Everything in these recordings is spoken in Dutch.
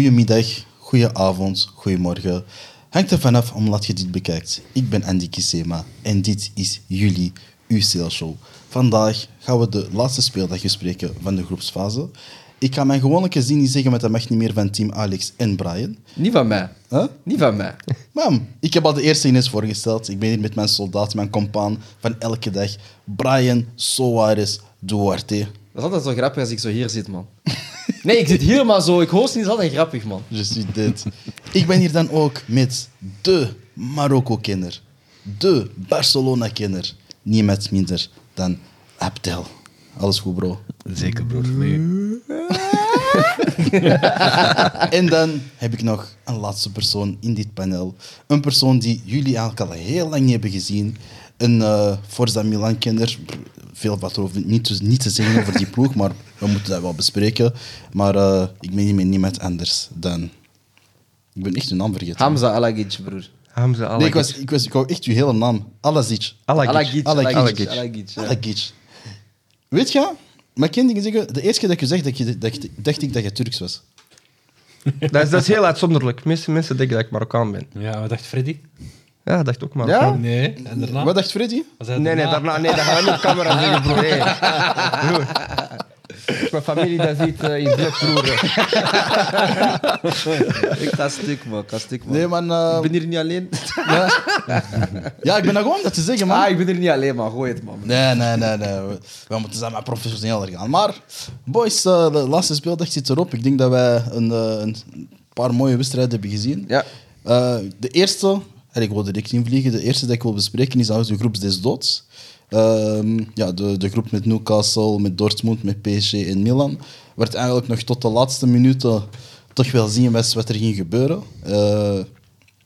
Goedemiddag, goedenavond, goedemorgen. Hangt er vanaf omdat je dit bekijkt. Ik ben Andy Kisema en dit is jullie uw sales show. Vandaag gaan we de laatste speeldag bespreken van de groepsfase. Ik ga mijn gewone zin niet zeggen, maar dat mag niet meer van team Alex en Brian. Niet van mij. Huh? Niet van mij. Mam, ik heb al de eerste Ines voorgesteld. Ik ben hier met mijn soldaat, mijn compaan van elke dag. Brian Soares Duarte. Dat is altijd zo grappig als ik zo hier zit, man. Nee, ik zit hier maar zo. Ik host niet. Dat is altijd grappig, man. Je ziet dit. Dus Ik ben hier dan ook met de Marokko-kenner. De Barcelona-kenner. Niemand minder dan Abdel. Alles goed, bro. Zeker, broer. Met u. En dan heb ik nog een laatste persoon in dit panel. Een persoon die jullie eigenlijk al heel lang niet hebben gezien. Een eh Forza Milan-kenner. Veel wat erover niet te, niet te zeggen over die ploeg, maar we moeten dat wel bespreken. Maar eh, ik ben hier met niemand anders dan... Ik ben echt uw naam vergeten. Hamza Alagic, broer. Hamza Alagic. Nee, ik, was, ik, was, ik wou echt uw hele naam. Alazic. Alagic. Alagic. Alagic. Alagic. Alagic. Alagic, ja. Alagic. Weet je, maar ik één ding zeggen. De eerste keer dat ik je zegt, dat je, dat je- dacht ik dat je Turks was. Dat is, dat is heel uitzonderlijk. De meeste mensen denken dat ik Marokkaan ben. Ja, wat dacht Freddy? Ja, dacht ook maar. Ja? Nee, en daarna? Wat dacht Freddy? Was hij Nee, nee, daarna, nee, dat gaan we niet op Ah. camera zeggen, broer. Nee. Broer. Als mijn familie dat ziet, eh, is dit, broer. Ik ga stuk, man. Ik ga stuk, man. Nee, man. eh, ehm, Ik ben hier niet alleen. ja, ik ben daar gewoon om dat te zeggen, man. Ah, ik ben hier niet alleen, man. Gooi het, man. Nee, nee, nee, nee. We, we moeten samen professioneler gaan. Maar, boys, eh, de laatste speeldag zit erop. Ik denk dat wij een, eh, een paar mooie wedstrijden hebben gezien. Ja. Eh, de eerste, en ik wil direct invliegen, de eerste dat ik wil bespreken is trouwens de groep des doods. Ehm, ja, de, de groep met Newcastle, met Dortmund, met PSG en Milan. Werd eigenlijk nog tot de laatste minuten toch wel zien was wat er ging gebeuren. Eh,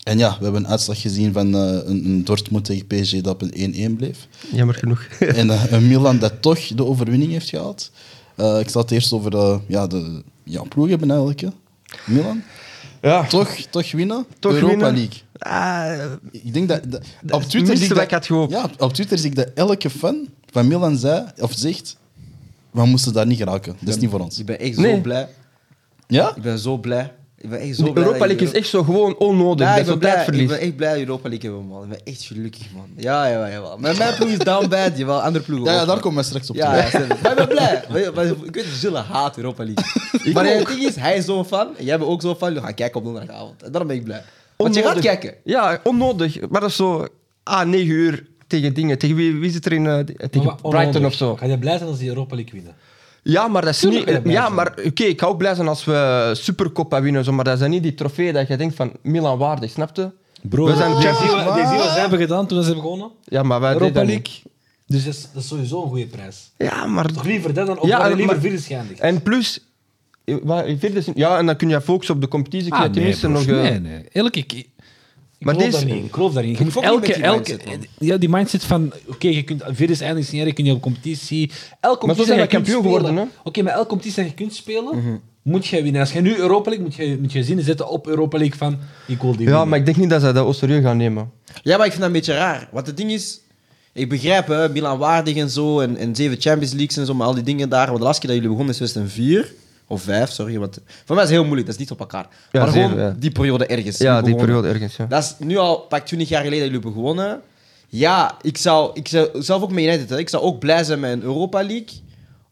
en ja, we hebben een uitslag gezien van eh, een, een Dortmund tegen PSG dat op een 1-1 bleef. Jammer genoeg. En eh, een Milan dat toch de overwinning heeft gehaald. Eh, ik zal het eerst over eh, ja, de ja, ploeg hebben eigenlijk. hè. Milan. Ja. Toch, toch winnen? Toch Europa winnen? League. Ah, Ik denk dat, dat- op het Twitter minste zie ik wat dat, ik had gehoopt. Ja, op Twitter zie ik dat elke fan van Milan zei of zegt, we moesten daar niet geraken. Dat is niet voor ons. Ik ben echt zo Nee. blij. Ja? Ik ben zo blij. Ik ben echt zo blij. Europa League is echt zo gewoon onnodig. Ja, dat ik is ben, een blij, ik tijdverlies. ben echt blij Europa League hebben, man. Ik ben echt gelukkig, man. Ja, jawel, jawel. Maar mijn ploeg is down bad, jawel. Andere ploegen Ja, ja, ook, daar man. komen we straks op Ja, terug. ja snap ik. Maar ik ben blij. Maar- maar- maar Ik weet dat Gilles haat Europa League. maar het ding is, hij is zo'n fan. En jij bent ook zo'n fan. We gaan kijken op donderdagavond. En daarom ben ik blij. Want je gaat Onnodig. kijken. Ja, onnodig. Maar dat is zo... Ah, 9 uur tegen dingen. Tegen wie, wie zit er in... eh, tegen Oh, Maar onnodig. Brighton of zo. Ga je blij zijn als die Europa League winnen? Ja, maar dat is Tuurlijk niet... ben ik blij ja, zijn. maar oké, ik ga ook blij zijn als we Supercoppa winnen. Zo, maar dat is dan niet die trofee dat je denkt van Milan waardig, snapte? Bro, We zijn je Champions- ziet wat- je ziet wat ze hebben gedaan toen ze hebben gewonnen. Ja, maar wij Europa deden dat League. Dus dat is, dat is sowieso een goede prijs. niet. Ja, maar... Toch liever dat dan op Ja, ja, maar- liever vierde schijndig. En plus... eh, wat- vierde zin- Ja, en dan kun je focussen op de competitie. kun je tenminste nog... eh, Ah, nee, nee. Eerlijk, ik, ik Maar geloof deze- daar niet in. Ik geloof daarin. Je moet ook moet niet elke, met die elke, mindset, man. ja, die mindset van, oké, je kunt vierde is eindig, niet erg, kun je op competitie. Elke competitie zijn dat wij je kunt kampioen spelen- geworden, Oké, maar elke competitie dat je kunt spelen, moet je winnen. Als je nu Europa League, moet je, moet je zinnen zetten op Europa League van, ik wil die Ja, winnen. maar ik denk niet dat zij dat ook serieus gaan nemen. Ja, maar ik vind dat een beetje raar. Want het ding is, ik begrijp hè, Milan waardig en zo, en, en zeven Champions Leagues en zo, maar al die dingen daar. Want de laatste keer dat jullie begonnen is 2004 of 5, sorry. Want voor mij is het heel moeilijk, dat is niet op elkaar. Ja, maar gewoon zeven, ja. die periode ergens. Ja, die begonnen. periode ergens, ja. Dat is nu al pak 20 jaar geleden dat jullie begonnen. Ja, ik zou, ik zou zelf ook met United, hè, ik zou ook blij zijn met een Europa League.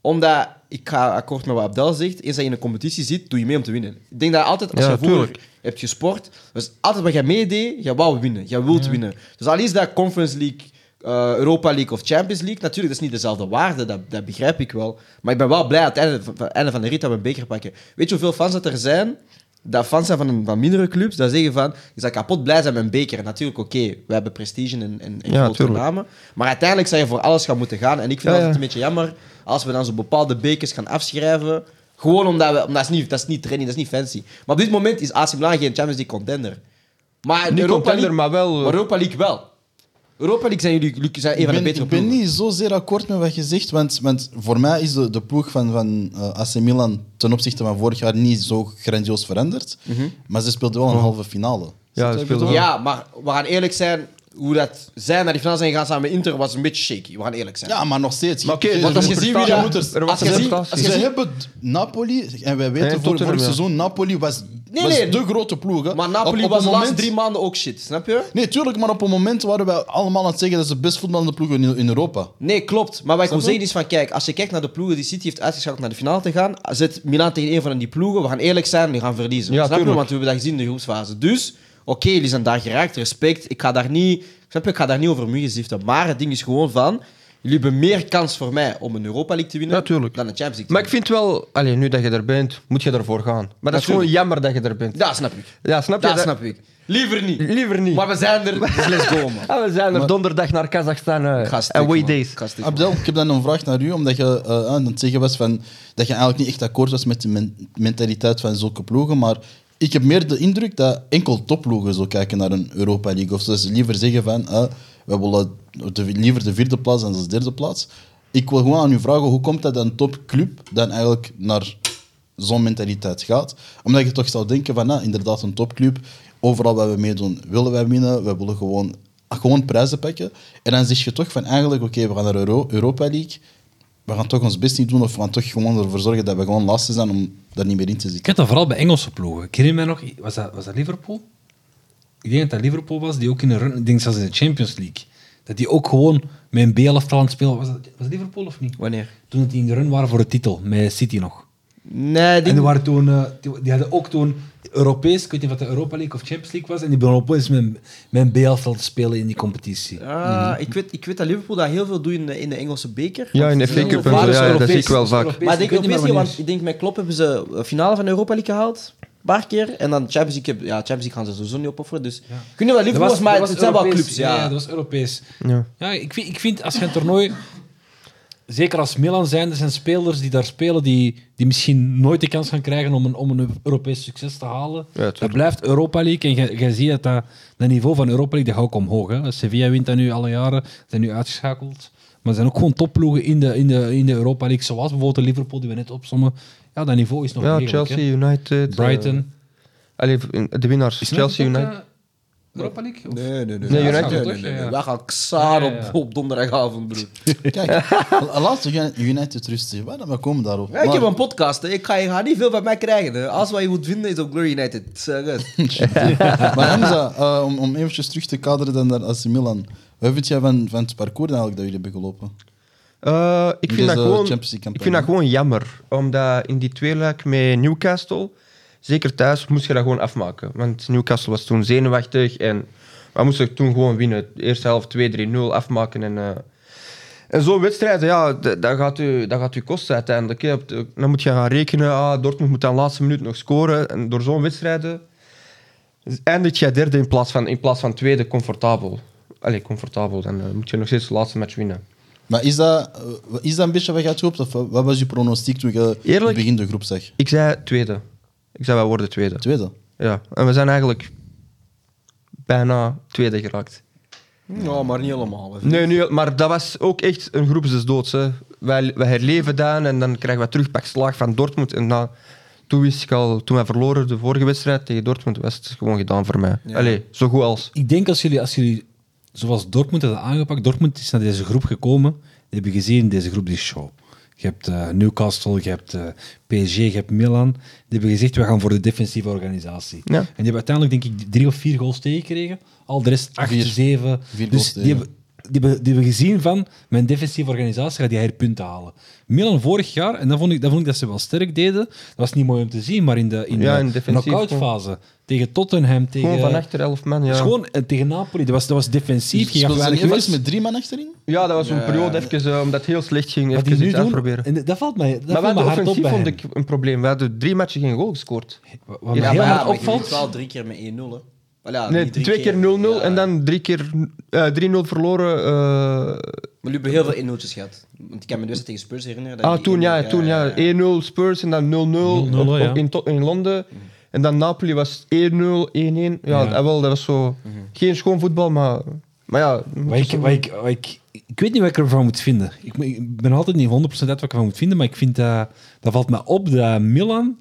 Omdat, ik ga akkoord met wat Abdel zegt, eens dat je in een competitie zit, doe je mee om te winnen. Ik denk dat altijd, als Ja, je vroeger tuurlijk. hebt gesport, dus altijd wat jij meedeed, jij wou winnen, jij wilt winnen. Dus al is dat Conference League, eh, Europa League of Champions League, natuurlijk, dat is niet dezelfde waarde, dat, dat begrijp ik wel. Maar ik ben wel blij aan het einde van, van- einde van de rit dat we een beker pakken. Weet je hoeveel fans dat er zijn? dat fans zijn van, een, van mindere clubs, dat zeggen van, je zou kapot blij zijn met een beker. Natuurlijk, oké, we hebben prestige en, en, en Ja, grote tuurlijk. namen. Maar uiteindelijk zou je voor alles gaan moeten gaan. En ik vind Ja, het ja. een beetje jammer als we dan zo bepaalde bekers gaan afschrijven. Gewoon omdat we... Omdat dat, is niet, dat is niet training, dat is niet fancy. Maar op dit moment is AC Milan geen Champions League contender. Maar Niet Europa contender, League, maar wel... eh, Europa League wel. Europa League zijn jullie jullie zijn een Ik van de ben, betere ik ben ploegen. niet zozeer akkoord met wat je zegt, want, want voor mij is de, de ploeg van, van eh, AC Milan ten opzichte van vorig jaar niet zo grandioos veranderd. Mhm. Maar ze speelden wel een halve finale. Snap je wat ik speelden bedoel? Ja, maar we gaan eerlijk zijn. Hoe dat zij naar die finale zijn gegaan samen met Inter was een beetje shaky. We gaan eerlijk zijn. Ja, maar nog steeds. Maar oké, dus Je- je- want je als je moet ziet verstaan, wie je dat- moet er- er was als je een ziet- prestatie. als je Ze ziet- hebben d- Napoli, en wij weten En voor Tottenham, vorig ja. seizoen, Napoli was Nee, dat nee. is de grote ploeg. Hè. Maar Napoli Op- op was de een laatste moment- drie maanden ook shit, snap je? Nee, tuurlijk, maar op een moment waren wij allemaal aan het zeggen dat is de best voetballende ploeg in, in Europa. Nee, klopt. Maar wat ik Snap wil je? zeggen is van, kijk, als je kijkt naar de ploegen die City heeft uitgeschakeld naar de finale te gaan, zit Milan tegen een van die ploegen, we gaan eerlijk zijn, die gaan verliezen. Ja, snap je? tuurlijk. Want we hebben dat gezien in de groepsfase. Dus, oké, jullie zijn daar geraakt, respect. Ik ga daar niet, snap je, ik ga daar niet over muggen ziften. Maar het ding is gewoon van, jullie hebben meer kans voor mij om een Europa League te winnen Ja, tuurlijk. dan een Champions League te Maar ik vind wel, allee, nu dat je er bent, moet je ervoor gaan. Maar dat is gewoon jammer dat je er bent. winnen. Dat snap ik. Ja, snap je? Dat snap ik. Liever niet. Liever niet. Maar we zijn er, dus let's go, man. Ah, we zijn er donderdag naar Kazachstan. Ik eh ga stuk, away man. days. Ik ga stuk, man. Abdel, ik heb dan een vraag naar u, omdat je eh, aan het zeggen was van, dat je eigenlijk niet echt akkoord was met de men- mentaliteit van zulke ploegen, maar ik heb meer de indruk dat enkel topploegen zo kijken naar een Europa League. Of ze dus liever zeggen van, eh, we willen de, liever de vierde plaats dan de derde plaats. Ik wil gewoon aan u vragen, hoe komt dat een topclub dan eigenlijk naar zo'n mentaliteit gaat? Omdat je toch zou denken van, nou, inderdaad, een topclub, overal waar we meedoen willen wij winnen, we willen gewoon gewoon prijzen pakken. En dan zeg je toch van eigenlijk, oké, we gaan naar Euro- Europa League. We gaan toch ons best niet doen of we gaan toch gewoon ervoor zorgen dat we gewoon laatste zijn om daar niet meer in te Ik zitten. heb dat vooral bij Engelse ploegen. Ik herinner me nog, was dat, was dat Liverpool? Ik denk dat dat Liverpool was, die ook in de run, ik denk zelfs in de Champions League. Dat die ook gewoon met een B-elftal aan het spelen was. Dat, was dat Liverpool of niet? Wanneer? Toen het in de run waren voor de titel, met City nog. Nee, En die... die, waren toen, eh, die, die hadden ook toen Europees, ik weet niet wat de Europa League of Champions League was, en die begonnen opeens met, een- met een B-elftal te spelen in die competitie. Ah, ik, weet, ik weet dat Liverpool dat heel veel doet in de, in de Engelse beker. eh, Ja, in de Of- FA Cup en Waar zo. is Ja, dat Europees, zie ik wel het is vaak. Europees, Maar ik denk, weet ik niet niet, meer wanneer. want ik denk met Klopp hebben ze de finale van de Europa League gehaald. Een paar keer. En dan Champions League, heb- ja, Champions League gaan ze sowieso niet opofferen. Dus ik weet niet wat Liverpool Dat was, maar dat het zijn wel Europees. clubs. Ja. dat was Europees. Ja. Ja. ik, vind, ik vind als je een toernooi, zeker als Milan zijn, er zijn spelers die daar spelen die, die misschien nooit de kans gaan krijgen om een, om een Europees succes te halen. tuurlijk. dat blijft Europa League en je- je ziet dat dat, dat niveau van Europa League dat gaat ook omhoog. Hè. Sevilla wint dat nu alle jaren, zijn nu uitgeschakeld. Maar er zijn ook gewoon topploegen in de, in, de, in de Europa League, zoals bijvoorbeeld de Liverpool die we net opzommen. Ja, dat niveau is nog Ja, degelijk, Chelsea, hè. United. eh, Brighton. allee, de winnaars. Chelsea, Ook, eh, United. Europa League? Of- Nee, nee, nee. Nee, Ja, United nee, toch? nee, nee. Ja, ja. Wij gaan Xaar Ja, ja, ja. op, op donderdagavond, broer. Kijk, laat United rustig. Waarom we komen daarop? Ja, ik heb Maar- een podcast. hè. Ik ga, je gaat niet veel van mij krijgen. hè. Alles wat je moet vinden is op Glory United. Serieus. Maar Hamza, eh, om, om eventjes terug te kaderen dan naar AC Milan. Wat vind jij van, van het parcours eigenlijk dat jullie hebben gelopen? Eh, ik, In vind dat deze gewoon, Champions League ik vind dat gewoon jammer. Omdat in die tweeluik met Newcastle, zeker thuis, moest je dat gewoon afmaken. Want Newcastle was toen zenuwachtig en we moesten toen gewoon winnen. De eerste helft 2-3-0 afmaken. En, eh, en zo'n wedstrijd, ja, d- dat, gaat u, dat gaat u kosten uiteindelijk. hè. Op de- Dan moet je gaan rekenen, ah, Dortmund moet aan de laatste minuut nog scoren. En door zo'n wedstrijden eindigt jij derde in plaats van, in plaats van tweede comfortabel. Allee, comfortabel. Dan eh, moet je nog steeds de laatste match winnen. Maar is dat, eh, is dat een beetje wat je had gehoopt? Of wat wat was je pronostiek toen je in Eerlijk? het begin de groep zag? Ik zei tweede. Ik zei wij worden tweede. Tweede. Ja, en we zijn eigenlijk bijna tweede geraakt. Nou, maar niet helemaal. hè. Nee, nu, maar dat was ook echt een groep des doods. Hè. Wij, wij herleven dat en dan krijgen we terug pak slaag van Dortmund. En dan, toen wist ik al, toen wij verloren de vorige wedstrijd tegen Dortmund, was het gewoon gedaan voor mij. Allee, zo goed als. Ik denk als jullie, als jullie, zoals Dortmund hadden aangepakt, Dortmund is naar deze groep gekomen. Die hebben gezien, deze groep die is show. Je hebt eh, Newcastle, je hebt eh, PSG, je hebt Milan. Die hebben gezegd, we gaan voor de defensieve organisatie. Ja. En die hebben uiteindelijk, denk ik, drie of vier goals tegengekregen. Al de rest acht, Vier. zeven. Vier goals dus die tegen. hebben, die, hebben, die hebben gezien van, mijn defensieve organisatie gaat die hier punten halen. Milan vorig jaar, en dat vond, ik, dat vond ik dat ze wel sterk deden. Dat was niet mooi om te zien, maar in de, in Ja, in de defensief knock-outfase tegen Tottenham, tegen... Gewoon van achter elf man, ja. Dus gewoon eh, tegen Napoli, dat was, dat was Dus- defensief. Je gaf Speelden ze weinig niet weg. even dus met drie man achterin? Ja, dat was een periode even, eh, omdat het heel slecht ging, Wat die even iets nu doen, uitproberen. en dat valt mij, dat Maar we valt mij hadden hard op offensief bij vond hem. ik een probleem. We hadden drie matchen geen goal gescoord. Wat mij Ja, heel maar hard maar je wint opvalt, wel drie keer met 1-0. hè. Voilà, Nee, Ah, niet drie twee keer 0-0 Ja. en dan drie keer eh, 3-0 verloren. eh, Maar jullie hebben heel veel innootjes gehad. Want ik kan me de wedstrijd tegen Spurs herinneren. dat ah, die eh, toen ja, 1-0, toen ja. 1-0 Spurs en dan 0-0 op- 0-0, ja. op- in, to- in Londen. En dan Napoli was 1-0, 1-1. Ja, Ja. ah, wel, dat was zo... Geen schoon voetbal, maar... Maar ja... moet wat je ik, zeggen. wat ik, wat ik, ik weet niet wat ik ervan moet vinden. Ik, moet- ik ben altijd niet 100% uit wat ik ervan moet vinden, maar ik vind dat, dat valt mij op dat Milan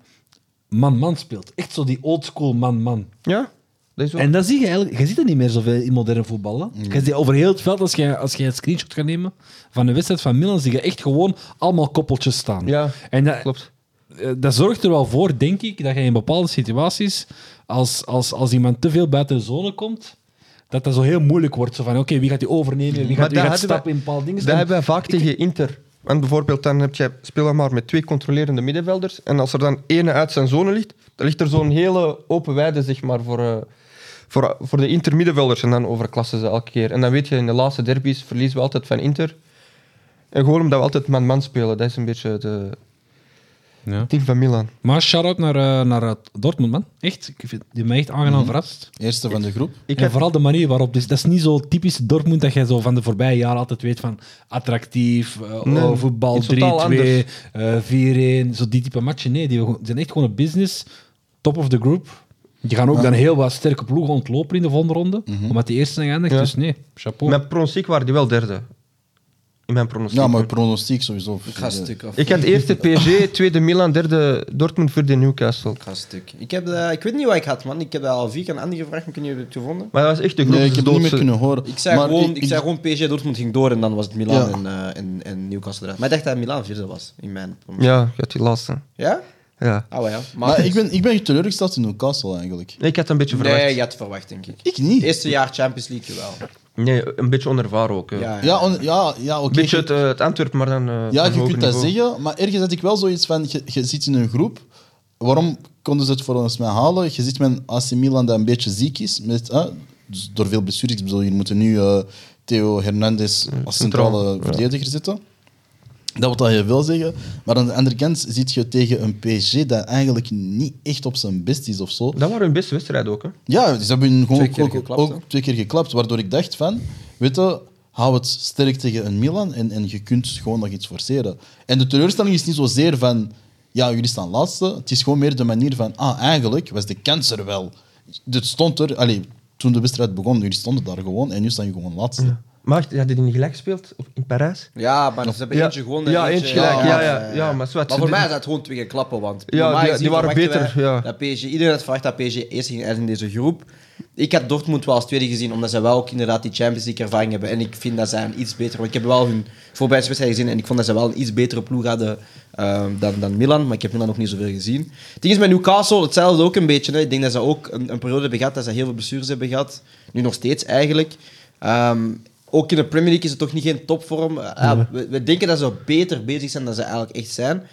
man-man speelt. Echt zo die oldschool man-man. Ja, dat is zo. En dat zie je eigenlijk, je ziet dat niet meer zoveel in moderne voetbal. Hè? Je ziet over heel het veld, als je, als je een screenshot gaat nemen van de wedstrijd van Milan, zie je echt gewoon allemaal koppeltjes staan. Ja, en dat, klopt. eh, dat zorgt er wel voor, denk ik, dat je in bepaalde situaties, als, als, als iemand te veel buiten de zone komt, dat dat zo heel moeilijk wordt. Zo van, oké, wie gaat die overnemen? Wie Maar gaat, wie dat gaat hebben stappen in bepaalde dingen? Dat En- hebben we vaak tegen Inter. Want bijvoorbeeld, dan heb je, speel dan maar met twee controlerende middenvelders. En als er dan ene uit zijn zone ligt, dan ligt er zo'n hele open weide zeg maar, voor, eh, voor, voor de Inter-middenvelders. En dan overklassen ze elke keer. En dan weet je, in de laatste derbies verliezen we altijd van Inter. En gewoon omdat we altijd man-man spelen. Dat is een beetje de Ja. het ding van Milan. Maar shout-out naar, eh, naar eh, Dortmund, man. Echt, ik vind die mij echt aangenaam verrast. Eerste van de groep. Ik en heb, vooral de manier waarop. Dus, dat is niet zo typisch Dortmund dat jij zo van de voorbije jaren altijd weet van attractief, eh, Nee, oh, voetbal 3-2, iets totaal anders. eh, 4-1, zo die type matchen. Nee, die we- zijn echt gewoon een business, top of the group. Die gaan ook dan heel wat sterke ploegen ontlopen in de volgende ronde, omdat die eerste zijn geëindigd. Mhm. Ja. Dus nee, chapeau. mijn pronostiek waren die wel derde. In mijn pronostiek. Ja, Nou, maar pronostiek sowieso. Ik ga stuk af. Ik had eerste PSG, tweede Milan, derde Dortmund, vierde Newcastle. Ik ga stuk. Ik, heb, eh, ik weet niet wat ik had, man. Ik heb dat al vier keer aan Andy gevraagd, maar ik weet niet of je het gevonden. Maar dat was echt de Nee, ik heb het niet meer groepsdoodse- kunnen horen. Ik zei, Maar gewoon, ik, zei gewoon PSG Dortmund ging door en dan was het Milan Ja. en, eh, en, en Newcastle eruit. Maar ik dacht dat Milan vierde was, in mijn... Ja, je had die laatste. Ja? Ja. Ah, wel ja. Maar, Maar ik ben, ik ben teleurgesteld in Newcastle eigenlijk. Nee, Ik had een beetje verwacht. Nee, je had het verwacht, denk ik. Ik niet. Eerste jaar Champions League wel. Nee, een beetje onervaren ook. hè. Ja, Ja, on- ja, ja oké. Een beetje het, eh, het Antwerp, maar dan. eh, Ja, op een je hoger kunt dat niveau. zeggen, maar ergens had ik wel zoiets van: je, je zit in een groep. Waarom konden ze het volgens mij halen? Je zit met een AC Milan dat een beetje ziek is, met, hè, dus door veel bestuurders. Ik bedoel, hier moeten nu eh, Theo Hernandez als centraal, centrale verdediger zitten. Dat wil dat heel veel zeggen. Maar aan de andere kant zit je tegen een PSG dat eigenlijk niet echt op zijn best is of zo. Dat waren hun beste wedstrijd ook. Hè. Ja, ze hebben hun gewoon Twee keer ook, geklapt, ook hè? twee keer geklapt. Waardoor ik dacht van, weet je, hou het sterk tegen een Milan en, en je kunt gewoon nog iets forceren. En de teleurstelling is niet zozeer van, ja, jullie staan laatste. Het is gewoon meer de manier van, ah, eigenlijk was de kans er wel. Dit stond er, allee, toen de wedstrijd begon, jullie stonden daar gewoon en nu staan je gewoon laatste. Maar had je die niet gelijk gespeeld op- in Parijs? Ja, maar ze hebben Ja. eentje gewonnen. Ja, eentje gelijk. Ja, ja, ja, maar zwart, Maar ze voor mij deden- zijn het gewoon twee keer klappen, want... Ja, normaal die- gezien die waren verwachten beter, wij ja. Dat PSG, iedereen had verwacht dat PSG eerst ging eindigen in deze groep. Ik had Dortmund wel als tweede gezien, omdat zij wel ook inderdaad die Champions League ervaring hebben. En ik vind dat zij een iets betere... Want ik heb wel hun voorbije wedstrijd gezien en ik vond dat zij wel een iets betere ploeg hadden ehm, dan, dan Milan. Maar ik heb Milan nog niet zoveel gezien. Het ding is met Newcastle hetzelfde ook een beetje. Hè. Ik denk dat ze ook een, een periode hebben gehad, dat ze heel veel blessures hebben gehad. Nu nog steeds eigenlijk. Ehm, ook in de Premier League is het toch niet geen topvorm. Eh, ja, we, we denken dat ze beter bezig zijn dan ze eigenlijk echt zijn.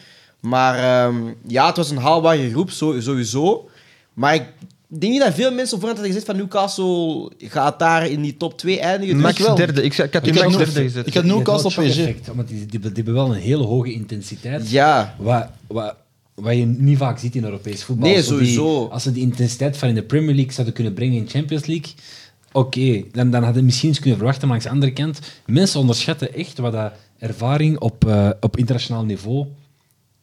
Maar ehm, ja, het was een haalbare groep, zo- sowieso. Maar ik denk niet dat veel mensen voorhand hadden gezegd van Newcastle gaat daar in die top 2 eindigen. Dus Max derde. Ik, zei- ik had die Ik had, Max Nu- derde gezet. ik had Newcastle PSG. Want die, die, die hebben wel een hele hoge intensiteit. Ja. Wat, wat, wat je niet vaak ziet in Europees voetbal. Nee, Als ze die- sowieso. als ze die intensiteit van in de Premier League zouden kunnen brengen in Champions League, oké, dan, dan hadden we misschien eens kunnen verwachten. Maar aan de andere kant, mensen onderschatten echt wat dat ervaring op, eh, op internationaal niveau,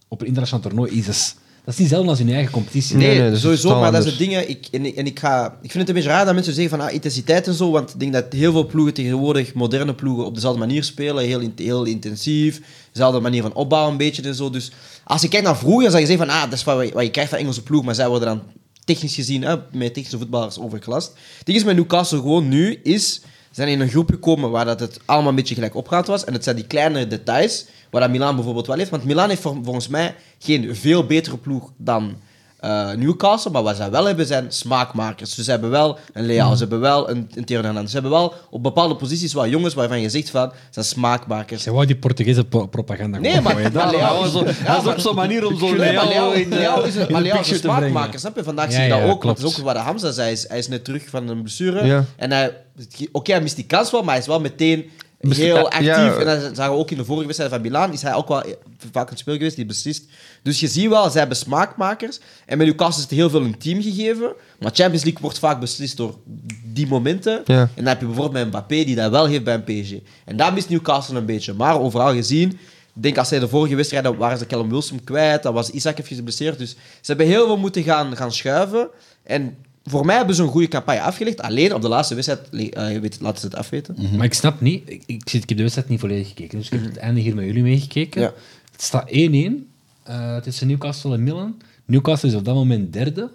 op een internationaal toernooi is. Dat is- Dat is niet zelden als in je eigen competitie. Nee, Nee, nee, dat is sowieso, totaal maar dat is anders. het ding. hè. Ik, en ik, en ik, ga, ik vind het een beetje raar dat mensen zeggen van ah, intensiteit en zo, want ik denk dat heel veel ploegen tegenwoordig, moderne ploegen, op dezelfde manier spelen. Heel, in- heel intensief, dezelfde manier van opbouwen een beetje en zo. Dus als je kijkt naar vroeger, dan zou je zeggen van ah, dat is wat, je- wat je krijgt van Engelse ploeg, maar zij worden dan technisch gezien, hè, met technische voetballers overklast. Het ding is met Newcastle gewoon nu, is ze zijn in een groep gekomen waar dat het allemaal een beetje gelijk opgaand was. En het zijn die kleine details, waar dat Milan bijvoorbeeld wel heeft. Want Milan heeft vol- volgens mij geen veel betere ploeg dan eh, Newcastle, maar wat zij wel hebben zijn smaakmakers. Dus ze hebben wel een Hmm. Leao, ze hebben wel een, een Theo Hernandez. Ze hebben wel op bepaalde posities wel jongens waarvan je zegt van, zijn smaakmakers. Ze wou die Portugese pro- propaganda Nee, gewoon maar- gooien. maar Dat, Leao- dat was zo- dat Ja, is maar- op zo'n manier om zo'n Nee, maar Leao, Leao in de- Leao is een, in maar de Leao is een picture te brengen. smaakmaker, snap je? Vandaag Ja, zie je dat ja, ook. want Dat klopt. is ook wat Hamza zei. Hij is, hij is net terug van een blessure. Ja. En hij... Oké, hij mist die kans wel, maar hij is wel meteen Beslist- heel ja. actief. En dan zagen we ook in de vorige wedstrijd van Milaan, is hij ook wel vaak een speel geweest die beslist. Dus je ziet wel, zij hebben smaakmakers. En met Newcastle is het heel veel een team gegeven. Maar Champions League wordt vaak beslist door die momenten. Ja. En dan heb je bijvoorbeeld met Mbappé, die dat wel heeft bij een PSG. En daar mist Newcastle een beetje. Maar overal gezien, ik denk als zij de vorige wedstrijd, dan waren ze Callum Wilson kwijt, dan was Isaac even geblesseerd. Dus ze hebben heel veel moeten gaan, gaan schuiven. En voor mij hebben ze een goede campagne afgelegd. Alleen op de laatste wedstrijd, eh, je weet, laten ze het afweten. Maar ik snap niet, ik, ik, zit, ik heb de wedstrijd niet volledig gekeken, dus ik heb het einde hier met jullie meegekeken. Mhm. Ja. Het staat 1-1 eh, tussen Newcastle en Milan. Newcastle is op dat moment derde.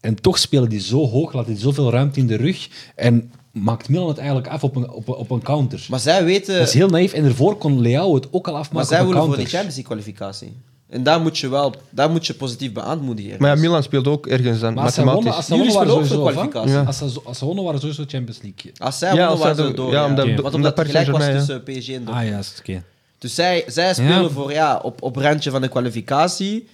En toch spelen die zo hoog, laten die zoveel ruimte in de rug. En maakt Milan het eigenlijk af op een, op, een- op een counter. Maar zij weten... dat is heel naïef. En ervoor kon Leao het ook al afmaken Maar zij op een willen voor counter. die Champions League kwalificatie. En daar moet je wel daar moet je positief beaanmoedigen. Maar ja, Milan speelt ook ergens dan Maar als ze wonnen, als mathematisch. ze wonnen waren Jullie spelen ook sowieso voor af, hè? kwalificatie. Ja. Als ze zo- als ze wonnen waren sowieso Champions League. Als zij Ja, wonnen, als waren zij ze de- door. ja, omdat- Want omdat omdat het Paris gelijk was Saint-Germain, tussen PSG en Dortmund. Ah, juist, oké. Dus zij, zij spelen voor, ja, op, op randje van de kwalificatie.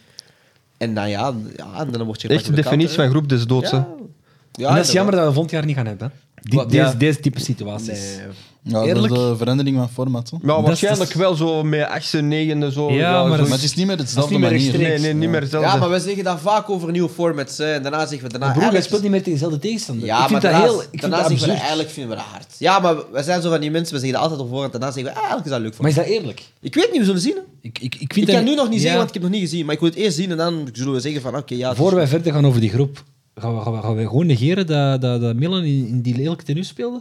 En nou ja, ja en dan word je Echt gepakt de door definitie counter, van groep des hè. doods. hè. Ja. Ja, en dat is inderdaad. jammer dat we volgend jaar niet gaan hebben. hè. Die, Wat, deze, ja. deze type situaties. Nee. Ja, door Eerlijk? de verandering van format. Hoor. Maar is- waarschijnlijk dat is- wel zo met achtste, negende, zo. Ja, maar dat Maar zo- het is niet meer hetzelfde niet meer manier. extreem. Nee, nee, niet meer Ja, maar hetzelfde. we zeggen dat vaak over nieuwe formats. hè. En daarna zeggen we daarna... Broer, hij eigenlijk- speelt niet meer tegen dezelfde tegenstander. Ja, ik vind maar dat daarna, heel... Ik vind daarna dat zeggen we dat absurd. eigenlijk vinden we dat hard. Ja, maar we zijn zo van die mensen, we zeggen dat altijd op voorhand. Daarna zeggen we, ah, eigenlijk is dat leuk voor Maar is dat eerlijk? mij. Ik weet niet, we zullen zien. hè. Ik, ik, ik, Ik vind kan dat- nu nog niet Ja. zeggen, want ik heb het nog niet gezien. Maar ik wil het eerst zien en dan zullen we zeggen van, oké, ja... het is- Voor wij verder gaan over die groep, gaan we, gaan we, gaan we gewoon negeren dat, dat, dat Milan in, in die lelijke tenue speelde?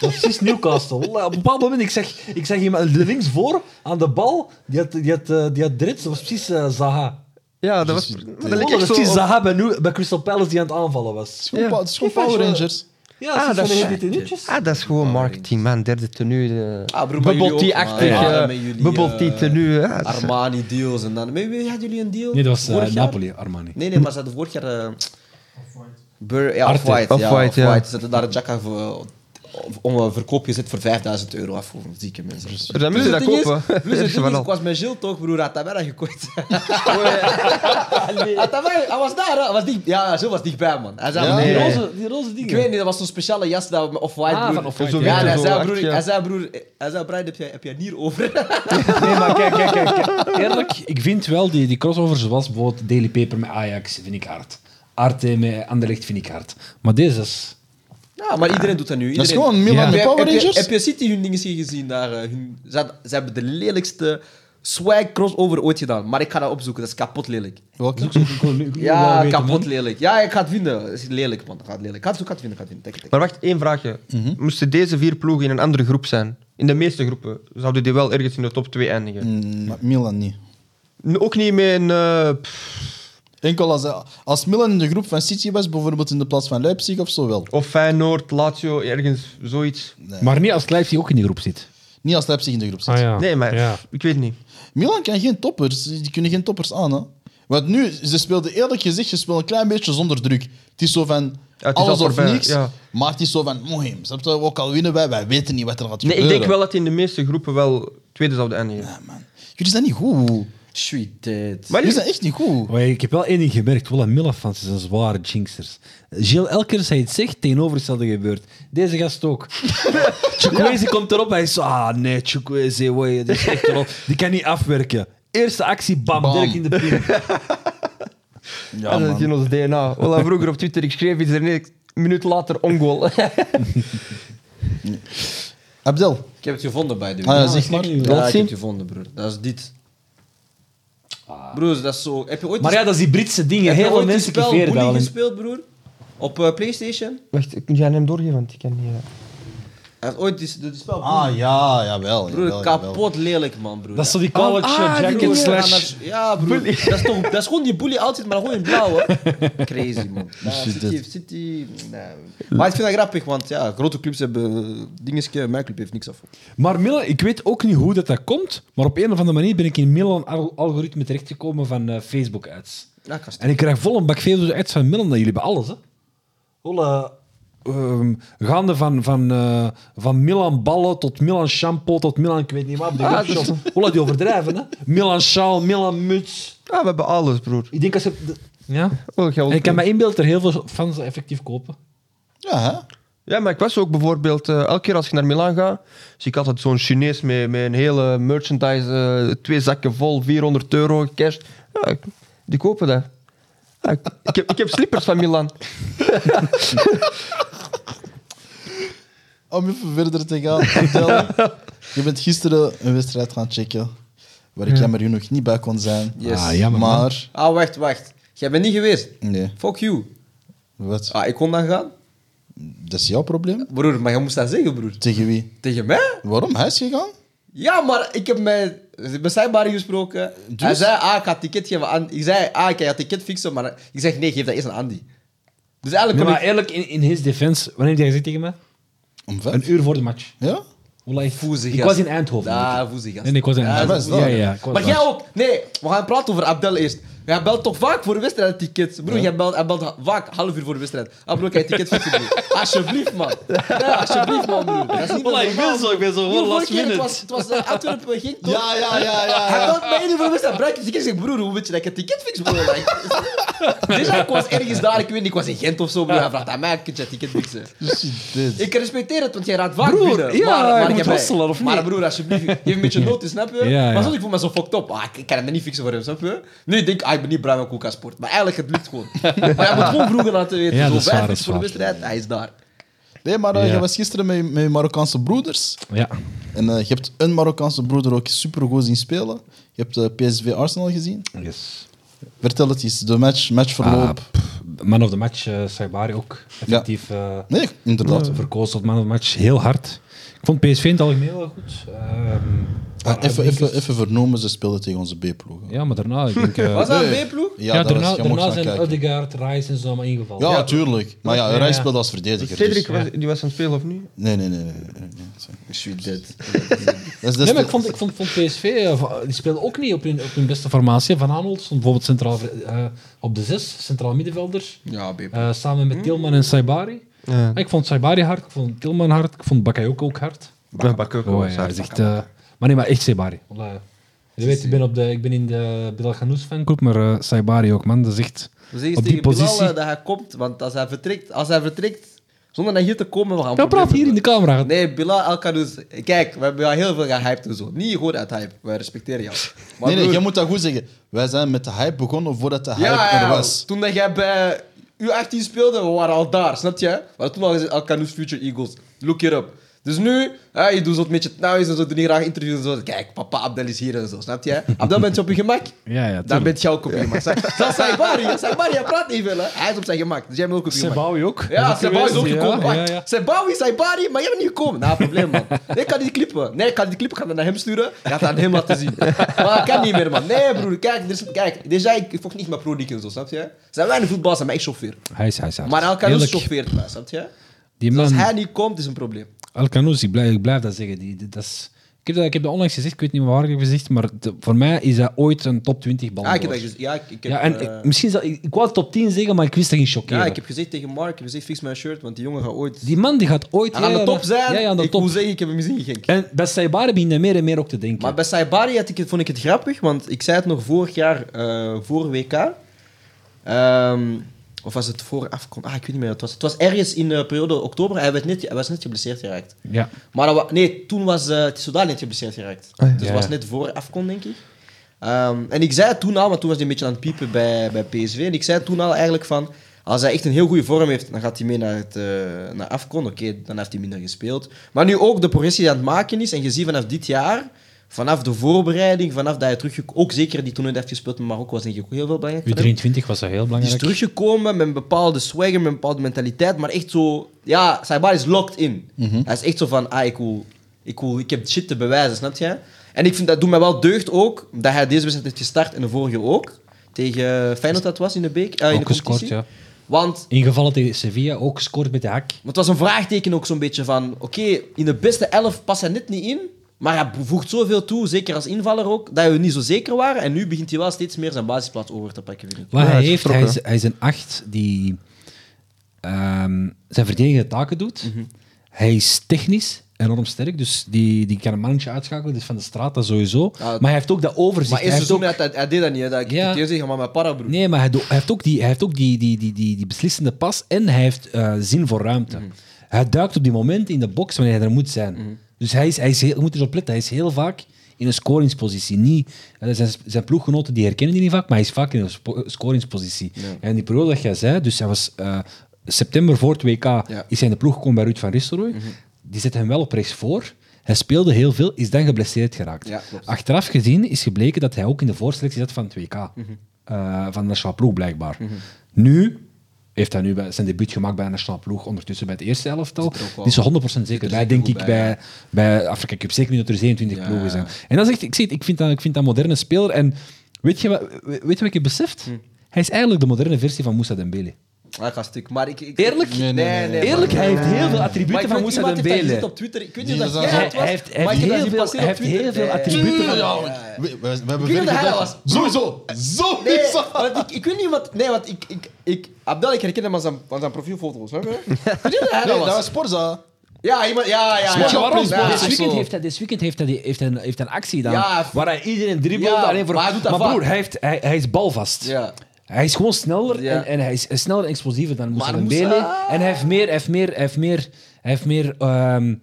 Dat is precies Newcastle. Op een bepaald moment, ik zeg, ik zeg iemand links voor aan de bal, die had, die had, eh, die had dreads, dat was precies eh, Zaha. Ja, dat was. Dus- Dat leek dat echt was zo. precies op- Zaha bij, Nu- bij Crystal Palace die aan het aanvallen was. Het is gewoon pa- het is gewoon Power Rangers. Ja, Ah, dat is, tenuutjes. ah, dat is gewoon marketing, man. Derde tenue. de- Ah, broer, maar Bubble jullie ook, tea-achtig. man. Ja, eh, met jullie, Bubble tea eh, tenue. ja. Armani-deals en dan... Met wie hadden jullie een deal? Nee, dat was eh, Vorig jaar? Napoli, Armani. Nee, nee, maar ze hadden vorig jaar... eh, Bur- ja, Arte. Off-White. ja, Off-White, ja. Off-White. Ze hadden daar een jacka voor... eh, Om een verkoop gezet voor 5000 euro af voor zieke mensen. Dan Plus moeten we het dat ding is- kopen. Plus het Eerst ding van is, al. Oh, ik was met Gilles toch, broer, had dat bijna gekocht. Had dat bijna- Hij was daar, hè. hij was dicht, ja, Gilles was dichtbij, man. Hij zei, Ja? broer, Die Nee. roze, die roze dingen. Ik weet niet, dat was zo'n speciale jas dat we- Off-White, Ah, broer. van Off-White, Zo ja, witte, en hij zo zei, hard, broer, ja. hij zei, broer, hij zei, Brian, heb jij, heb jij een nier over? Nee, maar kijk, kijk, kijk. kijk. Eerlijk, ik vind wel die, die crossover zoals bijvoorbeeld Daily Paper met Ajax, vind ik hard. Arte met Anderlecht vind ik hard. Maar deze is... Ja, maar iedereen doet dat nu. Dat is Iedereen. gewoon Milan Ja. de Heb je- Power heb je- Rangers. Heb je City hun dingen gezien daar? eh, hun- ze, had- ze hebben de lelijkste swag crossover ooit gedaan. Maar ik ga dat opzoeken, dat is kapot lelijk. Welke? Ja, kapot lelijk. Ja, ik ga het vinden. Het is lelijk, man. Ik ga het lelijk. Ik ga het zoeken, ik ga het vinden. Ik ga het vinden. Tik, tik. Maar wacht, één vraagje. Mhm. Moesten deze vier ploegen in een andere groep zijn? In de meeste groepen zouden die wel ergens in de top 2 eindigen. Mm, maar Milan niet. N- Ook niet met een. eh, pff, Enkel als, als Milan in de groep van City was, bijvoorbeeld in de plaats van Leipzig of zo wel. of Feyenoord, Lazio, ergens zoiets. Maar niet als Leipzig ook in die groep zit. Niet als Leipzig in de groep Ah, zit. Nee, maar pff, ik weet niet. Milan kan geen toppers. Die kunnen geen toppers aan. Hè? Want nu, ze speelden eerlijk gezegd, ze spelen een klein beetje zonder druk. Het is zo van het is alles al of voorbij, niks. ja. Maar het is zo van moheim. Snap je? Ook al winnen wij, wij weten niet wat er gaat Nee, ik gebeuren. denk wel dat die in de meeste groepen wel tweede zouden eindigen. Ja, man. Jullie zijn niet goed. Sweet dit. Maar Jullie die- zijn echt niet goed. Maar ik heb wel één ding gemerkt. Wel, Millafans zijn zware jinxers. Gilles, elke keer als hij het zegt, tegenovergestelde gebeurt. Deze gast ook. Chukwueze komt erop, hij is zo, ah nee, Chukwueze, woi, die is echt erop. Die kan niet afwerken. Eerste actie, bam, Bam. direct in de pin. Ja, dat is in ons DNA. Ola, vroeger op Twitter, ik schreef iets en een minuut later ongoal. Abdel. Ik heb het gevonden bij de Ah, ja, zeg maar. Ja, ik Laat heb zien. het gevonden, broer. Dat is dit. Broer, dat is zo... Heb je ooit Maar ja, dat is die Britse dingen. heb je Heel veel ooit die mensen spel kiveren Bully dat wel. gespeeld, broer? Op eh, Playstation? Wacht, kun jij hem doorgeven? Want ik kan niet... eh. Hij heeft ooit die, die spel Ah ja, jawel. Broer, jawel, jawel. kapot lelijk, man, broer. Dat is zo die college Ah, die jacket dingen. slash... Ja, broer. Dat is, toch, dat is gewoon die bully altijd, maar gewoon in blauw, hè. Crazy, man. Ja, City, City... Nee. Maar ik vind dat grappig, want ja, grote clubs hebben... Dingetje, mijn club heeft niks af. Maar Milan, ik weet ook niet hoe dat, dat komt, maar op een of andere manier ben ik in Milan-algoritme terechtgekomen van eh, Facebook-ads. Ja, kast. En ik krijg vol een bak Facebook-ads van Milan dat jullie bij alles, hè? Holla. ehm, gaande van, van, eh, van Milan ballen tot Milan shampoo tot Milan, ik weet niet wat, op die webshop. Holla, die overdrijven, hè? Milan sjaal, Milan muts. Ah, we hebben alles, broer. Ik denk als je... de- Ja? Oh, geld. En ik kan me inbeelden dat er heel veel fans dat effectief kopen. Ja, hè? Ja, maar ik was ook bijvoorbeeld... eh, elke keer als ik naar Milaan ga, zie ik altijd zo'n Chinees met, met een hele merchandise, eh, twee zakken vol, 400 euro, cash. Ja, ik- die kopen dat. Ja, ik, ik heb, ik heb slippers van Milan. Om even verder te gaan, Abdel. je bent gisteren een wedstrijd gaan checken. Waar ik jammer genoeg niet bij kon zijn. Yes. Ah, jammer, man. maar, Ah, wacht, wacht. Jij bent niet geweest. nee. Fuck you. Wat? Ah, ik kon dan gaan? Dat is jouw probleem. Broer, maar jij moest dat zeggen, broer. Tegen wie? Tegen mij? Waarom? Hij is gegaan? Ja, maar ik heb met, met zijn bari gesproken. Dus? Hij zei, ah, ik ga het ticket geven aan... Ik zei, ah, ik ga het ticket fixen, maar... Ik zeg, nee, geef dat eerst aan Andy. Dus eigenlijk Nee, kon maar ik... eerlijk, in, in his defense, wanneer heb jij gezegd tegen mij? Om vijf? Een uur voor de match. Ja? Hoe lang- Voezig, Ik gast. was in Eindhoven. Daar, voezig. Ah, gast. Nee, nee, ik was in Ja, Eindhoven. dat is Ja, waar. ja, ik was maar daar. jij ook. Nee, we gaan praten over Abdel eerst. Jij belt toch vaak voor de wedstrijd tickets? Broer, jij belt, hij belt ha- vaak half uur voor de wedstrijd. Ah, broer, kan je ticket fixen, broer? Alsjeblieft, man. Ja, alsjeblieft, man, broer. Dat is niet Voilà, ik normaal, ben zo, ik ben zo Broer, vorige gewoon last keer, Het minute. was, het was eh, Antwerpen, ging toch? Ja, ja, ja, ja. Hij belt mij nu voor de wedstrijd. Bruik ik zeg, broer, hoe weet je dat ik een ticket fix, broer? Like, dus ik was ergens daar, ik weet niet, ik was in Gent of zo, broer. Hij vraagt aan mij, kun je een ticket fixen? Dus Ik respecteer het, want jij raadt vaak Broer, binnen. ja, maar, je maar moet heb mij- hosselen, of Maar niet? broer, alsjeblieft, je hebt een beetje nood, snap je? Ja, ja. Maar soms ik voel me zo fucked up. Ah, ik ik kan het niet fixen voor hem, snap je? Nu denk ik, ah, ik ben niet bruin met Koeka Sport. Maar eigenlijk, het lukt gewoon. maar je moet gewoon vroeger laten weten. Ja, zo dat is wij waar, dat fixen voor de is wedstrijd, hij is daar. Nee, maar eh, Ja. je was gisteren met, je- met je Marokkaanse broeders. Ja. En eh, je hebt een Marokkaanse broeder ook supergoed zien spelen. Je hebt eh, PSV Arsenal gezien. Yes. Vertel het eens, de match, matchverloop. Ah, pff, man of the match, eh Saibari ook. Effectief. eh, nee, inderdaad. Ja. verkozen tot man of the match. Heel hard. Ik vond PSV in het algemeen heel goed. Ehm, Ah, even, even, even vernomen, ze speelden tegen onze B-ploeg. hè. Ja, maar daarna, ik denk... eh, Was dat Nee. een B-ploeg? Ja, ja, dat was- daarna, je mocht daarna gaan zijn kijken. Odegaard, Rice en zo allemaal ingevallen. Ja, tuurlijk. Maar ja, Ja, Rijn ja. speelde als verdediger. dus- Cedric was, die was aan het spelen of niet? Nee, nee, nee. nee, nee, nee, sorry. Ik suis dead. Dat is- dat is Nee, maar Dus de- ik vond, ik vond, vond PSV, eh, va- die speelde ook niet op hun, op hun beste formatie. Van Aanholt stond bijvoorbeeld centraal, eh, op de zes, centraal middenvelder, Ja, B-ploeg. eh, samen Hmm. met Tilman en Saibari. Ah, Ja. Ik vond Saibari hard, ik vond Tilman hard, ik vond Bakayoko ook hard. Bak, bak, ook wel, Oh, ja, Saar. hij is echt, eh, maar nee, maar echt Saibari. Voilà. Je weet, ik ben, op de, ik ben in de Bilal Ganous fangroep, maar eh, Saibari ook, man. Dat is echt... We zeggen op tegen die Bilal positie... eh, dat hij komt, want als hij vertrekt, als hij vertrekt zonder naar hier te komen, we gaan Ja, praat problemen hier in de camera. Nee, Bilal Alkanous. Kijk, we hebben jou heel veel gehyped en zo. Niet gewoon uit hype. Wij respecteren jou. Maar Nee, nee, broer, jij moet dat goed zeggen. Wij zijn met de hype begonnen voordat de hype ja, ja, er was. Toen dat jij bij U18 speelde, we waren al daar, snap je? We hadden toen al gezegd, Alkanous Future Eagles. Look it up. Dus nu, hè, je doet zo'n beetje nauws en zo, doe niet graag interviews en zo. Kijk, papa Abdel is hier en zo, snap je? Abdel, bent je op je gemak? Ja, ja, Dan tuurlijk. bent je ook op je gemak. Dat is Saibari, Saibari, hij praat niet veel, hè? Hij is op zijn gemak, dus jij bent ook op je gemak. Saibari ook. Dat Ja, ook Sebawi is ook geweest, gekomen. Ja, maar ja, ja. Sebawi, Saibari, maar jij bent niet gekomen. Nou, probleem, man. Nee, ik kan die klippen. Nee, ik kan die klippen. Ik ga dat naar hem sturen. Ik ga het aan hem laten zien. Maar ik kan niet meer, man. Nee, broer. Kijk, er is, kijk déjà, ik, ik volg niet met pro en zo, snap je? Er zijn weinig voetballers, maar ik chauffeur. Hij is, hij is hard. Maar Alcaraz Eerlijk, chauffeert mij, snap je? Die Dus man... als hij niet komt, is een probleem. Alcanoes, ik blijf, ik blijf dat zeggen. Die, die- dat is, ik, heb dat, ik heb dat onlangs gezegd, ik weet niet meer waar ik heb gezegd, maar de- voor mij is dat ooit een top 20 bal. Ja, Ah, ik heb dat gez- Ja, ik, ik heb, ja, en eh, ik- misschien zou, ik, ik wou top 10 zeggen, maar ik wist dat ging chockeren. ja, ik heb gezegd tegen Mark, ik heb gezegd, fix mijn shirt, want die jongen gaat ooit... Die man die gaat ooit... Hij gaat aan ja, de ja, top zijn. Ja, ja, aan de ik top. moet zeggen, ik heb hem gezien, Genk. En bij Saibari begin je meer en meer ook te denken. Maar bij Saibari had ik het, vond ik het grappig, want ik zei het nog vorig jaar, eh, voor WK. Ehm, of was het voor afkomst? Ah, ik weet niet meer. wat Het was, het was ergens in de periode oktober. Hij, werd net, hij was net geblesseerd geraakt. ja. Maar dat wa- nee, toen was eh Tissoudal net geblesseerd geraakt. Ah, ja. Dus het was Ja. net voor afkomst, denk ik. Ehm, en ik zei het toen al, want toen was hij een beetje aan het piepen bij, bij PSV. En ik zei toen al eigenlijk van, als hij echt een heel goede vorm heeft, dan gaat hij mee naar, het, eh, naar Afcon. Oké, dan heeft hij minder gespeeld. Maar nu ook de progressie die hij aan het maken is. En je ziet vanaf dit jaar, vanaf de voorbereiding, vanaf dat hij terug... Ook zeker die toen hij heeft gespeeld met Marokko, was denk ik ook heel veel belangrijk voor hem. U23 was dat heel Die belangrijk. is teruggekomen met een bepaalde swagger, met een bepaalde mentaliteit, maar echt zo... Ja, Saibar is locked in. Mhm. Hij is echt zo van, ah, ik, wil, ik, wil, ik heb shit te bewijzen, snap je? En ik vind dat doet mij wel deugd ook, dat hij deze wedstrijd heeft gestart en de vorige ook. Tegen Feyenoord dat was in de beek, eh, in de ook gescoord, competitie. ja. Want Ingevallen tegen Sevilla, ook gescoord met de hak. want het was een vraagteken ook zo'n beetje van... Oké, in de beste elf past hij net niet in. Maar hij voegt zoveel toe, zeker als invaller ook, dat we niet zo zeker waren. En nu begint hij wel steeds meer zijn basisplaats over te pakken, vind ik. Wat Ja, hij hij is heeft, hij vertrokken. is, hij is een acht die ehm, zijn verdedigende taken doet. Hij is technisch enorm sterk, dus die, die kan een mannetje uitschakelen. Dus van de straat, dat sowieso. Ja, maar hij heeft ook dat overzicht. Maar hij eerst heeft seizoen, Dus ook, hij, hij, hij deed dat niet. Hè, dat ik Ja. ik zeggen, maar mijn parabroer. nee, maar hij, doet- hij heeft ook, die, hij heeft ook die, die, die, die, die beslissende pas en hij heeft eh, zin voor ruimte. Hij duikt op die momenten in de box wanneer hij er moet zijn. Dus hij is, hij is heel, je moet erop letten, hij is heel vaak in een scoringspositie. Niet, eh, zijn, zijn ploeggenoten die herkennen die niet vaak, maar hij is vaak in een spo- scoringspositie. En die periode dat jij zei, dus hij was eh, september voor het WK, is hij in de ploeg gekomen bij Ruud van Nistelrooy. Die zette hem wel op rechts voor. Hij speelde heel veel, is dan geblesseerd geraakt. Ja, klopt. Achteraf gezien is gebleken dat hij ook in de voorselectie zat van het WK. Mhm. eh, van de nationale ploeg, blijkbaar. Nu heeft hij nu bij- zijn debuut gemaakt bij de nationale ploeg. Ondertussen bij het eerste elftal. Die is er 100% zeker bij, denk ik, bij, bij Afrika Cup. Zeker niet dat er 27 ploegen zijn. En dat is echt, ik, zeg, het, ik, vind dat, ik vind dat een moderne Mhm. speler. En weet je wat, weet je wat ik heb beseft? Hij is eigenlijk de moderne versie van Moussa Dembele. Hij gaat stuk. Maar Ah, ik, ik- Eerlijk? Nee, nee, nee, nee, Eerlijk, maar- hij heeft heel veel Maar attributen ik van weet, Moussa iemand heeft dat Dembele. gezien op Twitter. Ik weet niet Die of dat was jij aan- het was, Hij heeft- hij maar ik heeft heb dat heel zien veel- passeren op hij heeft Twitter. heel veel Ja, ja, ja. attributen. Ja, van- ja, we, we- we hebben weet veel dat hij gedaan. was. Sowieso! Nee, Sowieso! want ik, ik weet niet wat... Nee, want ik... ik, ik Abdel, ik herken hem aan zijn, aan zijn profielfoto's. Hè? Weet je dat hij Nee, dat dat was? was Sporza. Ja, iemand... Ja, ja, ja. Weet je waarom? Ja, Dit Of weekend, zo. heeft hij, dit weekend heeft hij, die- heeft hij, een, heeft hij een actie gedaan. Ja, waar hij iedereen dribbelt. Ja, alleen voor, maar hij doet dat vaak. broer, hij, heeft, hij, hij is balvast. Ja. Hij is gewoon sneller Ja. en, en hij is eh, sneller en explosiever dan Moussa Maar Dembele. Moussa- En hij heeft meer... Hij heeft meer, hij heeft meer, hij heeft meer ehm,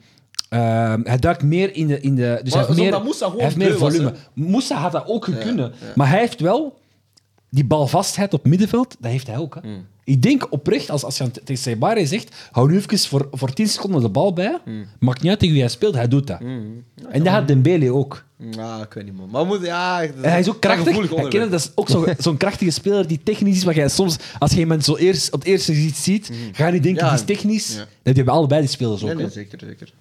ehm, hij duikt meer in de... In de dus Maar hij heeft meer, omdat Moussa gewoon hij heeft meer bleu was, volume. Moussa had dat ook kunnen. Maar hij heeft wel die balvastheid op middenveld. Dat heeft hij ook. Hè. Hmm. Ik denk oprecht, als, als je aan- tegen Saibari zegt... Hou nu even voor, voor 10 seconden de bal bij. Hmm. Maakt niet uit tegen wie hij speelt, hij doet dat. En dat had Dembele ook. Ja, Ah, ik weet niet, man. Maar moet... Ja, En hij is ook krachtig. gevoelig Hij onderwerp. kent, dat is ook zo- zo'n krachtige speler die technisch is. Maar jij soms, als je iemand zo eerst, op het eerste gezicht ziet, ga je niet denken, Mhm. Ja. die is technisch. Ja. Dat hebben allebei die spelers ook. Nee, nee, hè. zeker, zeker.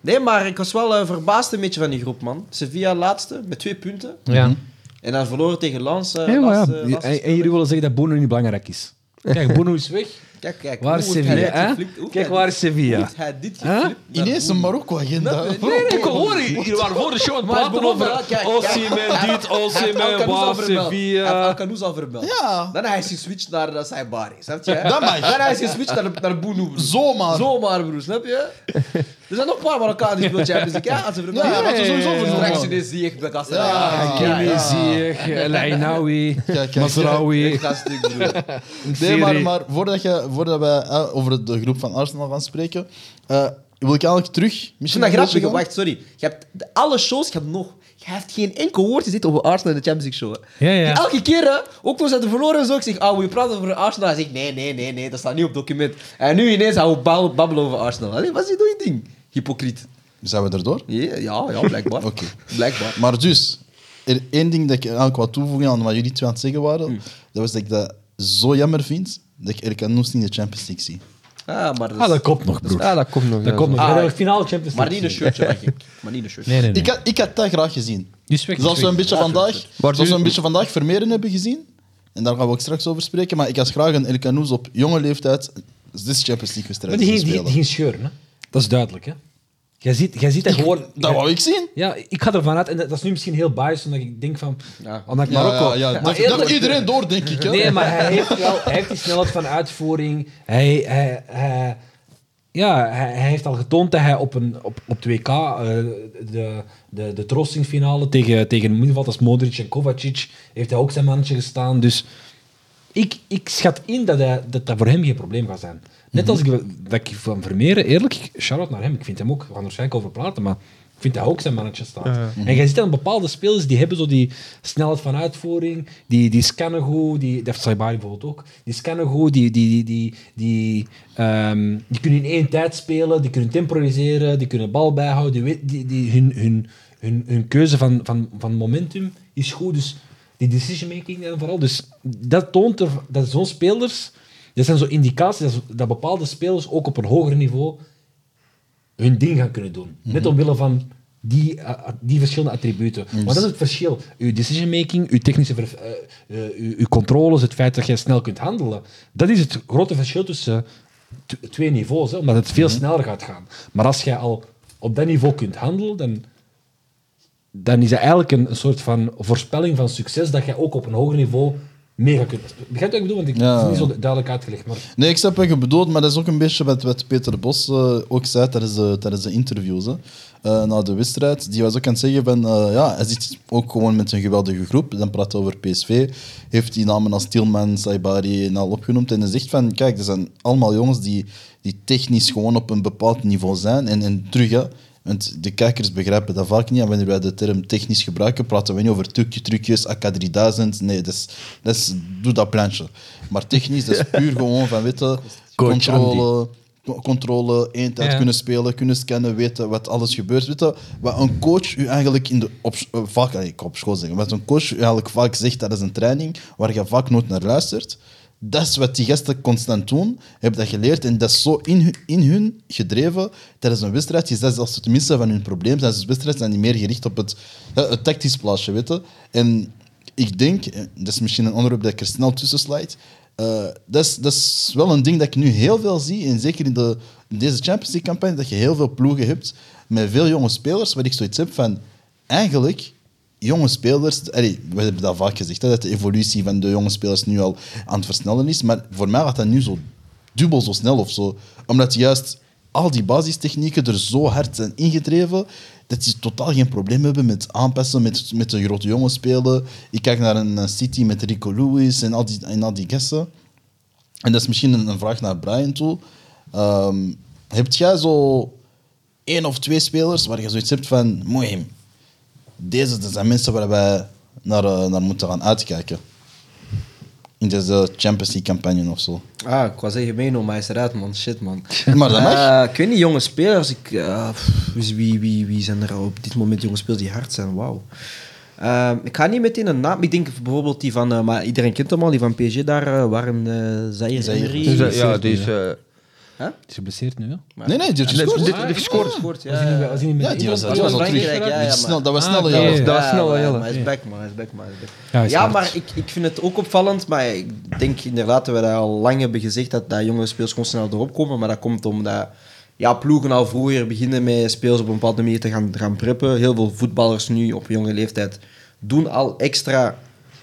Nee, maar ik was wel eh, verbaasd een beetje van die groep, man. Sevilla laatste, met twee punten. Ja. En dan verloren tegen Lans. eh, Ja, maar ja. laatste- laatste En, en speler. jullie willen zeggen dat Bono niet belangrijk is. Kijk, Bono is weg. Kijk, kijk. Waar hoe is heeft hij dit Sevilla? hè? geflikt? Hoe heeft Kijk, hij waar dit- is Sevilla? hoe heeft hij dit Hè? geflikt? naar Ineens een Boer? Marokko-agenda. Nee, Bro, Nee, ik hoor hier. Hier waren voor de show aan het Maar het praten begon over wel, kijk, kijk. Osimhen, dit, Hij heeft Osimhen, Alcanoes al Waf, verbeld. Hij heeft Sevilla. Alcanoes al verbeld. Ja. Dan hij is geswitcht naar uh, Saibari, snap je? hè? Dat mag. Dan hij is geswitcht naar, naar Boenoe, broer. Zomaar. Zomaar, broer, snap je? Er zijn nog een paar Marokkanen die spelen Champions League, hè? Als ze verbeld Ja, ja, zijn. dat is sowieso voor Straks zomaar. ineens zie ik dat gasten. Ja, Ja, ja, Ah, ja. Hakimi, Ziyech, El Ainawi, Mazraoui. Echt gastig, broer. Nee, maar, Serie. maar voordat, je, voordat wij eh, over de groep van Arsenal gaan spreken, eh, wil ik eigenlijk terug... Ik vind dat grappig. Wacht, sorry. Je hebt de- alle shows, je hebt nog... Je hebt geen enkel woord gezegd over Arsenal in de Champions League show. hè. Ja, ja. Die Elke keer, hè, ook toen ze hadden verloren, en zo, ik zeg, ah, we praten over Arsenal. Hij zegt, nee, nee, nee, nee, dat staat niet op document. En nu ineens gaan we bal- babbelen over Arsenal. Allee, wat is dit doe je ding? Hypocriet. Zijn we erdoor? Ja, ja, ja, blijkbaar. Oké. Blijkbaar. Maar dus, er, één ding dat ik eigenlijk wou toevoegen aan wat jullie twee aan het zeggen waren, Hmm. dat was dat ik dat zo jammer vind dat ik Erkan Noes niet in de Champions League zie. Ah, maar dat is- Ah, dat komt nog, broer. Ja, dat komt nog. Dat komt nog. Ah, We gaan ja. de finale Champions Maar League niet in een zien. shirtje, denk ik. Maar niet in een shirtje. Nee, nee, nee. Ik, had, ik had dat graag gezien. Die is weg, dus- die is Zoals we een beetje vandaag, Waar zoals we u- een beetje vandaag Vermeeren hebben gezien, en daar gaan we ook straks over spreken, maar ik had graag een Erkan Noes op jonge leeftijd dit Champions League Maar wedstrijd die zien ging, die, spelen. die ging scheuren, hè? Dat is duidelijk, hè? Jij ziet, jij ziet dat gewoon... Dat wou ik zien. Ja, ik ga ervan uit, en dat dat is nu misschien heel biased, omdat ik denk van... Ja. Omdat ik Ja, Marokko... ja, ja. Maar Dat, eerlijk- dat iedereen door, denk ik. Hè? Nee, maar hij heeft wel hij heeft die snelheid van uitvoering. Hij, hij, hij- ja, hij, hij heeft al getoond dat hij op, een, op, op 2K de, de, de trossingfinale tegen, tegen in ieder geval als Modric en Kovacic heeft hij ook zijn mannetje gestaan. Dus ik, ik schat in dat, hij, dat dat voor hem geen probleem gaat zijn. Net als ik, dat ik van Vermeeren, eerlijk, shout-out naar hem. Ik vind hem ook, we gaan er waarschijnlijk over praten, maar ik vind dat hij ook zijn mannetje staat. Mhm. En je ziet dan bepaalde spelers die hebben zo die snelheid van uitvoering, die, die scannen goed, die, dat heeft Saibari bijvoorbeeld ook, die scannen goed, die, die, die, die, die, ehm, die kunnen in één tijd spelen, die kunnen temporiseren, die kunnen bal bijhouden, die, weet- die, die, hun, hun, hun, hun keuze van, van, van momentum is goed. Dus die decision making en vooral. Dus dat toont er dat zo'n spelers, dat zijn zo indicaties dat, zo- dat bepaalde spelers ook op een hoger niveau hun ding gaan kunnen doen. Net omwille van die, eh, eh, die verschillende attributen. Want dat is het verschil. Uw decision making, uw technische ver- eh, eh, uw, uw controles, het feit dat jij snel kunt handelen. Dat is het grote verschil tussen t- twee niveaus, hè, omdat het veel sneller gaat gaan. Maar als jij al op dat niveau kunt handelen, dan dan is dat eigenlijk een, een soort van voorspelling van succes dat jij ook op een hoger niveau mee gaat kunnen. Begrijp je wat ik bedoel? Want ik Ja. het is niet zo duidelijk uitgelegd. Maar Nee, ik snap wat je bedoelt, maar dat is ook een beetje wat, wat Peter Bos eh, ook zei tijdens de, tijdens de interviews hè, eh, na de wedstrijd. Die was ook aan het zeggen van, eh, ja, hij zit ook gewoon met een geweldige groep. Dan praat hij over PSV, heeft die namen als Tilman, Saibari en al opgenoemd. En hij zegt van, kijk, er zijn allemaal jongens die, die technisch gewoon op een bepaald niveau zijn. En, en terug, hè, want de kijkers begrijpen dat vaak niet. En wanneer wij de term technisch gebruiken, praten we niet over trucje, trucjes, AK3000. Nee, dat is, dat is, doe dat plantje. Maar technisch, dat is puur gewoon van weten, controle, co- controle, eendheid Ja. kunnen spelen, kunnen scannen, weten wat alles gebeurt. Weten wat een coach u eigenlijk in de, op, eh, vaak, eh, ik op school zeggen, wat een coach u eigenlijk vaak zegt tijdens een training, waar je vaak nooit naar luistert. Dat is wat die gasten constant doen, hebben dat geleerd en dat is zo in, hun- in hun gedreven tijdens een wedstrijd. Is dat als ze tenminste van hun probleem zijn, dus wedstrijd zijn die meer gericht op het, eh, het tactisch plaatje, weten. En ik denk, eh, dat is misschien een onderwerp dat ik er snel tussen slijt, Eh, dat, is, dat is wel een ding dat ik nu heel veel zie. En zeker in, de, in deze Champions League-campagne, dat je heel veel ploegen hebt met veel jonge spelers. Waar ik zoiets heb van, eigenlijk, jonge spelers... Allee, we hebben dat vaak gezegd, hè, dat de evolutie van de jonge spelers nu al aan het versnellen is. Maar voor mij gaat dat nu zo dubbel zo snel of zo. Omdat juist al die basistechnieken er zo hard zijn ingedreven dat ze totaal geen probleem hebben met aanpassen, met, met de grote jongens spelen. Ik kijk naar een eh, City met Rico Lewis en al die, en al die gasten. En dat is misschien een, een vraag naar Brian toe. Ehm heb jij zo één of twee spelers waar je zoiets hebt van... Mooi, deze dat zijn mensen waar wij naar, eh, naar moeten gaan uitkijken. In deze Champions League-campagne of zo. Ah, ik was zeggen meenomen, maar hij is eruit, man. Shit, man. Maar dat mag. Eh, ik weet niet, jonge spelers. Ik, eh, pff, dus wie, wie, wie zijn er op dit moment jonge spelers die hard zijn? Wauw. Ehm, ik ga niet meteen een naam... Ik denk bijvoorbeeld die van... eh, maar iedereen kent hem al, die van PSG daar. eh, waarom eh Zaire Zaïre. Emery? Dus, eh, ja, geblesseerd nu, dus, eh, is geblesseerd nu, ja. Nee, nee, die heeft nee, gescoord. dit- dit gescoord. Kort, ja. Was hij niet- was hij niet met Eh, Ja, de die was, Inter- die was al Frankrijk, terug. ja, ja, Die maar- snel, dat was Ah, sneller, oké. ja. dat was snel, maar- heel. maar hij is back, man. Hij is back, man. Hij is back. Ja, hij Ja, is hard. maar ik, ik vind het ook opvallend. Maar ik denk inderdaad dat we dat al lang hebben gezegd dat, dat jonge speels gewoon snel erop komen. Maar dat komt omdat ja, ploegen al vroeger beginnen met speels op een bepaalde manier te gaan, gaan preppen. Heel veel voetballers nu op jonge leeftijd doen al extra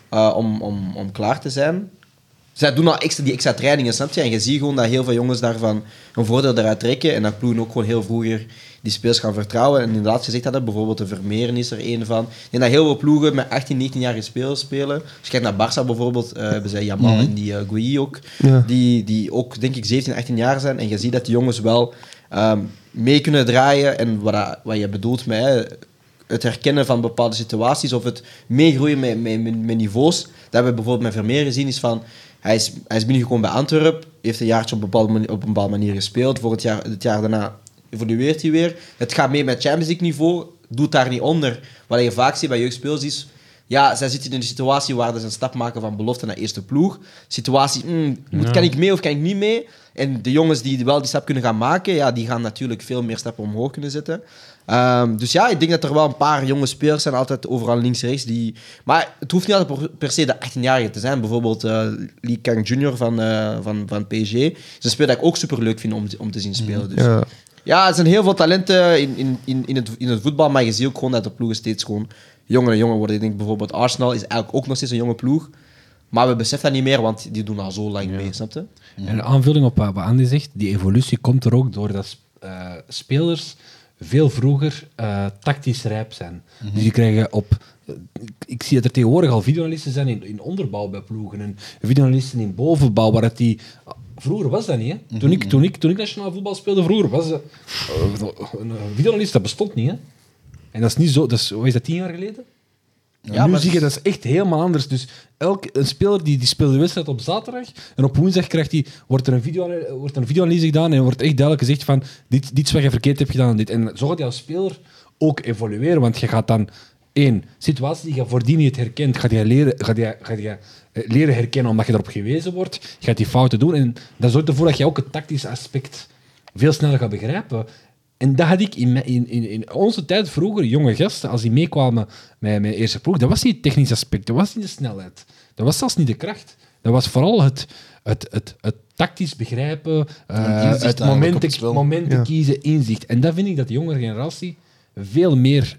eh, om, om, om klaar te zijn. Zij doen al extra, die extra trainingen, snap je? En je ziet gewoon dat heel veel jongens daarvan een voordeel eruit trekken. En dat ploegen ook gewoon heel vroeger die speels gaan vertrouwen. En inderdaad, je zegt dat, hè, bijvoorbeeld de Vermeeren is er één van. Ik denk dat heel veel ploegen met 18, 19-jarige spelers spelen. Als je kijkt naar Barça bijvoorbeeld, eh, hebben zij Jamal en die eh Gouy ook. Ja. Die, die ook, denk ik, 17, 18 jaar zijn. En je ziet dat die jongens wel ehm, mee kunnen draaien. En wat, dat- wat je bedoelt met... hè, het herkennen van bepaalde situaties of het meegroeien met, met, met, met niveaus. Dat hebben we bijvoorbeeld met Vermeer gezien. Is van, hij, is, hij is binnengekomen bij Antwerpen, heeft een jaartje op een bepaalde manier, op een bepaalde manier gespeeld. Voor het jaar, het jaar daarna evolueert hij weer. Het gaat mee met Champions League niveau, doet daar niet onder. Wat je vaak ziet bij jeugdspeels is... Ja, zij zitten in een situatie waar ze een stap maken van belofte naar eerste ploeg. Situatie, mm, moet, kan ik mee of kan ik niet mee? En de jongens die wel die stap kunnen gaan maken, ja, die gaan natuurlijk veel meer stappen omhoog kunnen zetten. Ehm, dus ja, ik denk dat er wel een paar jonge spelers zijn, altijd overal links rechts. Die... Maar het hoeft niet altijd per- per se de 18-jarige te zijn. Bijvoorbeeld eh, Lee Kang Jr. van, eh, van, van PSG. Dat is een speler dat ik ook super leuk vind om, te- om te zien spelen. Dus. ja. Ja, er zijn heel veel talenten in, in, in, in, het, in het voetbal, maar je ziet ook gewoon dat de ploegen steeds gewoon jonger en jonger worden. Ik denk bijvoorbeeld Arsenal is eigenlijk ook nog steeds een jonge ploeg, maar we beseffen dat niet meer, want die doen al zo lang mee, snap je? En Mhm. een aanvulling op wat wat Andy zegt, die evolutie komt er ook door dat eh, spelers veel vroeger eh, tactisch rijp zijn. Dus die krijgen op... ik- Ik zie dat er tegenwoordig al videoanalisten zijn in, in onderbouw bij ploegen en videoanalisten in bovenbouw, waar dat die... Vroeger was dat niet, hè. Toen ik, toen ik, toen ik nationaal voetbal speelde, vroeger was dat... eh, een eh, videoanalist, dat bestond niet, hè. En dat is niet zo... Dat is, wat is dat, tien jaar geleden? Ja, nu maar zie je dat is echt helemaal anders. Dus elk, een speler die, die speelt de wedstrijd op zaterdag en op woensdag krijgt die, wordt er een video- wordt er een videoanalyse gedaan en wordt echt duidelijk gezegd van dit, dit is wat je verkeerd hebt gedaan en dit. En zo gaat je als speler ook evolueren, want je gaat dan één, situatie die je voordien niet herkent, gaat je leren, gaat je, gaat je eh, leren herkennen omdat je erop gewezen wordt. Je gaat die fouten doen en dat zorgt ervoor dat je ook het tactische aspect veel sneller gaat begrijpen. En dat had ik in, mijn- in, in, in onze tijd vroeger, jonge gasten, als die meekwamen met mijn eerste ploeg, dat was niet het technisch aspect, dat was niet de snelheid, dat was zelfs niet de kracht. Dat was vooral het, het, het, het tactisch begrijpen, eh, inzicht het eigenlijk op momenten, het spel. momenten Ja. kiezen, inzicht. En dat vind ik dat de jongere generatie veel meer,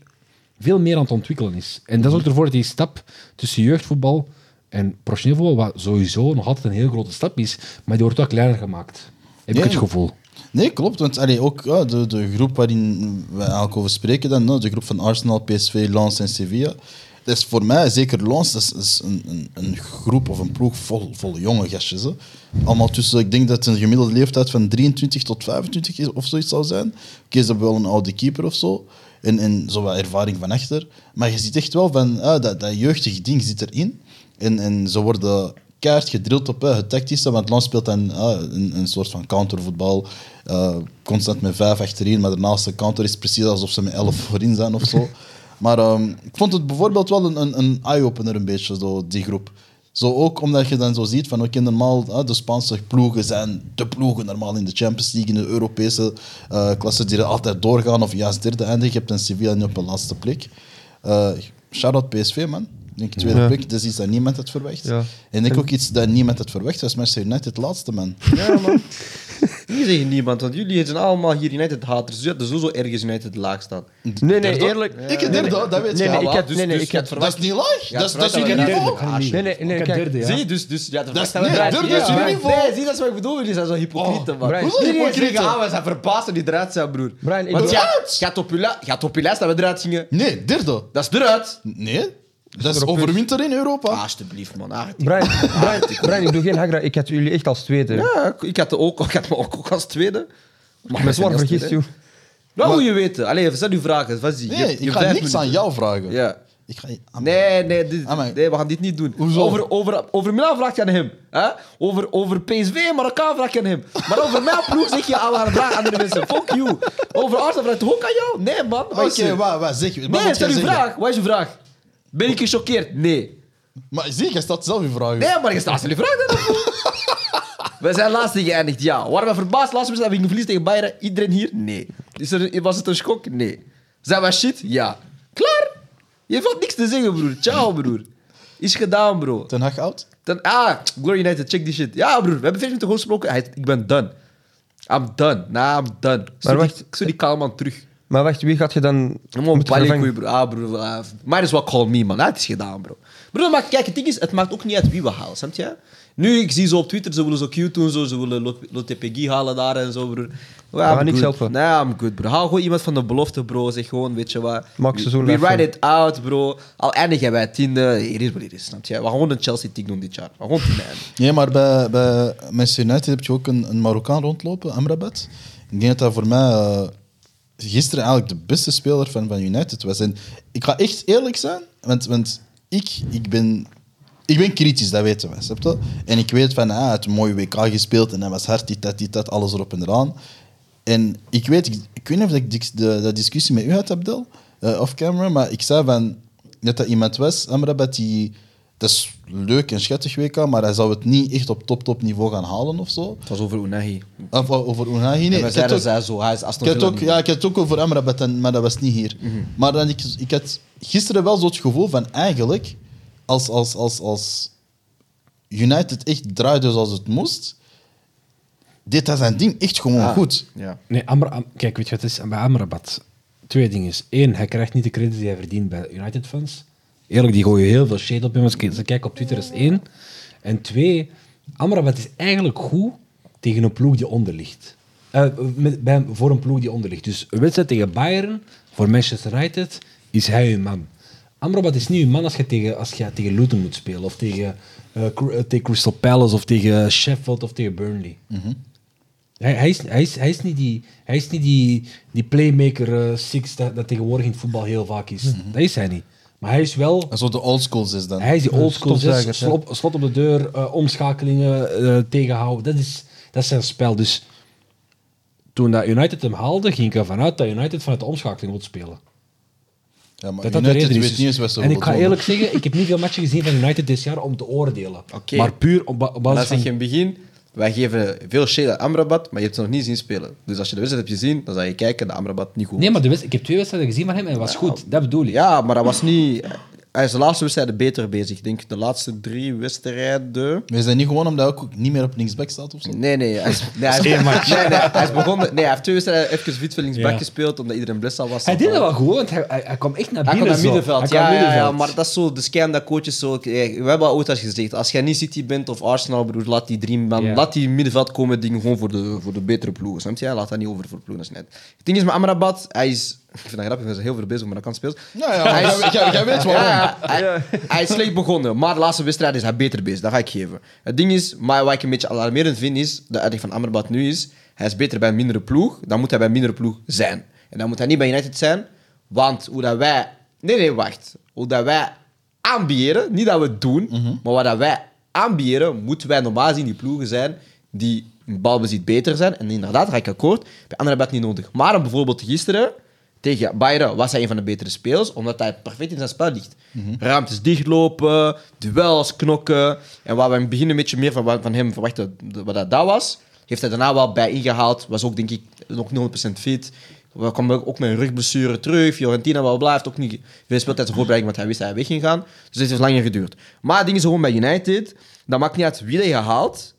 veel meer aan het ontwikkelen is. En dat zorgt ervoor dat die stap tussen jeugdvoetbal en professioneel voetbal, wat sowieso nog altijd een heel grote stap is, maar die wordt wel kleiner gemaakt. Heb Ja. ik het gevoel. Nee, klopt. Want allee, ook ja, de, de groep waarin we eigenlijk over spreken, dan, hè, de groep van Arsenal, PSV, Lens en Sevilla. Dat is voor mij, zeker Lens, dat is, dat is een, een, een groep of een ploeg vol, vol jonge gastjes. Hè. Allemaal tussen, ik denk dat een gemiddelde leeftijd van 23 tot 25 is, of zoiets zou zijn. Oké, ze hebben wel een oude keeper of zo. En, en zo wat ervaring van achter. Maar je ziet echt wel van, ah, dat, dat jeugdige ding zit erin. En, en ze worden kaart gedrild op hè, het tactische, want Lans speelt dan ah, een, een soort van countervoetbal. eh, constant met vijf achterin, maar daarnaast de counter is precies alsof ze met elf voorin zijn of zo. Maar ehm, ik vond het bijvoorbeeld wel een, een, een eye-opener een beetje, zo, die groep. Zo ook omdat je dan zo ziet van oké, normaal ah, de Spaanse ploegen zijn de ploegen normaal in de Champions League, in de Europese eh klassen die er altijd doorgaan of juist derde eindigen. Je hebt een Sevilla nu op een laatste plek. Eh shout-out PSV man. denk ik, tweede Ja. pick. Dat is iets dat niemand had verwacht. Ja. En ik ook iets dat niemand had verwacht. Dat is Manchester United, laatste man. Ja, man. Hier zeg je niemand, want jullie zijn allemaal hier United-haters. Dus je had er sowieso ergens United laag staan. Nee, nee, eerlijk. Ik heb derde, dat weet Nee, je. nee, ik Ja, had, dus- nee, nee, dus ik had het Dat is niet laag. Ja, dat is, dat is vooruit jullie dat we Ah, niveau. Derde, kan niet. Nee, nee, nee, Ik heb kijk. derde, ja. Zie je, dus, dus ja, dat Dat is vraagt- niet- draait- durf dus jullie niet voor. Nee, zie, dat is wat ik bedoel. Jullie zijn zo hypocrieten, man. Oh, Brian. Hoezo Iedereen hypocrieten? tegen aan, we zijn verbaasd dat die eruit zijn, broer. Brian, ik Want doe- ja, gaat op je li- gaat op je lijst dat we eruit gingen. Nee, derde. Dat is eruit. Nee. Dat is overwinter in Europa. Ah, alsjeblieft, man. Ah, Brian, Brian, Brian, ik doe geen hagra. Ik had jullie echt als tweede. ja, ik- ik had, de ook, ik had me ook, ook als tweede. Maar ik ben zwaar vergist, joh. Wat moet je weten? Allee, stel uw vragen. Vas nee, ik ga niks aan jou vragen. Ja. Ik ga, aan- Nee, nee, dit- Ah, maar- nee, we gaan dit niet doen. Hoezo? Over, over, over Milan vraag je aan hem. Hè? Over, over PSV en Marokkaan vraag je aan hem. Maar over mijn ploeg zeg je aan haar vraag aan andere mensen. Fuck you. Over Arsenal vraag je ook aan jou? Nee, man. Wat Oké, is er? waar, waar, zeg. wat Nee, moet stel jij je zeggen? vraag. Wat is je vraag? Ben ik gechoqueerd? Nee. Maar zie, jij stelt zelf je vragen. Nee, maar je staat stel je vraag dan. We zijn laatste geëindigd, ja. Waren we verbaasd laatste wedstrijd dat we gingen verliezen tegen Bayern? Iedereen hier? Nee. Is er, was het een schok? Nee. Zijn we shit? Ja. Klaar. Je valt niks te zeggen, broer. Ciao, broer. Is gedaan, bro. Ten Hag out? Dan, ah, Glory United, check die shit. Ja, broer, we hebben 40 minuten gewoon gesproken. Hij, ik ben done. I'm done. Nah, I'm done. Maar wacht. wacht. Ik zie die kalman terug. Maar wacht, wie gaat je dan Gewoon moeten vervangen? balikoe, broer. Ah, broer. ah, might as well call me, man. Ah, het is gedaan, bro. Broer, maar kijk, het ding is, het maakt ook niet uit wie we halen, snap je? Nu, ik zie zo op Twitter, ze willen zo cute doen, zo, ze willen Lot- Lotte Peggy halen daar en zo, broer. We gaan niks helpen. Nee, I'm good, bro. Haal gewoon iemand van de belofte, bro. Zeg gewoon, weet je wat. Maak we- seizoen We even. ride it out, bro. Al eindigen wij tiende. Hier is wat hier is, snap je? We gaan gewoon een Chelsea-tik doen dit jaar. We gaan gewoon tiende eindigen. Nee, maar bij, bij Manchester United heb je ook een, een Marokkaan rondlopen, Amrabat. Ik denk dat dat voor mij eh, gisteren eigenlijk de beste speler van, van United was. En ik ga echt eerlijk zijn, want, want ik, ik, ben, ik ben kritisch, dat weten we. Snap je? En ik weet van, ah, hij heeft een mooie WK gespeeld en hij was hard, dit, dat, dit, dat, alles erop en eraan. En ik weet, ik, ik weet niet of ik die- de, dat discussie met u had, Abdel, eh off camera, maar ik zei van dat dat iemand was, Amrabat, die. Dat is leuk en schattig WK, maar hij zou het niet echt op top-top niveau gaan halen of zo. Het was over Unai. Of o- over Unai. Nee, we ik had zeiden ook- zij zo, hij is Aston ik had Villa ook, niet. ja, ik had het ook over Amrabat, en- maar dat was niet hier. Maar dan, ik, ik had gisteren wel zo het gevoel van eigenlijk, als, als, als, als United echt draaide zoals het moest, deed hij zijn ding echt gewoon goed. Ja. Nee, Amra, Am- kijk, weet je wat het is bij Amrabat? Twee dingen. Eén, hij krijgt niet de credit die hij verdient bij United fans. Eerlijk, die gooien heel veel shade op hem. Als ik- als ik kijk op Twitter, is één. En twee, Amrabat is eigenlijk goed tegen een ploeg die onder ligt. Eh, met, bij, voor een ploeg die onder ligt. Dus een wedstrijd tegen Bayern, voor Manchester United, is hij een man. Amrabat is niet een man als je tegen, als je tegen Luton moet spelen. Of tegen, eh, Cru- eh, tegen Crystal Palace, of tegen Sheffield, of tegen Burnley. Hij, hij, is, hij, is, hij is niet die, hij is niet die, die playmaker eh, six dat, dat tegenwoordig in het voetbal heel vaak is. Mhm. Dat is hij niet. Maar hij is wel... En zo de old schools is dan. Hij is die oldschool stofzuiger, zes, slot, slot op de deur, eh, omschakelingen eh, tegenhouden. Dat is, dat is zijn spel. Dus toen dat United hem haalde, ging ik ervan uit dat United vanuit de omschakeling wil spelen. Ja, maar Dat dat de United reden is. weet niet eens wat ze en ik willen ga doen. eerlijk zeggen, ik heb niet veel matchen gezien van United dit jaar om te oordelen. Oké. Maar puur op, ba- op Maar basis dat van... zeg je in het begin, wij geven veel shade aan Amrabat, maar je hebt ze nog niet zien spelen. Dus als je de wedstrijd hebt gezien, dan zou je kijken dat Amrabat niet goed Nee, was. maar de wedst- ik heb twee wedstrijden gezien van hem en het was goed. Dat bedoel ik. Ja, maar dat was niet... Hij is de laatste wedstrijden beter bezig. Ik denk de laatste drie wedstrijden... Maar is dat niet gewoon omdat hij ook niet meer op linksback staat of zo? Nee, nee. Hij is, nee, hij is, nee, nee, hij is begonnen... Nee, hij heeft twee wedstrijden even witvellingsback gespeeld, omdat iedereen blessed was. Hij deed dat wel goed, want hij, hij, hij kwam echt naar Hij binnen. kan zo. naar middenveld. Hij kwam Ja, ja, ja, middenveld. maar dat is zo de scam dat coaches zo. Kijk, We hebben al ooit eens gezegd: als jij niet City bent of Arsenal, broer, laat die drie man, Ja. laat die middenveld komen dingen gewoon voor de, voor de betere ploegen. Snap je? Laat dat niet over voor ploegen. dat is net. Het ding is met Amrabat, hij is. Ik vind dat grappig, we zijn heel veel bezig met Marokkaan speels. Nou ja, maar jij- jij- jij weet waarom. Ja, hij, hij is slecht begonnen, maar de laatste wedstrijd is hij beter bezig. Dat ga ik geven. Het ding is, maar wat ik een beetje alarmerend vind, is de uiting van Amrabat nu is: hij is beter bij een mindere ploeg, dan moet hij bij een mindere ploeg zijn. En dan moet hij niet bij United zijn, want hoe dat wij. Nee, nee, wacht. Hoe dat wij aanbieden, niet dat we het doen, maar wat dat wij aanbieden, moeten wij normaal zien die ploegen zijn die in balbezit beter zijn. En inderdaad, daar ga ik akkoord, bij Amrabat niet nodig. Maar bijvoorbeeld gisteren. Tegen Bayern was hij een van de betere spelers, omdat hij perfect in zijn spel ligt. Ruimtes dichtlopen, duels knokken. En waar we in het begin een beetje meer van, van hem verwachten, de- wat dat, dat was, heeft hij daarna wel bij ingehaald. Was ook, denk ik, nog 0% fit. Hij kwam ook met een rugblessure terug. Fiorentina wel blijft ook niet veel speeltijd zijn voorbereiding, want hij wist dat hij weg ging gaan. Dus dit heeft langer geduurd. Maar het ding is gewoon bij United, dat maakt niet uit wie dat je haalt.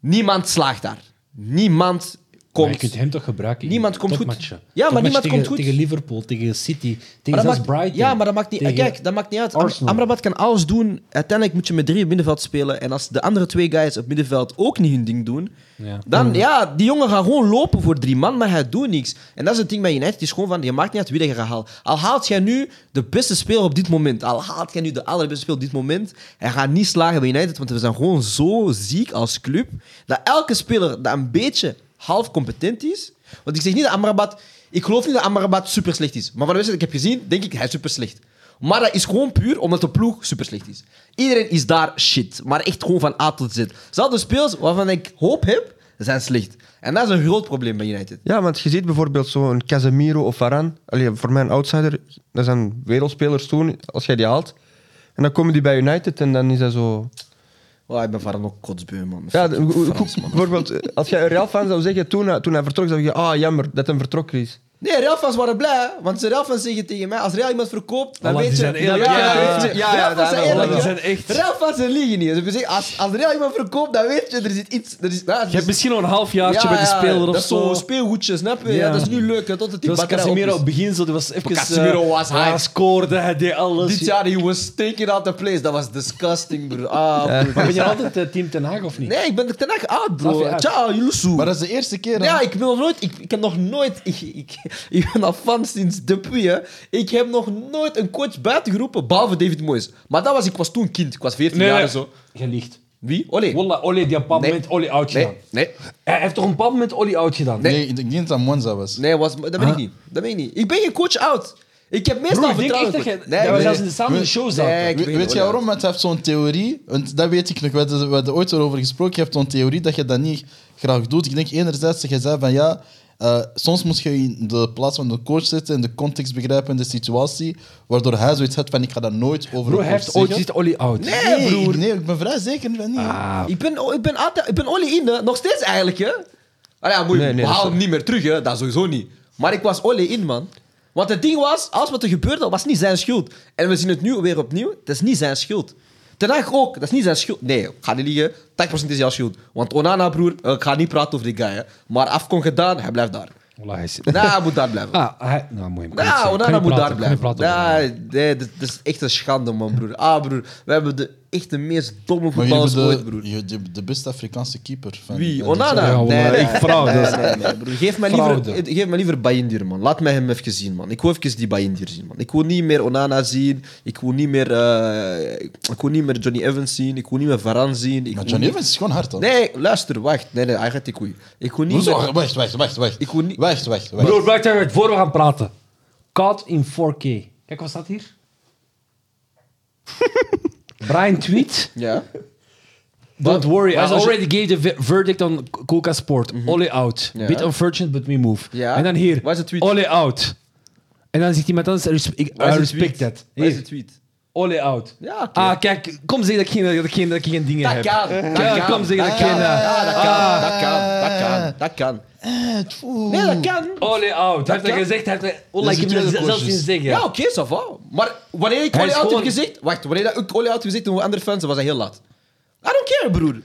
Niemand slaagt daar. Niemand Maar je komt. kunt hem toch gebruiken in Niemand komt goed. topmatchen. Ja, maar Topmatch niemand tegen, komt goed. Tegen Liverpool, tegen City, tegen Maar dat zelfs maakt, Brighton. Ja, maar dat maakt niet tegen- Kijk, dat maakt niet uit. Am- Arsenal. Amrabat kan alles doen. Uiteindelijk moet je met drie op middenveld spelen. En als de andere twee guys op middenveld ook niet hun ding doen, Ja. dan ja, die jongen gaat gewoon lopen voor drie man, maar hij doet niks. En dat is het ding bij United. Het is gewoon van, je maakt niet uit wie dat je gaat halen. Al haalt jij nu de beste speler op dit moment, al haalt jij nu de allerbeste speler op dit moment, hij gaat niet slagen bij United, want we zijn gewoon zo ziek als club, dat elke speler dat een beetje half competent is. Want ik zeg niet dat Amrabat... Ik geloof niet dat Amrabat super slecht is. Maar van de wedstrijd die ik heb gezien, denk ik, hij is super slecht. Maar dat is gewoon puur omdat de ploeg super slecht is. Iedereen is daar shit. Maar echt gewoon van A tot Z. Zelfs de spelers waarvan ik hoop heb, zijn slecht. En dat is een groot probleem bij United. Ja, want je ziet bijvoorbeeld zo'n Casemiro of Varane. Allee, voor mij een outsider, dat zijn wereldspelers toen, als jij die haalt. En dan komen die bij United en dan is dat zo... Oh, ik ben van ook kotsbeu, man. Ja, Fucking de- hoe- hoe- Frans, man. bijvoorbeeld, eh, als jij een Real-fan zou zeggen, toen, hij- toen hij vertrok, zou je ah, jammer dat hij vertrokken is. Nee, Real fans waren blij, hè. want ze Real fans zeggen tegen mij, als Real iemand verkoopt, dan Voilà, weet die je... zijn eerlijk. Ja, Ja, ja, ja, ja, Real fans zijn ja, eerlijk, die hè. zijn echt- Real fans zijn liegen niet. Ze hebben gezegd, als, als Real iemand verkoopt, dan weet je, er zit iets... Er is, nou, het Je hebt is- misschien nog een halfjaartje bij de speler dat of is zo zo. speelgoedje, snap je? Ja. Ja. dat is nu leuk, hè, tot het die Dat was batterij op Casemiro is. op het begin, zo, die was even... Casemiro eh, was hij hype. scoorde, hij deed alles. Dit jaar, he was taking out the place. Dat was disgusting, bro. Ah, broer. Maar ben je altijd eh, team Ten Hag of niet? Nee, ik ben er ten echt uit, Snap bro. je? Ciao, Yulusu. Maar dat is de eerste keer. hè? Ja, ik ben nog nooit... Ik, ik heb nog nooit... Ik, ik, ik ben al fan sinds Dupuy, hè. Ik heb nog nooit een coach buiten geroepen, behalve David Moyes. Maar dat was... Ik was toen kind. Ik was 14 jaar en zo. Je liegt. Wie? Olé. Wallah, Olly die op een bepaald Nee. moment Olly oud gedaan. Nee, nee. Hij heeft toch op een bepaald moment Olly oud gedaan? Nee, ik denk niet dat dat Monza was. Nee, was, dat ben ik niet. Dat ben ik niet. Ik ben geen coach oud. Ik heb meestal Broer, ik denk echt vertrouwen dat in coach. je... Nee, dat we nee. zelfs in de samen in de show zaten. Nee, ik We- weet weet het je wel. waarom? Want je hebt zo'n theorie, want dat weet ik nog, we hadden, we hadden ooit erover gesproken, je hebt zo'n theorie dat je dat niet graag doet. Ik denk enerzijds dat je zei van ja, eh, soms moet je in de plaats van de coach zitten, en de context begrijpen, en de situatie, waardoor hij zoiets had van ik ga dat nooit over Broer, een hij coach heeft ooit zeggen. gezegd Olly oud. Nee, Nee, broer. ik- nee, ik ben vrij zeker van Ah, niet. Ah. Ik ben, ik ben, altijd, ik ben Olly in, nog steeds eigenlijk. Hè? Ah ja, moeilijk. Nee, nee, we dat halen is- hem niet meer terug, hè? dat sowieso niet. Maar ik was Olly in, man. Want het ding was, alles wat er gebeurde, was niet zijn schuld. En we zien het nu weer opnieuw, dat is niet zijn schuld. Ten Hag ook, dat is niet zijn schuld. Nee, ik ga niet liegen, 80% is jouw schuld. Want Onana, broer, eh, ik ga niet praten over die guy. Hè. Maar afkom gedaan, hij blijft daar. Wallah, hij is... Nou, hij moet daar blijven. Ah, hij... Nou, moet je hem kwijt Ja, zijn. Kan Onana niet moet praten, daar kan blijven. niet praten over Nee, nee, dat dat is echt een schande, man, broer. Ah, broer, we hebben de, echt de meest domme Maar jullie voetballers hebben ooit, de, broer. je- de, de beste Afrikaanse keeper. Van, Wie? van dit jaar. Onana? Ja, dus. nee, Onana. nee, Echt fraude. Nee, nee, nee, broer. Geef mij liever, eh, Fraude. geef mij liever Bayindir, man. Laat mij hem even zien, man. Ik wil even die Bayindir zien, man. Ik wil niet meer Onana zien. Ik wil niet meer, eh, ik wil niet meer Johnny Evans zien. Ik wil niet meer Varane zien. Ik Maar wil John niet- Evans is gewoon hard, hoor. Nee, luister, wacht. Nee, nee, hij gaat die koei. Ik wil niet Hoezo? meer... Wacht, wacht, wacht, wacht. Ik wil niet- Wacht, wacht, doen. wacht. Broer, blijf daar weer voor we gaan praten. Caught in 4K. Kijk, wat staat hier? Brian tweet. Ja? Don't worry, I Maar als je- already gave the ver- verdict on Coca Sport. Olly out. Mhm. Ja. Bit unfortunate, but we move. Ja. En dan hier. Waar is de tweet? Olly out. En dan zegt iemand anders, res- ik- I Waar is de respect tweet? that. Waar is de Hier. tweet? Olly out. Ja, oké. Ah, kijk, kom zeggen dat ik geen, dat ik geen, dat ik geen dingen Dat heb. kan. Dat Ja, kan. Ah, kom zeggen dat Ah. ik geen... eh, Ja, dat kan, dat kan, dat kan, ah, dat kan. Eh, tfoe. Nee, dat kan. Olly out. Hij heeft dat kan. gezegd, hij heeft dat... Olly, Dat ik is heb de dat tweede zelfs coaches. niet zeggen. Ja, oké, ça va. Maar wanneer ik Hij Olly is out heb gewoon- gezegd... Wacht, wanneer dat ik Olly out heb gezegd over andere fans, was hij heel laat. I don't care, broer. I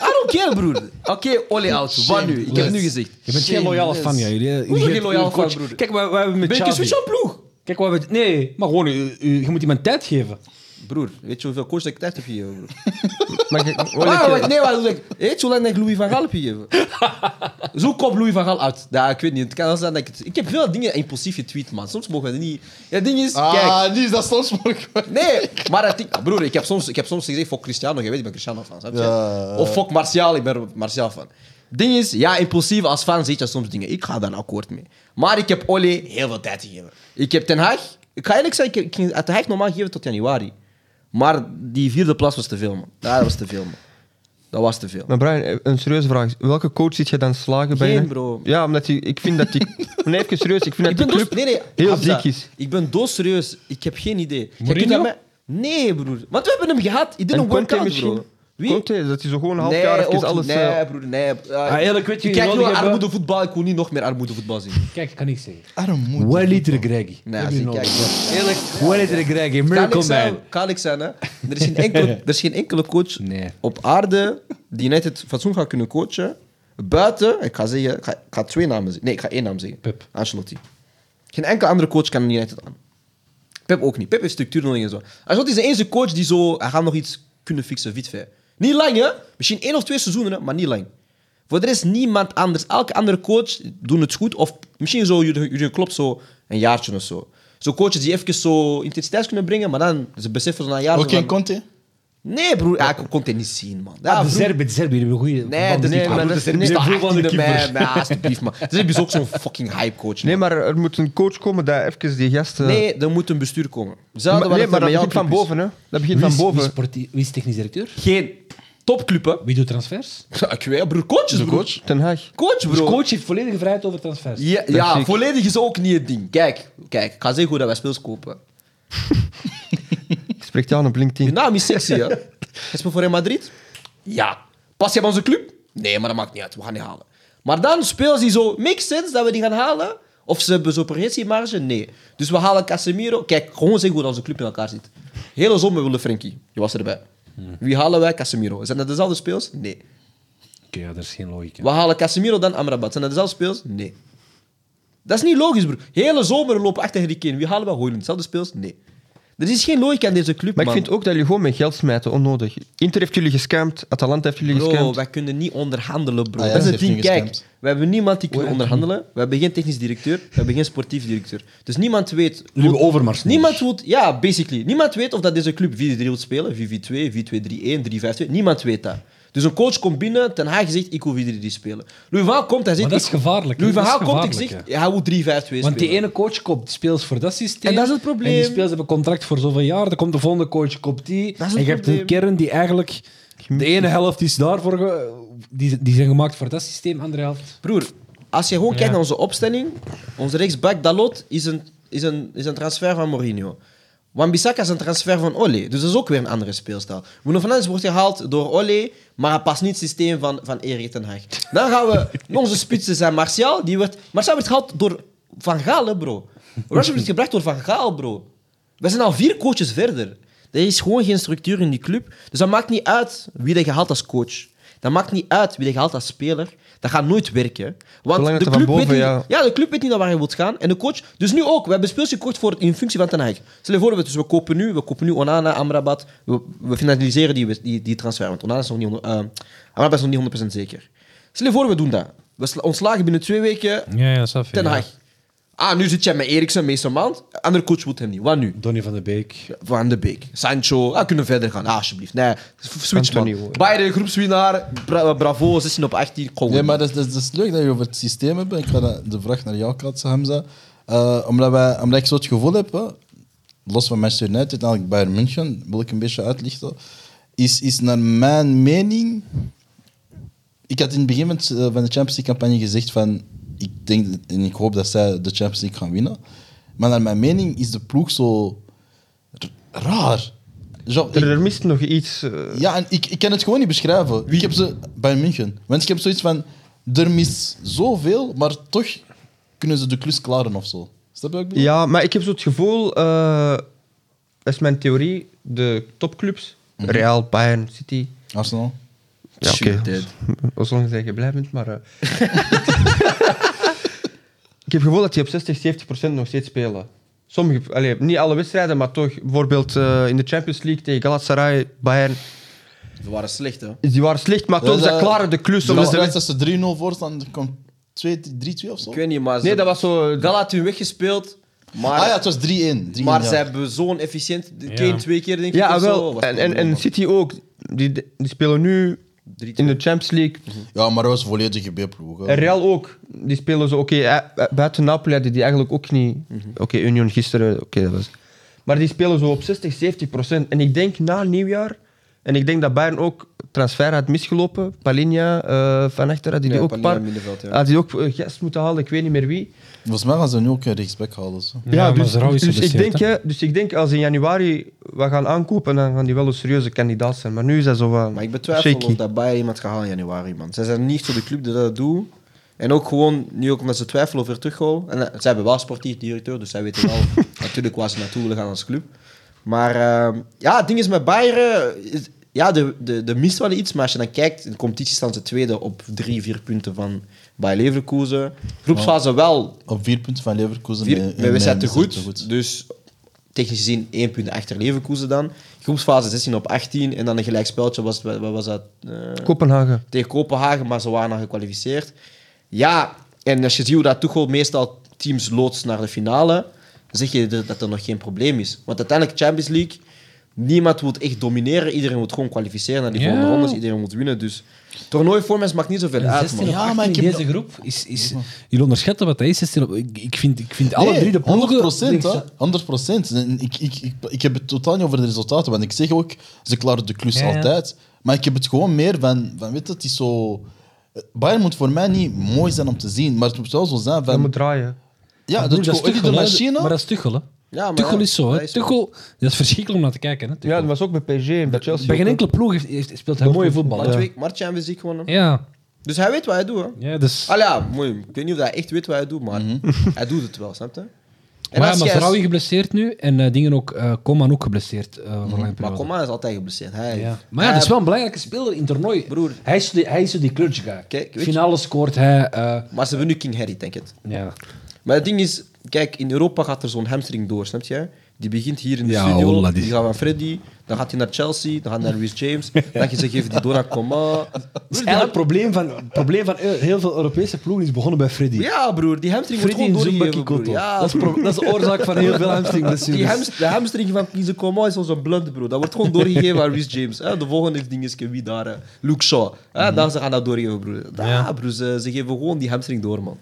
don't care, broer. Oké, Olly out. Wat nu? Ik heb het nu gezegd. Je bent geen loyale fan, ja, jullie. hè? Hoezo Jullie- geen loyale coach- fan, broer? Kijk, we, we hebben met Ben ik een Xavi. switch aan ploeg? Kijk, we hebben... Nee, maar gewoon, u- u- je moet iemand tijd geven. Broer, weet je hoeveel coach ik tijd heb gegeven, broer? Maar je- hoor Ah, ik, wacht, nee, wacht, wacht. Weet je hoe lang ik Louis van Gaal heb gegeven? Zo komt Louis van Gaal uit. Ja, ik weet niet. Het kan wel zijn dat ik... het- Ik heb veel dingen impulsief getweet, man. Soms mogen we dat niet... Ja, het ding is... Kijk, Ah, nu is dat soms mogelijk. Nee, maar dat ding- broer, ik heb, soms, ik heb soms gezegd, fuck Cristiano, je weet, ik ben Cristiano fan. snap je? Ja. Of fuck Martial, ik ben Martial fan. Ding is, ja, impulsief als fan zit je soms dingen. Ik ga daar akkoord mee. Maar ik heb Olly heel veel tijd gegeven. Ik heb Ten Haag, ik ga eerlijk zijn, ik, ik ging Ten Haag normaal geven tot januari. Maar die vierde plaats was te veel, man. Dat was te veel, man. Dat was te veel. Maar Brian, eh, een serieuze vraag. Welke coach ziet je dan slagen bij Geen, je? bro. Ja, omdat die, ik vind dat die... Nee, even serieus. Ik vind Ik ben dat die doos, nee, club nee, heel Hamza, ziek is. Ik ben doodserieus. Ik heb geen idee. Jij kunt Mourinho? aan mij- Nee, broer. Want we hebben hem gehad. Hij did En een Conte workout, bro. misschien? Wie? Conte, dat hij zo gewoon een half nee, jaar ook eventjes niet. alles... eh, Nee, broer, nee. Uh, Ah, eigenlijk weet je, ik kijk jullie nu hebben- armoedevoetbal, ik wil niet nog meer armoedevoetbal zien. Kijk, ik kan niks zeggen. Armoede. One liter Greggy. Nee, als ik kijk... Eerlijk, One liter Greggy, kan Miracle ik zijn, Man. kan ik zijn, hè. Er is geen enkele, er is geen enkele coach Nee. op aarde die net het fatsoen gaat kunnen coachen. Buiten, ik ga, zeggen, ik, ga, ik ga twee namen zeggen. Nee, ik ga één naam zeggen. Pep. Ancelotti. Geen enkele andere coach kan United aan. Pep ook niet. Pep heeft structuur nodig en zo. Ancelotti is de enige coach die zo... Hij gaat nog iets kunnen fixen, wit ver. Niet lang, hè. Misschien één of twee seizoenen, hè, maar niet lang. Voor de rest niemand anders. Elke andere coach doet het goed. Of misschien zo Jurgen Jurgen Klopp zo een jaartje of zo. Zo coaches die even zo intensiteit kunnen brengen, maar dan ze beseffen ze na een jaar... Ook van- geen Conte? Nee, broer. Ja, ik kon het niet zien, man. Ja, Ah, de broer. Serbië, de Serbië, die hebben een goede... Nee, de, nee, maar dat is nee, de voetbal van de 18e keeper. mei. Nee, alsjeblieft, man. Ze is ook zo'n fucking hypecoach. Nee, man. maar er moet een coach komen dat even die gasten... Nee, er moet een bestuur komen. maar, Zelden nee, maar dat begint van boven, hè. Dat begint Wie van is, wie, is boven. sportie- wie is technisch directeur? Geen topclub, hè. Wie doet transfers? Ik weet, broer. Coaches, broer. Coach, Ten Haag. coach Dus bro. coach heeft volledige vrijheid over transfers. Ja, zie ja ik. volledig is ook niet het ding. Kijk, kijk. Ik ga zeggen hoe dat wij speels kopen. Spreekt jou aan op Je LinkedIn. naam is sexy, hè. Hij speelt voor Real Madrid? Ja. Pas je bij onze club? Nee, maar dat maakt niet uit. We gaan die halen. Maar dan spelen ze zo... Makes sense dat we die gaan halen? Of ze hebben zo'n progressiemarge? Nee. Dus we halen Casemiro. Kijk, gewoon zeggen hoe dat onze club in elkaar zit. Hele zomer wilde Frenkie. Je was erbij. Wie halen wij? Casemiro. Zijn dat dezelfde speels? Nee. Oké, ja, daar is geen logica. We halen Casemiro dan Amrabat. Zijn dat dezelfde speels? Nee. Dat is niet logisch, broer. Hele zomer lopen achter Harry Kane. Wie halen we? Hoyland. Dezelfde speels? Nee. Er is geen logica in deze club, Maar ik man. vind ook dat jullie gewoon met geld smijten, onnodig. Inter heeft jullie gescamd, Atalanta heeft jullie Bro, gescamd. wij kunnen niet onderhandelen, bro. Ah, ja, dat is ze het heeft ding. nu Kijk, gestemd. we hebben niemand die kan onderhandelen. We hebben geen technisch directeur. We hebben geen sportief directeur. Dus niemand weet... Jullie hoe- hebben Overmars nodig. Niemand weet... Ja, basically. Niemand weet of dat deze club 4-3 wil spelen. 4-4-2, 4-2-3-1, 3-5-2. Niemand weet dat. Dus een coach komt binnen, Ten Haag zegt, ik wil 4-3 spelen. Louis van Gaal komt, hij zegt... Maar dat is ik- gevaarlijk, hè? Louis van Dat is Gaal komt, ik zeg, gevaarlijk, hij wil 3-5-2 spelen. Want die ene coach koopt speels voor dat systeem. En dat is het probleem. En die speels hebben contract voor zoveel jaar. Dan komt de volgende coach, koopt die. Dat is het en je hebt een probleem. kern die eigenlijk... De ene helft is daarvoor... ge- die, die zijn gemaakt voor dat systeem, andere helft. Broer, als je gewoon kijkt naar onze opstelling, onze rechtsback Dalot is een, is een, is een transfer van Mourinho. Wan-Bissaka is een transfer van Ole, dus dat is ook weer een andere speelstijl. Bruno Fernandes wordt gehaald door Ole, maar hij past niet het systeem van, van Erik ten Hag. Dan gaan we onze spitsen zijn Martial, die werd, Martial werd gehaald door Van Gaal, hè, bro. Rashford werd gebracht door Van Gaal, bro. We zijn al vier coaches verder. Er is gewoon geen structuur in die club. Dus dat maakt niet uit wie dat je haalt als coach. Dat maakt niet uit wie dat je haalt als speler. Dat gaat nooit werken. Want Zolang de het er van club, boven, weet niet, ja. ja. de club weet niet naar waar je wilt gaan. En de coach... Dus nu ook. We hebben speels gekocht voor, in functie van Ten Hag. Stel je voor, we- dus we kopen nu, we kopen nu Onana, Amrabat. We, we finaliseren die, die, die transfer. Want Onana is nog niet, honderd- eh, Amrabat is nog niet 100% zeker. Stel je voor, we doen dat. We sla- ontslagen binnen twee weken Ja, ja, Safi. Ten Hag. Ah, nu zit jij met Eriksen, Mason Mount. Andere coach wil hem niet. Wat nu? Donny van de Beek. Van de Beek, Sancho. Ah, kunnen we verder gaan, ah, alsjeblieft. Nee, switch Anthony, man. hoor. Bayern, groepswinnaar. Bra- eh, bravo, 16 op 18. Kom. Nee, maar dat is, dat, is, dat is leuk dat je over het systeem hebt. Ik ga dat- de vraag naar jou kaatsen, Hamza. Eh, omdat, wij, omdat ik zo het gevoel heb, hè, los van Manchester United, namelijk Bayern München, wil ik een beetje uitlichten, is, is naar mijn mening... Ik had in het begin van het- eh, van de Champions League-campagne gezegd van... Ik denk dat- en ik hoop dat zij de Champions League gaan winnen. Maar naar mijn mening is de ploeg zo... r- raar. Zo, ik- Er, er mist nog iets. eh, ja, en ik, ik kan het gewoon niet beschrijven. Ik heb ze bij München. Want ik heb zoiets van, er mist zoveel, maar toch kunnen ze de klus klaren of zo. Snap je wat ik bedoel? ja, maar ik heb zo het gevoel, eh, dat is mijn theorie, de topclubs, Real, Bayern, City. Arsenal. Ja, oké. Shoot, dude. Als- Zolang dat je blij bent, maar... eh. ik heb het gevoel dat die op 60, 70 procent nog steeds spelen. Sommige, allee, niet alle wedstrijden, maar toch. Bijvoorbeeld eh, in de Champions League tegen Galatasaray, Bayern. We waren slecht, hè? Die waren slecht, maar toch, Dus, ze eh, klaren de klus. De omdat laatste ze- wedstrijd dat ze 3-0 voorstaan, dan komt 2-3-2 of zo. Ik weet niet, maar... Ze... Nee, dat was zo... Gal had hun weggespeeld, maar, Ah ja, het was 3-1. 3-1, maar ja. ze hebben zo'n efficiënt... Kane twee keer, denk ik. Ja, of zo. wel. Was En, en, en normaal. City ook. Die, die spelen nu 3-2. in de Champions League. Ja, maar dat was volledige B-ploeg. hè. En Eh, Ehm. Real ook. Die spelen zo... Oké, eh, buiten Napoli hadden die eigenlijk ook niet... Mhm. Oké, Union gisteren. Oké, dat was... Maar die spelen zo op 60, 70 procent. En ik denk na nieuwjaar... En ik denk dat Bayern ook transfer had misgelopen. Palinja eh van achter had hij die ook een Palinja paar. middenveld, ja. Had hij ook eh, gast moeten halen, ik weet niet meer wie. Volgens mij gaan ze nu ook een rechtsback halen. Zo. Ja, maar Zerhouw is dus, ik geblesseerd, denk, hè, dus ik denk, als in januari we gaan aankopen, dan gaan die wel een serieuze kandidaat zijn. Maar nu is dat zo wat Maar ik betwijfel shaky. of dat Bayern iemand gaat halen in januari, man. Zij zijn niet voor de club die dat doet. En ook gewoon, nu ook omdat ze twijfelen over Tuchel. En eh, zij hebben wel sportief directeur, dus zij weten wel natuurlijk waar ze naartoe willen gaan als club. Maar ehm, ja, het ding is met Bayern... eh, is- ja, de, de, de mist wel iets, maar als je dan kijkt... In de competitie staan ze tweede op drie, vier punten van Bayer Leverkusen. Groepsfase wel Op vier punten van Leverkusen. Vier, met- wij met- zijn te met- goed, Dus technisch gezien één punt achter Leverkusen dan. Groepsfase 16 op 18. En dan een gelijkspeltje was, wat wat was dat? Eh, Kopenhagen. tegen Kopenhagen, maar ze waren al gekwalificeerd. Ja, en als je ziet hoe dat Tuchel meestal teams loodst naar de finale, zeg je dat dat er nog geen probleem is. Want uiteindelijk Champions League, niemand wil echt domineren. Iedereen wil gewoon kwalificeren naar die Ja. volgende rondes. Iedereen wil winnen. Dus toernooiformats maakt niet zoveel uit. 16 man. op Ja, maar 18 ik in heb deze groep is... is jullie onderschatten wat dat is, 16 op... Ik, ik vind, ik vind alle Nee, drie de ploegen... 100 procent, links- 100 procent. Ik, ik, ik, ik heb het totaal niet over de resultaten, want ik zeg ook, ze klaren de klus Ja, ja. altijd. Maar ik heb het gewoon meer van, van weet je, het is zo... eh, Bayern moet voor mij niet mooi zijn om te zien, maar het moet wel zo zijn Ehm, Dat moet van... draaien. Ja, Broer, dat dat is is de Tuchel, hè. machine. Maar dat is Tuchel, hè. Ja, maar Tuchel ja, is zo, dat hè. zo. Tuchel, dat is verschrikkelijk om naar te kijken, hè. Tuchel. Ja, dat was ook bij PSG en bij Chelsea. Bij geen ook, hè. enkele ploeg heeft, heeft- speelt hij mooie voetbal. Maar hè. twee- maar Champions League gewonnen. Ja, Dus hij weet wat hij doet. Hè. ja, dus... Ah ja, mooi. Ik weet niet of hij echt weet wat hij doet, maar hij doet het wel, snap je? En Maar ja, als maar jij- Vrouwen geblesseerd nu en eh, dingen ook, eh Coman ook geblesseerd eh, voor een lange Mhm, Maar periode. Coman is altijd geblesseerd. Hij, Ja. Maar ja, hij- dat is wel een belangrijke speler in het toernooi. Broer. Hij is zo die, hij is zo die clutch guy. Kijk, weet je- Finale scoort hij. eh, maar ze hebben nu King Harry, denk ik. ja. Maar het ding is, kijk, in Europa gaat er zo'n hamstring door, snap je? Die begint hier in de Ja, studio, holla, die- die gaat van Freddy, dan gaat hij naar Chelsea, dan gaat hij naar Louis James, dan je ze geven die door aan Coman. Dus eigenlijk het probleem van, het probleem van eh, heel veel Europese ploegen is begonnen bij Freddy. Ja, broer, die hamstring wordt Freddy gewoon in doorgegeven, Zumba broer. Kikoto. Ja, dat, is pro- dat is de oorzaak van heel veel Die hamstringblessures. hamst- de hamstring van Kieze Coman is onze blunt, bro. Dat wordt gewoon doorgegeven aan Rhys James. Hè? De volgende ding is wie daar? Hè? Luke Shaw. Hè? Mhm. Daar ze gaan dat doorgeven, broer. Ja, broer. Ze, ze geven gewoon die hamstring door, man.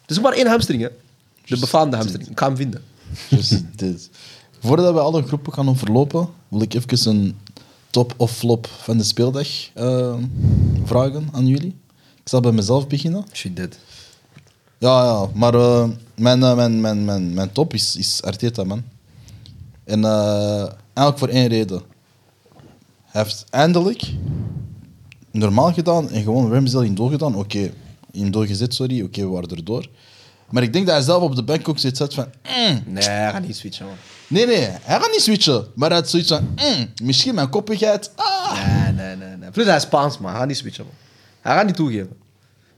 Het is maar één hamstring, hè. De befaamde hamstring. Ik ga hem vinden. Dus dit. Voordat we alle groepen gaan overlopen, wil ik even een top of flop van de speeldag eh, vragen aan jullie. Ik zal bij mezelf beginnen. Shit, dead. Ja, ja, maar eh, mijn, eh, mijn, mijn, mijn, mijn top is, is Arteta, man. En eh, eigenlijk voor één reden. Hij heeft eindelijk normaal gedaan en gewoon Ramsdale in doel gedaan. Oké, in doel gezet, sorry. Oké, we waren erdoor. Maar ik denk dat hij zelf op de bank ook zoiets had van... "Mm, Nee, hij gaat niet switchen, man. Nee, nee, hij gaat niet switchen. Maar hij had zoiets van... "Mm, misschien mijn koppigheid. Ah. Nee, nee, nee, nee. Plus, hij is Spaans, man. Hij gaat niet switchen, man. Hij gaat niet toegeven.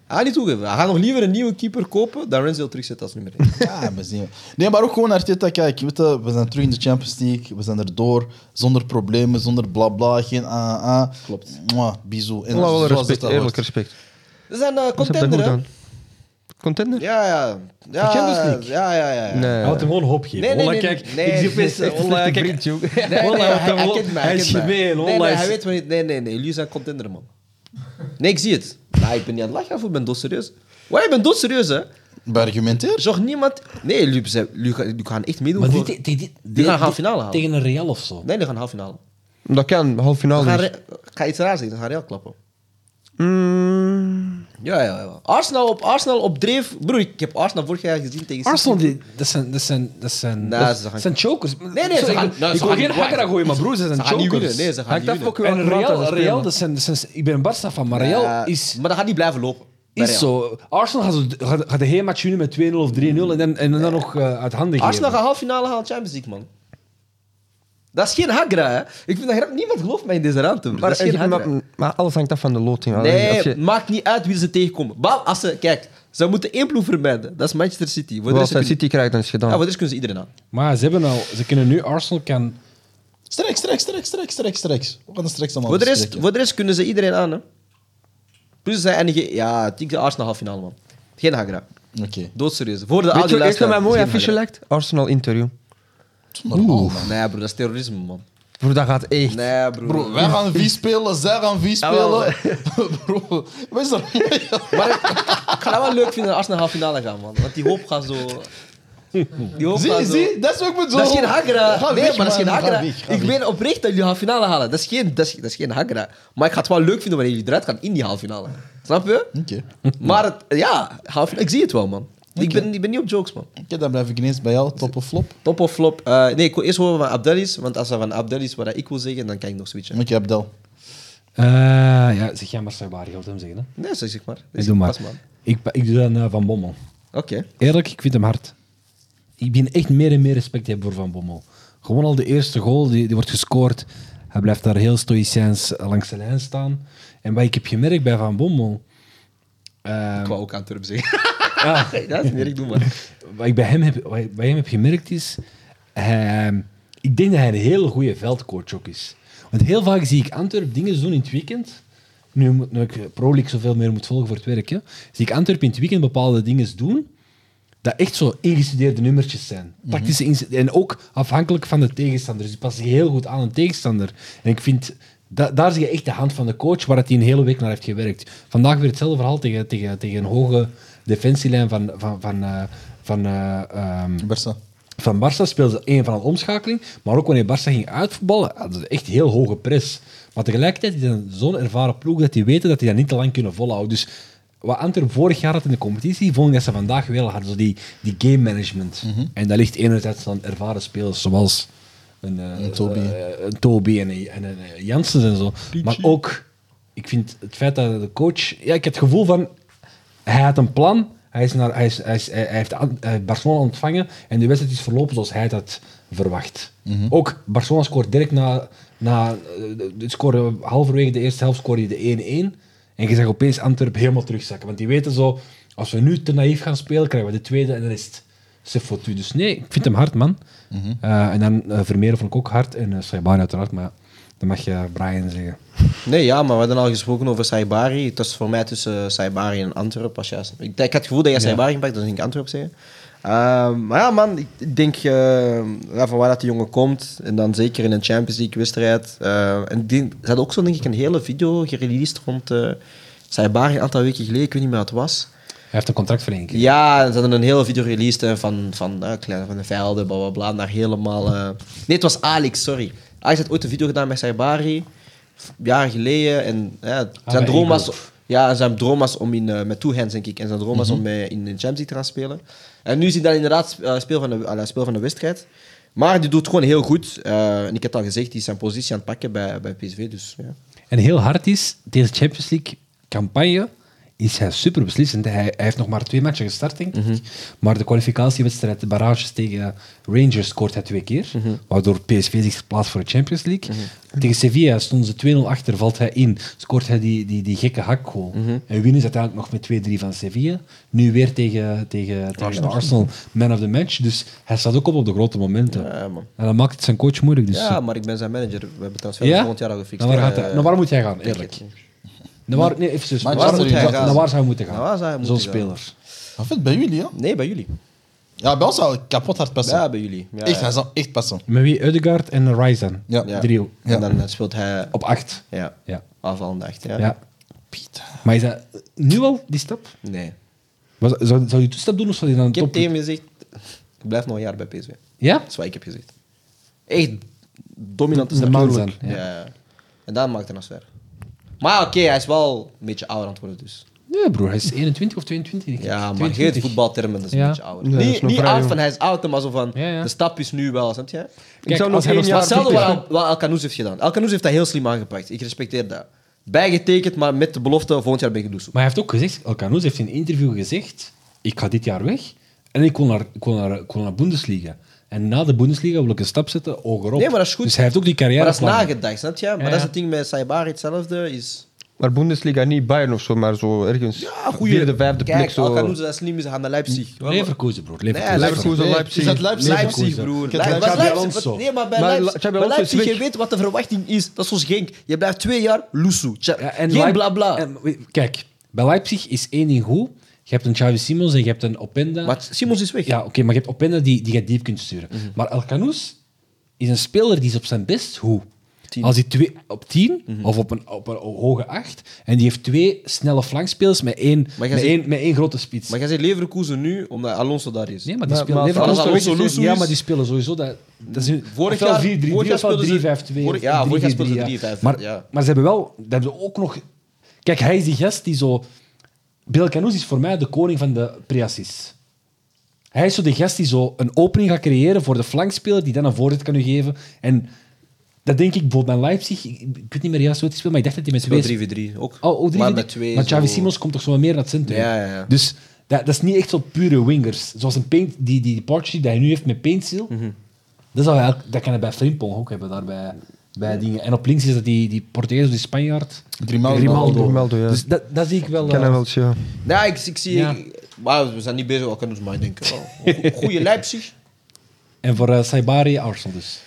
Hij gaat niet toegeven. Hij gaat nog liever een nieuwe keeper kopen dan Renzel terugzetten als nummer 1. Ja, we zien. Nee, maar ook gewoon Arteta, kijk, weet je, we zijn terug in de Champions League, we zijn erdoor, zonder problemen, zonder blabla, geen ah ah. Klopt. Mwah, bisou. En Wel, wel zoals respect, het daar eerlijk hoort. respect. Ze zijn eh, Ze hebben contender, dat hè. goed gedaan. Contender? Ja, ja. ja Champions League? Ja, ja, ja. ja. Nee. Hij had hem gewoon hoop geven. Nee, nee, Holla, nee, Oh, kijk, nee, ik nee, zie opeens nee, echt Holla, slechte kijk, vriend, joh. eh, Nee, nee, Holla, hij, hij- hij kent mij. Hij is kent mij. gemeen, Nee, Holla nee, is... hij weet wat niet. Nee, nee, nee. Jullie zijn contender, man. Nee, ik zie het. Nou, ik ben niet aan het lachen of ik ben doodserieus. Waar, ik ben doodserieus, hè. Bij argumenteer? Zorg niemand... Nee, jullie zijn- jullie gaan- jullie gaan echt meedoen Maar voor... dit, dit, dit- Die gaan dit- halve finale halen. Tegen een Real of zo. Nee, die gaan half finale. Dat kan, half Ze finale. gaan is- Re- Ik ga iets raar zeggen. Ze gaan Real klappen. Mm, Ja, ja, ja. Arsenal op, Arsenal op dreef. Broer, ik heb Arsenal vorig jaar gezien tegen... City. Arsenal, die, dat zijn, dat zijn, dat zijn, Nee, dat ze gaan- zijn chokers. nee, Sorry, ze gaan- ik, nou, ik ze wil gaan geen niet hakker aan gooien, maar broer, ze zijn Ze gaan niet chokers. winnen. Nee, ze gaan Hangt niet af ook winnen. En En Atalanta Real, spelen. Real dat zijn, dat zijn, ik ben een Barca van, maar Real Ja, is, Maar dat gaat niet blijven lopen. bij is Real. zo. Arsenal gaat, zo- gaat, gaat de hele match winnen met 2-0 of 3-0 en dan, en dan nog eh, uit handen geven. Arsenal gaat half finale halen Champions League, man. Dat is geen hagra, hè. Ik vind dat grap- niemand gelooft mij in deze ruimte. broer. maar, dat is geen maar- hagra. maar alles hangt af van de loting. Alleen Nee, als je- maakt niet uit wie ze tegenkomen. Wel, als ze, kijk, ze moeten één ploeg vermijden. Dat is Manchester City. Voor de Wel, rest, als hij kunnen- City krijgt, dan is Ja, het gedaan. voor de rest kunnen ze iedereen aan. Maar ze hebben al, ze kunnen nu Arsenal kan. Strek, strek, strek, strek, strek, strek. We gaan het straks Oh, allemaal Voor de, rest, bespreken. voor de rest kunnen ze iedereen aan, hè. Plus zij eindigen... Ja, ik denk de Arsenal half finale, man. Geen hagra. Oké. Doodserieus. Voor de Weet je audio wat eerst naar mijn mooie affiche Nee, lijkt? Arsenal interview. Normaal. bro, dat is terrorisme, man. Broer, dat gaat echt. Nee, bro. Bro, wij gaan wie spelen, zij gaan wie wel. spelen. Bro, wat is er? Maar ik, ik ga dat wel leuk vinden als Arsenal half finale gaan, man. Want die hoop gaat zo... Zie, zie, dat is ook met zo. Dat is geen Hagra. Ga Nee, weg, maar dat is geen man, ga Hagra. weg, ga Ik weg. meen oprecht dat jullie halve finale halen. Dat is geen, dat is, dat is geen Hagra. Maar ik ga het wel leuk vinden wanneer jullie eruit gaan in die halve finale. Snap je? Oké. Maar het- ja, halve finale, ik zie het wel, man. Ik, ben, ik ben niet op jokes, man. Oké, dan blijf ik ineens bij jou, top of flop. Top of flop? Eh, nee, ik wil eerst horen van Abdel is. Want als dat van Abdel is wat ik wil zeggen, dan kan ik nog switchen. Oké, Abdel. Eh, ja, zeg jij maar Saibari, ik wil het hem zeggen. Hè. Nee, zeg zeg maar. Ik doe maar. Pas, man. Ik, ik doe dan eh, Van Bommel. Oké. Eerlijk, ik vind hem hard. Ik begin echt meer en meer respect te hebben voor Van Bommel. Gewoon al de eerste goal, die, die wordt gescoord. Hij blijft daar heel stoïcijns eh, langs de lijn staan. En wat ik heb gemerkt bij Van Bommel... eh, Ik wou ook aan Turp zeggen. ja, dat is niet ik doe maar. wat ik bij hem heb, wat ik bij hem heb gemerkt is... eh, ik denk dat hij een hele goede veldcoach ook is. Want heel vaak zie ik Antwerp dingen doen in het weekend... Nu, moet- nu ik Pro League zoveel meer moet volgen voor het werk, hè, zie ik Antwerp in het weekend bepaalde dingen doen... dat echt zo ingestudeerde nummertjes zijn. Tactische inst- En ook afhankelijk van de tegenstander. Dus die passen heel goed aan een tegenstander. En ik vind, da- daar zie je echt de hand van de coach waar het die een hele week naar heeft gewerkt. Vandaag weer hetzelfde verhaal tegen, tegen, tegen een hoge defensielijn van, van, van, eh, van eh, ehm, Bersa. van Barça speelde ze één van een omschakeling, maar ook wanneer Barça ging uitvoetballen, hadden ze echt heel hoge pres. Maar tegelijkertijd is het zo'n ervaren ploeg dat die weten dat die dat niet te lang kunnen volhouden. Dus wat Antwerp vorig jaar had in de competitie, vond ik dat ze vandaag wel hadden. Zo die, die game management. Mhm. En dat ligt enerzijds aan ervaren spelers zoals een, eh, Een Toby. eh, een Toby en, een- en een eh, Janssens en zo. Maar ook, ik vind het feit dat de coach... Ja, ik heb het gevoel van, hij had een plan. Hij, is naar, hij, is, hij, is- hij hij heeft aan- eh, Barcelona ontvangen en de wedstrijd is verlopen zoals hij dat verwacht. Ook Barcelona scoort direct na... na eh, het scoren, halverwege de eerste helft scoorde hij de 1-1. En je zag opeens Antwerpen helemaal terugzakken. Want die weten zo, als we nu te naïef gaan spelen, krijgen we de tweede en dan is het... C'est foutu. Dus nee, ik vind hem hard, man. Eh, en dan eh Vermeeren vond ik ook hard. En eh Saibari uiteraard, maar dat mag je Brian zeggen. Nee, ja, maar we hadden al gesproken over Saibari. Het was voor mij tussen Saibari en Antwerp. Als jij, ik, ik had het gevoel dat jij Saibari gepakt, dan ging ik Antwerp zeggen. Ehm, maar ja, man, ik, ik denk eh, ja, van waar dat die jongen komt. En dan zeker in een Champions League-wedstrijd. eh, en die, ze hadden ook zo, denk ik, een hele video gereleased rond eh Saibari een aantal weken geleden. Ik weet niet meer wat het was. Hij heeft een contract voor één keer. Ja, ze hadden een hele video released hè, van, van, eh, Kleine van de Velden, bla bla bla, naar helemaal... eh, Nee, het was Alex, sorry. Alex had ooit een video gedaan met Saibari, f- jaren geleden. En ja, zijn, Ah, bij droom was, Eagles. ja, zijn droom was om in, eh, met two hands, denk ik, en zijn droom Mhm. was om eh, in de Champions League te gaan spelen. En nu zie je dat inderdaad eh, speel, van de, ah, ja, speel van de wedstrijd. Maar die doet gewoon heel goed. Eh, en ik heb het al gezegd, die is zijn positie aan het pakken bij, bij PSV. Dus, ja. En heel hard is, deze Champions League campagne is hij super beslissend. Hij, hij heeft nog maar twee matchen gestart, denk Mhm. ik. Maar de kwalificatiewedstrijd, de barrages tegen Rangers, scoort hij twee keer. Mhm. Waardoor PSV zich plaatst voor de Champions League. Tegen Sevilla stonden ze 2-0 achter, valt hij in, scoort hij die, die, die gekke hakgoal. Mhm. En winnen ze uiteindelijk nog met 2-3 van Sevilla. Nu weer tegen, tegen, tegen Arsenal, man of the match. Dus hij staat ook op op de grote momenten. Ja, man. En dat maakt het zijn coach moeilijk. Dus ja, maar ik ben zijn manager. We hebben het transfer ja? volgend jaar al gefixt. Nou, waar, gaat Eh, hij- nou, waar moet jij gaan, eerlijk? Nou, waar, nee, even zus. Maar waar, waar moet moet hij hij gaan? gaan? Nou, waar zou hij moeten gaan? Nou, waar zou hij Zo'n moeten gaan? speler. Wat vindt bij jullie, ja? Nee, bij jullie. Ja, bij ons zou ik kapot hard passen. Ja, bij jullie. Ja, echt, ja. hij zou echt passen. Met wie? Udegaard en Ryzen. Ja. Ja. Driehoek. Ja. En dan eh, speelt hij Op acht. ja, Ja. aanvallende echt. Ja. ja. Maar is dat nu al, die stap? Nee. Was, zou, zou je toestap doen of zou je dan een Ik heb top... tegen hem gezegd, ik blijf nog een jaar bij PSV. Ja? Dat is wat ik heb gezegd. Echt dominant is De dat man natuurlijk. zijn, ja. Ja. ja. En dan maakt hij een transfer. Maar oké, hij is wel een beetje ouder aan het worden dus. Nee, broer. Hij is 21 of 22. denk ik. Ja, maar 22. geen voetbaltermen, dat is Ja. een beetje ouder. Ja, dat is niet nog niet vrij oud jong. van hij is oud, maar zo van, Ja, ja. de stap is nu wel, snap je? Kijk, zou nog als hij één nog jaar Maar maar hetzelfde wat, zelf wat Alcanoes heeft gedaan. Alcanoes heeft dat heel slim aangepakt. Ik respecteer dat. Bijgetekend, maar met de belofte, volgend jaar ben ik doezel. Maar hij heeft ook gezegd, Alcanoes heeft in een interview gezegd, ik ga dit jaar weg en ik wil naar, ik wil naar, ik wil naar Bundesliga. En na de Bundesliga wil ik een stap zetten, ogen op. Nee, maar dat is goed. Dus hij heeft ook die carrière Maar dat is plannen. nagedacht, snap je? Maar Ja, dat is ja. het ding met Saibari hetzelfde. Is... Maar Bundesliga niet Bayern of zo, maar zo ergens. Ja, Vierde, vijfde Kijk, plek zo. Alcanoes, dat is slim, ze gaan naar Leipzig. Leverkusen, broer. Nee, Leverkusen. Leverkusen, Nee, Leipzig. Is dat Leipzig? Leipzig, broer. Kijk, Leipzig. Xabi Leipzig- Alonso. Nee, maar bij Maar La- Leipzig, Xabi bij Alonso is Leipzig, weg. je weet wat de verwachting is. Dat is zoals Genk. Je blijft twee jaar loesoe. Tja, Ja, Geen Leip- blabla. en we- kijk, bij Leipzig is één ding goed. Je hebt een Xavi Simons en je hebt een Openda. Maar Simons is weg. Ja, oké, maar je hebt Mhm. Openda die, die je diep kunt sturen. Maar Alcanus is een speler die is op zijn best goed. Tien. Mhm. Als hij twee, op 10 of op een, op een hoge 8. En die heeft twee snelle flankspelers met één, Maar met jij ziet- één, met één grote spits. Maar jij zegt Leverkusen nu, omdat Alonso daar is. Nee, maar die Maar- spelen maar Leverkusen- als Alonso Lusso is- Ja, maar die spelen sowieso dat. dat is, Vorig ofwel jaar- 4-3-3 vorig jaar ofwel speelden ze- 3-5-2 vorig- of ja, vorig jaar speelden ze 3-4-3, ja. 3-5, Maar, ja. maar ze hebben wel, dat hebben ze ook nog. Kijk, hij is die gast die zo. Bill Canoes is voor mij de koning van de preassis. Hij is zo de gast die zo een opening gaat creëren voor de flankspeler, die dan een voorzet kan u geven. En dat denk ik bijvoorbeeld bij Leipzig. Ik, ik weet niet meer juist hoe het speelt, maar ik dacht dat hij met Wel twee 3-4-3 ook. Oh, ook drie maar vind met ik- twee. Maar Xavi zo- Simons komt toch zo wat meer naar het centrum. Ja, ja, ja. Dus dat, dat is niet echt zo pure wingers. Zoals een paint, die, die, die partnership die hij nu heeft met Paintsil. Mhm. dat, zou hij, dat kan hij bij Frimpong ook hebben, daar bij, bij dingen. En op links is dat die, die Portugees of die Spanjaard. Grimaldo. Grimaldo, ja. Dus dat, dat zie ik wel. Kan eh, hij wel eens, ja. Ja, ik, ik zie... Ja. Maar we zijn niet bezig, we kunnen ons maar denken. Oh, goeie Leipzig. En voor eh, Saibari, Arsenal dus.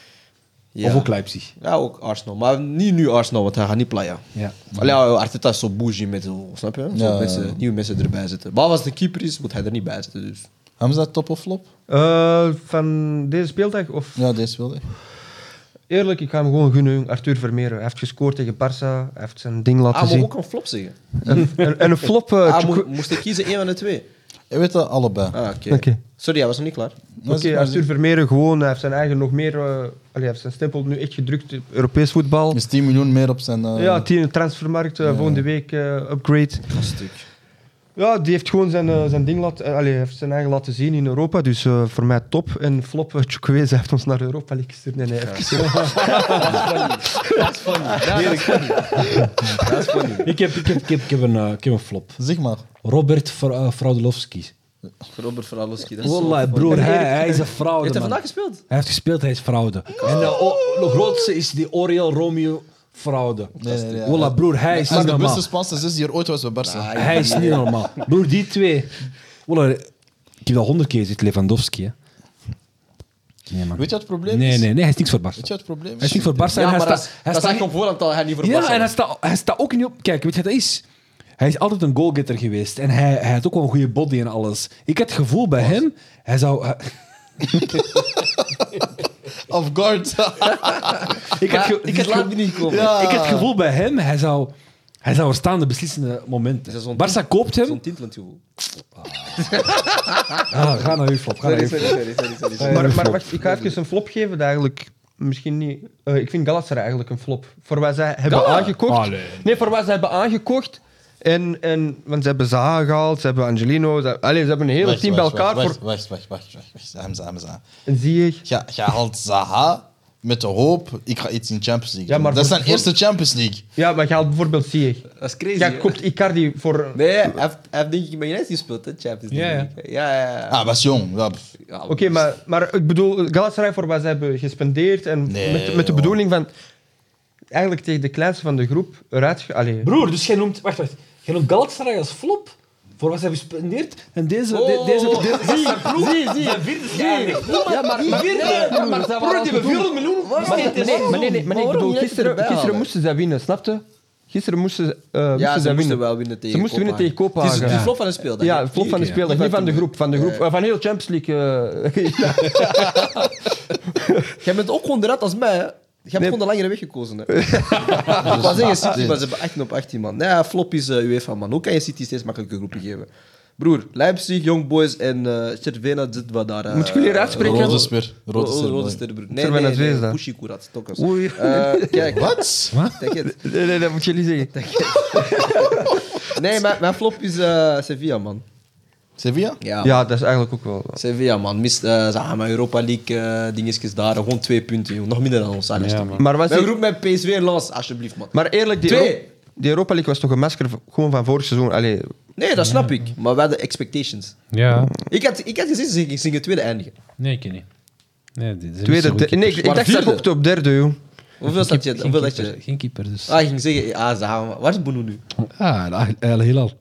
Ja. Of ook Leipzig. Ja, ook Arsenal. Maar niet nu Arsenal, want hij gaat niet playen. Ja. Allee, ja, Arteta is zo bougie met zo, snap je? Zo Ja, ja, mensen, ja. Nieuwe mensen erbij zitten. Maar als de keeper is, moet hij er niet bij zitten. Dus. Hamza, top of flop? Eh, van deze speeldag? Of Ja, deze wilde ik. eerlijk, ik ga hem gewoon gunnen. jong. Arthur Vermeer. Hij heeft gescoord tegen Barça. Hij heeft zijn ding laten Ah, maar zien. ook een flop zeggen. En, en een flop. eh, Ah, Chuku- mo- moest ik kiezen één van de twee? Je weet dat allebei. Ah, oké. Oké. Sorry, hij was nog niet klaar. Maar Oké, zeg maar, Arthur Vermeer gewoon. Hij heeft zijn eigen nog meer. eh, allee, hij heeft zijn stempel nu echt gedrukt. op Europees voetbal. is 10 miljoen meer op zijn... eh, Ja, die transfermarkt. eh, Volgende week eh, upgrade. Stuk. Ja, die heeft gewoon zijn, eh, zijn ding laten, eh, allee, hij heeft zijn eigen laten zien in Europa. Dus eh, voor mij top. En flop, uh, hij heeft ons naar Europa League gestuurd. Nee, nee, even- Dat is funny. Ja, dat is funny. Dat is funny. Ik heb, ik, heb, ik, heb, ik, heb een, eh, ik heb een flop. Zeg maar. Robert Fra- eh, Fraudolowski. Robert Fraluski, dat is zo Wallah, funny. Oh, broer, hij, hij is een Heeft fraude. hij man. vandaag gespeeld? Hij heeft gespeeld, hij is fraude. En de, o- de grootste is die Oriel Romeo fraude. Nee, nee, nee. Wallah, broer, hij is Als niet de beste normaal. Spaanse zus die er ooit was bij Barca. Hij is niet normaal. Broer, die twee. Wallah, ik heb dat honderd keer gezien, Lewandowski. Hè. Nee, man. Weet je wat het probleem Nee, is? nee, nee, hij is niks voor Barca. Weet je wat het probleem Hij is is? niks voor Barca. en Ja, hij maar staat- dat hij dat staat zag ik op voorhand al, hij niet voor ja, Barca en hij was. staat, hij staat ook niet op. Kijk, weet je wat dat is? Hij is altijd een goalgetter geweest. En hij, hij had ook wel een goede body en alles. Ik had het gevoel bij hem, hij zou. hij- Off guard. ik had, ge- Ik had laat me niet komen. Ja. Ik heb het gevoel bij hem, hij zou, hij zou er staan de beslissende Is dat momenten. zo'n Barça koopt hem. Zo'n tintelend gevoel. Ah, ga naar uw flop. Ga naar uw flop. sorry, sorry, sorry, sorry. maar, maar wacht, ik ga even een flop geven. Dat eigenlijk misschien niet. eh, ik vind Galatasaray eigenlijk een flop. Voor wat zij hebben aangekocht. Allee. Nee, voor wat zij hebben aangekocht. En, en, want ze hebben Zaha gehaald, ze hebben Angelino. Ze, allee, ze hebben een hele Wacht, team bij wacht, elkaar. Wacht, voor, wacht, wacht, wacht, wacht, wacht. Hamza, Hamza. Zie ik. Ja, je haalt Zaha met de hoop, ik ga iets in Champions League Ja, doen. maar Dat is voor- zijn voor- eerste Champions League. Ja, maar je haalt bijvoorbeeld Zie ik. Dat is crazy. Jij hè? koopt Icardi voor. Nee, hij heeft, hij heeft denk ik bij United gespeeld, hè? Champions Ja, Ah, ja. League. Ja, ja, ja. Ah, was jong. Ja, pff. Ja, Oké, maar, maar ik bedoel, Galatasaray voor wat ze hebben gespendeerd. En Nee, met, met de joh. bedoeling van. Eigenlijk tegen de kleinste van de groep eruit. ge- Allee, Broer, dus jij noemt. Wacht, wacht. Jij noemt Galatasaray als flop. Voor wat ze hebben gespendeerd. En deze. de- Oh, deze, oh, oh. deze zie, zie, zie. Ja, maar die vierde. Maar dat waren die vierde miljoen. Maar, nee, maar nee, nee, maar nee, ik Waarom bedoel, United gisteren, erbij gisteren halen? moesten zij winnen, snapte? Gisteren moesten, ze- eh moesten Ja, zij ze moesten winnen. wel winnen tegen Ze moesten winnen tegen Het is Kopenhagen. het is Ja. flop van de speeldag. Ja, hè? flop van de Oké, speeldag, ja. niet van de groep. Van, de groep, Ja. eh, van heel Champions League. eh, ja. Jij bent ook gewoon de rat als mij, hè? Je hebt gewoon de langere weg gekozen. Hè. Ik wou zeggen Ah, City, maar ze hebben 18 op 18, man. Ja, flop is eh, UEFA, man. Hoe kan je City steeds makkelijke groepen geven? Broer, Leipzig, Young Boys en eh Cervena zitten we daar. eh, Moet ik jullie hier uitspreken? Rode speer. Rode, Rode speer. rode mooi. sterren, broer. Nee, Cervena nee, nee. Zvezda. Pushikurat, tokkas. Oei. Eh, kijk. Wat? Take it. nee, nee, dat moet jullie zeggen. Nee, mijn, mijn flop is eh, Sevilla, man. Sevilla? Ja, Ja, dat is eigenlijk ook wel... Sevilla, man. Mist, eh zeg maar, Europa League eh, dingetjes daar. Gewoon twee punten, joh. Nog minder dan ons. Allee, stop. Maar, was Wij die, roepen met PSV en Lens, alsjeblieft, man. maar eerlijk, die, Twee. Euro- die Europa League was toch een masker v- gewoon van vorig seizoen. Allee, Nee, dat snap ik. Maar wij hadden expectations. Ja, Ik had, ik had gezien, ze gingen- ze gingen tweede eindigen. nee, ik ken niet. Nee, dit is tweede, de- nee, ik, ik Maar dacht dat vierde. ook op derde, joh. Hoeveel zat je? Hoeveel geen, dat keeper, je? geen keeper, dus. Ah, ik ging zeggen, ah, Zahama. Waar is Bono nu? Ah, El Hilal.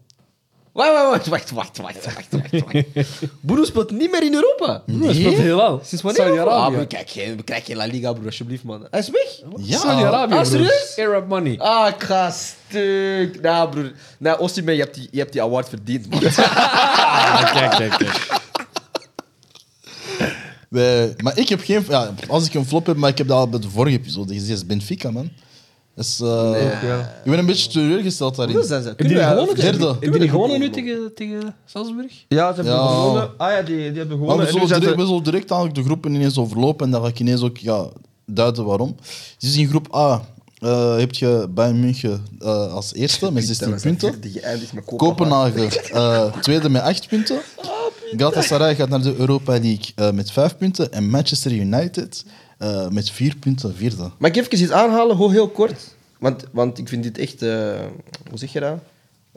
Wacht, wacht, wacht, wacht, wacht, wacht, wacht, wacht. Bono speelt niet meer in Europa. Dat speelt heel lang. Sinds wanneer? Ah, Saudi-Arabië. maar kijk, geen- we krijgen geen La Liga, broer, alsjeblieft, man. Hij is weg. Ja. Saudi-Arabië. Ah, broer. serieus? Arab money. Ah, ik ga stuk. Nou, broer. Nou, Osimhen, je hebt die, je hebt die award verdiend, man. Ah, kijk, kijk, kijk. Wij, Eh, maar ik heb geen... Ja, als ik een flop heb, maar ik heb dat al bij de vorige episode gezien, is Benfica, man. Dat is, eh, Ik ben een beetje teleurgesteld Hoeveel daarin. zijn ze? Hebben Kunnen wij- jullie gewonnen? Derde. tegen- Hebben Kunnen jullie gewonnen we- nu tegen, tegen Salzburg? Ja, ze hebben Ja. gewonnen. Ah ja, die, die hebben Maar gewonnen. we En nu zullen, zijn direct, we ze- zullen direct eigenlijk de groepen ineens overlopen en dan ga ik ineens ook ja, duiden waarom. Dus in groep A eh, heb je Bayern München eh, als eerste met 16 Dus punten. Die geëindigd met Kopenhagen. Kopenhagen, eh, tweede met 8 punten. Galatasaray gaat naar de Europa League eh, met 5 punten. En Manchester United eh, met 4 punten, vierde. Mag ik even iets aanhalen, ho, heel kort? Want, want ik vind dit echt... eh, hoe zeg je dat?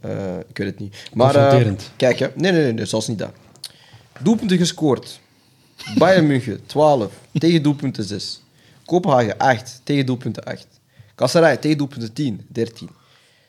Eh, ik weet het niet. Maar, eh, Confronterend. kijk, hè. Nee, nee, nee, nee, zelfs niet dat. Doelpunten gescoord. Bayern München, 12. tegen doelpunten 6. Kopenhagen, 8. Tegen doelpunten 8. Kasserij, tegen doelpunten 10. 13.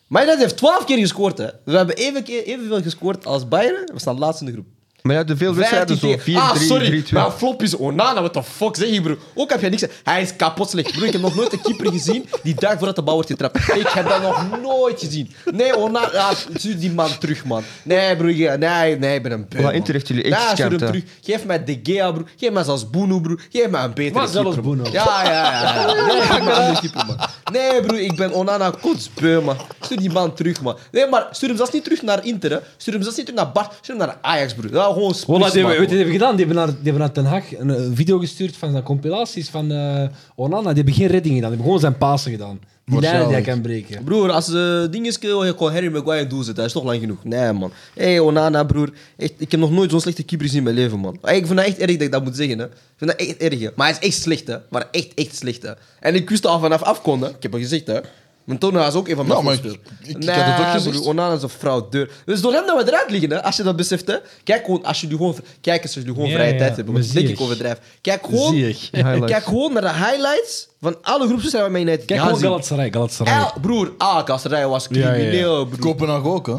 Maar United heeft 12 keer gescoord. Hè. We hebben even, evenveel gescoord als Bayern. We staan laatst in de groep. Maar ja, de veel wedstrijden zo. 4-3, 3-2. 15 ah, sorry. Mijn flop is Onana. What the fuck zeg je, bro? Ook heb je niks. Hij is kapot slecht. Bro, ik heb nog nooit een keeper gezien die dag voordat de bal wordt getrapt. Ik heb dat nog nooit gezien. Nee, Onana. Ah, stuur die man terug, man. Nee, broer. je- Nee, nee, ik ben een beu, Wat man. Inter heeft jullie echt Ja, stuur hem geschermd, hè. terug. Geef mij De Gea, broer. Geef mij zelfs Boeno, broer. Geef mij een betere Maar zelfs keeper, man. Boeno. Ja, ja, ja. ja. Nee, geef mij een andere keeper, man. Nee, broer. Ik ben Onana kotsbeu, man. Stuur die man terug, man. Nee, maar stuur hem zelfs niet terug naar Inter, hè. Stuur hem zelfs niet terug naar Bart. Stuur hem naar Ajax, broer. Ja, gewoon Voilà, spuus, die, hebben- man, weet je wat die hebben gedaan? Die hebben naar, die hebben naar Den Haag een eh, video gestuurd van de compilaties van eh, Onana. Die hebben geen redding gedaan. Die hebben gewoon zijn Pasen gedaan. Die lijnen die hij kan breken. Broer, als eh dingetje oh, je kon Harry Maguire doen zitten, dat is toch lang genoeg. Nee, man. Hé, hey, Onana, broer. Echt, ik heb nog nooit zo'n slechte keeper gezien in mijn leven, man. Hey, ik vind dat echt erg dat ik dat moet zeggen, hè. Ik vind dat echt erg, hè. Maar hij is echt slecht, hè. Maar echt, echt slecht, hè. En ik wist al vanaf afkonden. Ik heb al gezegd, hè. Mijn Tona is ook een van mijn Ja, maar ik- voorspelers. ik- ik had het ook Nee, gezegd. broer, Onana is een fraudeur. Dus door hem dat we eruit liggen, hè. Als je dat beseft, hè. Kijk, gewoon, als jullie gewoon, kijk eens als jullie gewoon Ja, vrije ja, tijd hebben. want maar denk zie ik ik. overdrijf. Kijk gewoon, kijk gewoon naar de highlights van alle groepen zijn waarmee je net Kijk Ja, gewoon zie. Galatasaray. Galatasaray. El, broer, ah, Kasserij was crimineel, broer. Kopenhagen ook, hè?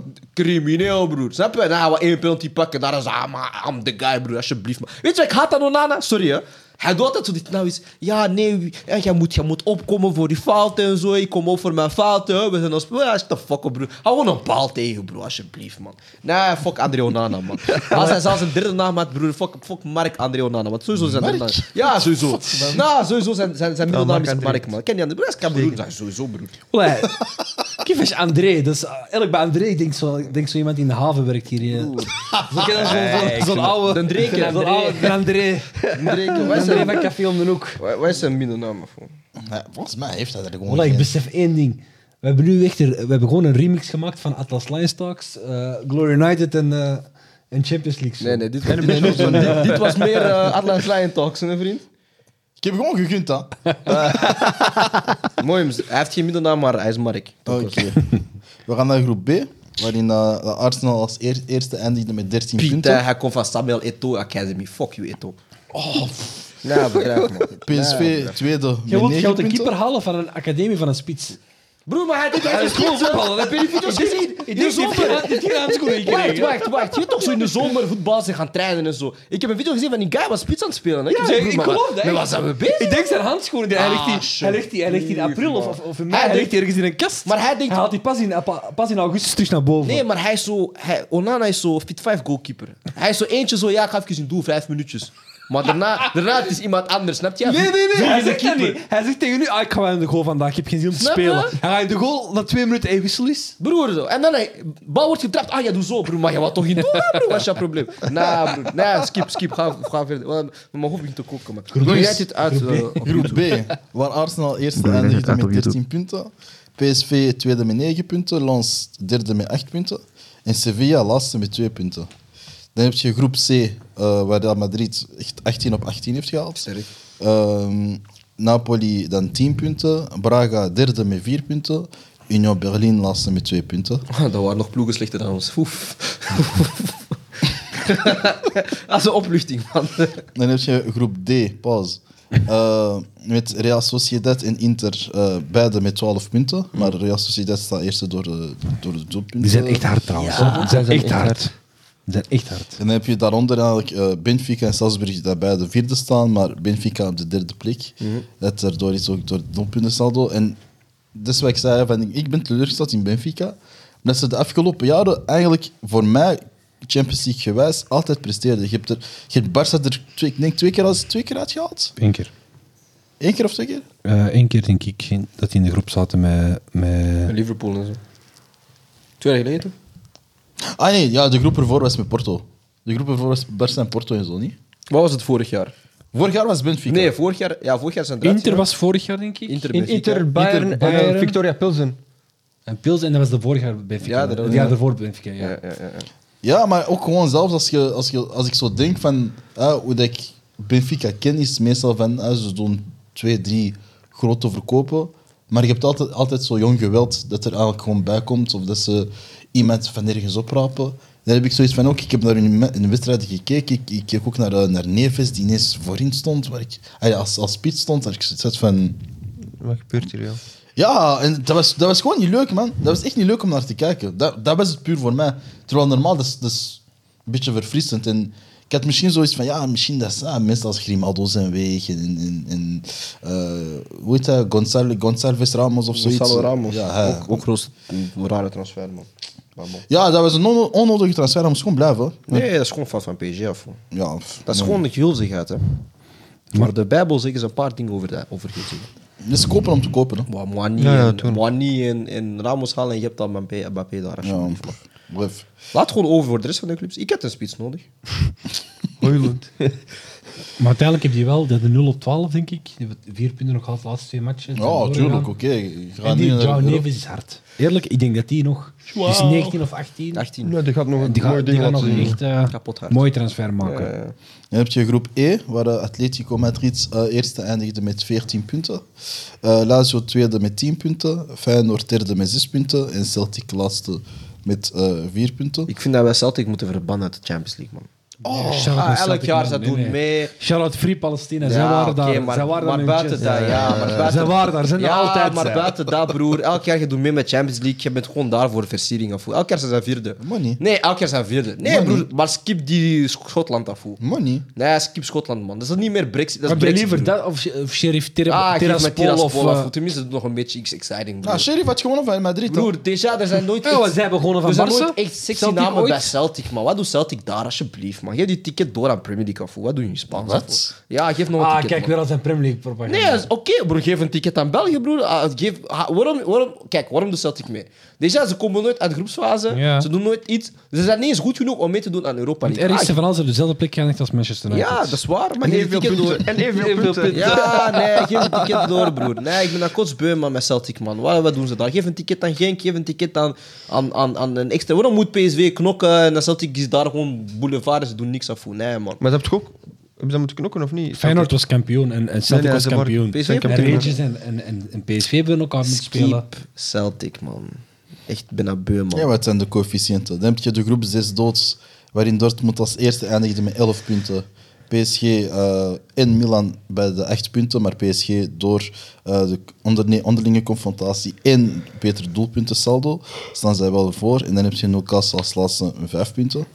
Crimineel, broer. Snap je? Nou, wat één penalty pakken, daar is ah, maar I'm the guy, broer, alsjeblieft. Man. Weet je wat ik haat aan Onana? Sorry, hè. Hij doet altijd zo dit nou is. Ja, nee, ja, jij, moet, jij moet opkomen voor die fouten en zo. Ik kom op voor mijn fouten. hè. We zijn als speler. Ja, shut the fuck op, broer. Hou gewoon een paal tegen, broer, alsjeblieft, man. Nee, fuck André Onana, man. Als hij zelfs een derde naam had, broer, fuck, fuck Mark André Onana. Want sowieso zijn naam. Ja, sowieso. Nou, sowieso zijn, zijn, zijn middelnaam is Marc-André. Mark, man. Ken je André? Broer, dat is Cameroen. Dat is Sowieso, broer. Olé. Kif is André. Dus eh, eigenlijk bij André denk ik zo, ik denk zo iemand die in de haven werkt hier. eh. Zo ken je zo'n- zo'n- zo'n oude. De Dreken, Zo'n André. oude- de André. Dreken, wij André zijn van Café om de Hoek. Wij, wij zijn minder namen voor. Nee, volgens mij heeft hij er gewoon Voilà, ik geen. besef één ding. We hebben nu echt er, we hebben gewoon een remix gemaakt van Atlas Lionstalks, eh Glory United en, eh, en Champions League. Nee, nee, dit was, dit, was- dit- dit was meer eh, Atlas Lion Talks, hè, vriend. Ik heb gewoon gegund, hè? Mooi, mens. hij heeft geen middelnaam, maar hij is Mark. Oké. We gaan naar groep B, waarin eh, Arsenal als eer- eerste eindigde met 13 Piet, punten. eh, hij komt van Samuel Eto'o Ah, Academy. Fuck you, Eto'o. Oh. Nee, begrijp me. PSV tweede Je met wilt, je 9 wilt een keeper punten. halen van een academie van een spits. Broer, maar hij deed hij is gewoon voetballen. Heb je die video's gezien? In de zomer. Wacht, wacht, wacht. Je weet toch zo in de zomer voetbal, ze gaan trainen en zo. Ik heb een video gezien van die guy was spits aan het spelen. hè. Ik heb gezegd, broer, maar wat- maar wat zijn we bezig? Ik denk zijn handschoenen. die- Hij ligt die- hij ligt die- hij ligt die in april of, of, of in mei. Hij ligt die ergens in een kast. Maar hij denkt- haalt die pas in, apa- pas in augustus terug naar boven. Nee, maar hij is zo... Hij, Onana is zo fit 5 goalkeeper. Hij is zo eentje zo... Ja, ik ga even een doel, vijf minuutjes. Maar daarna, daarna het is iemand anders, snap je? Nee, nee, nee, Vroeger Hij is een zegt, dat keeper. niet. hij zegt tegen u, ah, ik ga wel in de goal vandaag, ik heb geen zin om te Snap je? spelen. Hij gaat in de goal, na twee minuten hij wissel is. Broer, zo. En dan hij... Bal wordt getrapt. Ah, ja, doe zo, broer. Maar je wat toch niet doen, hè, broer? Wat is jouw probleem? Nee, broer. Nee, skip, skip. Ga, ga verder. Want Mijn hoofd begint te koken, man. Broer, jij dit uit... eh, op Groep B, waar Arsenal eerste eindigde met 13 punten. PSV tweede met 9 punten. Lens derde met 8 punten. En Sevilla laatste met 2 punten. Dan heb je groep C, eh, waar Real Madrid echt 18 op 18 heeft gehaald. Sterk. Ehm, Napoli dan 10 punten. Braga derde met 4 punten. Union Berlin laatste met 2 punten. Ah, dat waren nog ploegen slechter dan ons. Oef. Dat is een opluchting, man. Dan heb je groep D, pauze. Eh, met Real Sociedad en Inter, eh, beide met 12 punten. Maar Real Sociedad staat eerste door de, door de doelpunten. Die zijn echt hard trouwens. Die zijn echt hard. Die zijn echt hard. En dan heb je daaronder eigenlijk eh, Benfica en Salzburg, die beide vierde staan. Maar Benfica op de derde plek. Dat daardoor is ook door het doelpuntensaldo. En dat is wat ik zei, van, ik ben teleurgesteld in Benfica. Omdat ze de afgelopen jaren eigenlijk voor mij Champions League gewijs altijd presteerde. Je hebt, er, je hebt Barca er twee, ik denk twee keer, als, twee keer uitgehaald. Eén keer. Eén keer of twee keer? Eén keer denk ik in- dat die in de groep zaten met... met Liverpool en zo. Twee jaar geleden? Ah nee, ja, de groep ervoor was met Porto. De groep ervoor was Barca en Porto en zo, niet? Wat was het vorig jaar? Vorig jaar was Benfica. Nee, vorig jaar, ja, vorig jaar zijn het Inter eruit, was vorig jaar, denk ik. Inter, In Benfica. Inter, Bayern, Inter, en eh, Bayern. Victoria Pilsen. En Pils, en dat was de vorig jaar Benfica. Ja, Ja, dat- het jaar daarvoor Benfica, ja. Ja, ja, ja, ja. Ja, maar ook gewoon zelfs als, je, als, je, als ik zo denk van ah, hoe dat ik Benfica ken, is meestal van ah, ze doen twee, drie grote verkopen. Maar je hebt altijd, altijd zo jong geweld dat er eigenlijk gewoon bij komt of dat ze iemand van nergens oprapen. Dan heb ik zoiets van ook, ik heb naar een, me- een wedstrijd gekeken. Ik, ik keek ook naar, eh, naar Neves die ineens voorin stond, waar ik, ah ja, als, als spits stond, waar ik zoiets had van. Wat gebeurt hier, joh? Ja, en dat was, dat was gewoon niet leuk, man. Dat was echt niet leuk om naar te kijken. Dat, dat was het puur voor mij. Terwijl normaal, dat is, dat is een beetje verfrissend. En ik had misschien zoiets van, ja, misschien dat ah, mensen als Grimaldo zijn weg. En, en, en eh, hoe heet dat? Gonzalo, Gonzalves Ramos of zoiets. Gonzalo Ramos. Ja, hij- Ook, ook roos- een rare transfer, man. Maar bon. ja, dat was een onno- onnodige transfer. Hij moest gewoon blijven. hoor. Nee, dat is gewoon fout van PSG af. hoor. Ja, pff, Dat is nee. gewoon de gulzigheid, hè. Maar de Bijbel zeggen ze een paar dingen over, dat, over gulzigheid. Dat is kopen om te kopen. Hè. Wa- Moani Ja, ja, en, toen. Moani en, en Ramos halen en je hebt dan Mbappé, Mbappé daar. Ja, alsjeblieft, man. pff, bref. Laat gewoon over voor de rest van de clubs. Ik heb een spits nodig. Hoylund. Maar uiteindelijk heb je wel de, de 0 op 12, denk ik. Die hebben vier punten nog gehad de laatste twee matchen. Zijn Ja, doorgegaan. tuurlijk, oké. Je gaat En die niet naar João Europa. Neves is hard. Eerlijk, ik denk dat die nog... Die is 19 of 18. 18. Nou, die gaat nog een Die mooi gaat, die ding gaat nog laten een zien. echt eh, Kapot hard. mooi transfer maken. Eh, Dan heb je groep E, waar eh, Atletico Madrid eh, eerste eindigde met 14 punten. Eh, Lazio tweede met 10 punten. Feyenoord derde met 6 punten. En Celtic laatste met eh 4 punten. ik vind dat wij Celtic moeten verbannen uit de Champions League, man. Oh, Ah, elk jaar, ze doen mee. Charlotte Free Palestina, Ja, zij waren oké, daar. maar, zij waren maar daar met buiten dat, Manchester. ja. Maar buiten, Zij waren daar, zijn er ja, altijd. maar zij. buiten dat, broer. Elk jaar je doet mee met Champions League, je bent gewoon daar voor versiering af. Elk jaar zijn ze vierde. Maar niet. Nee, elk jaar zijn ze vierde. Nee, Maar broer, niet. maar skip die Sch- Schotland af. hoe. Money. Nee, skip Schotland, man. Dat is niet meer Brexit. Dat is Heb je Brexit, liever broer. dat of, of Sheriff Tir- Ah, geef me Tiraspol of... Tiraspol af. eh, Ah, hoe. Tenminste, dat is nog een beetje iets exciting, broer. Nou, Sheriff had gewonnen van Madrid. hè? broer, déjà, er zijn nooit... Ja, want zij hebben gewonnen van er zijn Barca. nooit echt sexy Celtic namen ooit? bij Celtic, man. Wat doet Celtic daar, alsjeblieft, man? Geef die ticket door aan Premier League af. hoe. Wat doen jullie Spaans? Wat? af, hoe? Ja, geef nog een Ah, ticket, kijk, man. weer al zijn Premier League propaganda. Nee, dat is oké, broer. Geef een ticket aan België, broer. Ah, geef, ha- waarom, waarom, kijk, waarom doet Celtic mee? Déjà, ze komen nooit uit de groepsfase. Ja. Ze doen nooit iets. Ze zijn niet eens goed genoeg om mee te doen aan Europa het League. ergste Ah, van alles op dezelfde plek geëindigd als Manchester United. ja, dat is waar, maar En geef een evenveel ticket door. punten. En evenveel punten. Ja, nee, geef een ticket door, broer. Nee, ik ben dat kotsbeu, man, met Celtic, man. Wat, wat doen ze daar? Geef een ticket aan Genk, geef een ticket aan, aan, aan, aan een extra... Waarom moet PSV knokken en dan Celtic is daar gewoon boulevard, ze doen niks af voor. Nee, man. Maar ze hebben het ook... Hebben ze dat moeten knokken of niet? Feyenoord was kampioen en, en Celtic Nee, nee, was ze waren- kampioen. PSV en kampioen. Rangers en, en, en, en PSV hebben elkaar moeten spelen. Keep Celtic, man. Echt, ik ben dat beu, man. Ja, wat zijn de coëfficiënten? Dan heb je de groep 6 doods, waarin Dortmund als eerste eindigde met 11 punten. PSG eh, en Milan bij de 8 punten, maar PSG door eh, de onderne- onderlinge confrontatie en beter doelpuntensaldo staan zij wel voor. En dan heb je Newcastle als laatste 5 punten.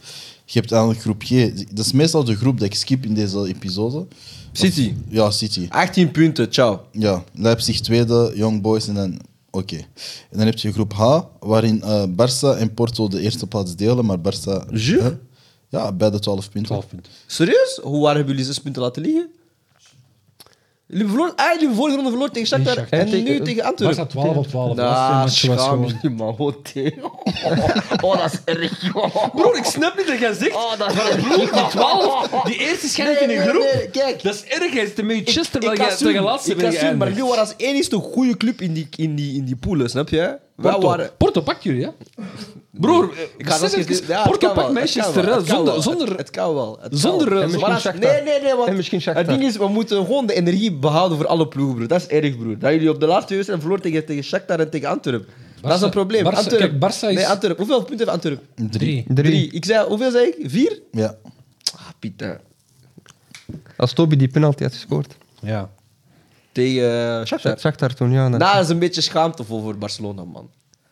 Je hebt eigenlijk groep G. Dat is meestal de groep dat ik skip in deze episode. City. Ja, City. 18 punten, ciao. Ja, Leipzig tweede, Young Boys en dan... Oké. En dan heb je groep H, waarin eh Barça en Porto de eerste plaats delen, maar Barça... Je? Hè? Ja, bij de 12 punten. Serieus? Hoe waar hebben jullie zes punten laten liggen? Jullie verloren, ah, jullie hebben vorige ronde verloren tegen Shakhtar, Tegen en Shakhtar. nu tegen Was Antwerpen. dat 12 op 12? Nah, Dat was een match was schaam gewoon... jullie, man. Oh, tee. oh, dat is erg, joh. Broer, ik snap niet dat jij zegt. Oh, dat is erg. Die 12, die eerste schijnt in een groep. kijk. Dat is erg, hij is te Manchester. ik dat jij- dat assume, jij laatste ik bent assume, maar geëindigd. jullie waren als enigste goede club in die, in die, in die poelen, snap je? Wij Porto, waren... Porto pakt jullie, hè? Broer, eh, Ik ga zeg dat eens- even, ja, het Porto kan wel, pakt het kan Manchester, wel, hè, het kan zonder, wel, zonder, Het, het kan wel. het kan zonder, eh, wel. Maar misschien als- Nee, Shakhtar. nee, nee. Want En misschien Shakhtar. het ding is, we moeten gewoon de energie behouden voor alle ploegen, broer. Dat is erg, broer. Dat jullie op de laatste wedstrijd verloren tegen, tegen Shakhtar en tegen Antwerpen. dat is een probleem. Barca- Antwerpen. kijk, Barca is- Nee, Antwerpen. Hoeveel punten heeft Antwerpen? Drie. Drie. Ik zei, hoeveel zei ik? Vier? Ja. Ah, Pieter. Als Toby die penalty had gescoord. Ja. Tegen eh, Shakhtar. Zag daar toen, ja. Nou, dat is een beetje schaamtevol voor Barcelona, man.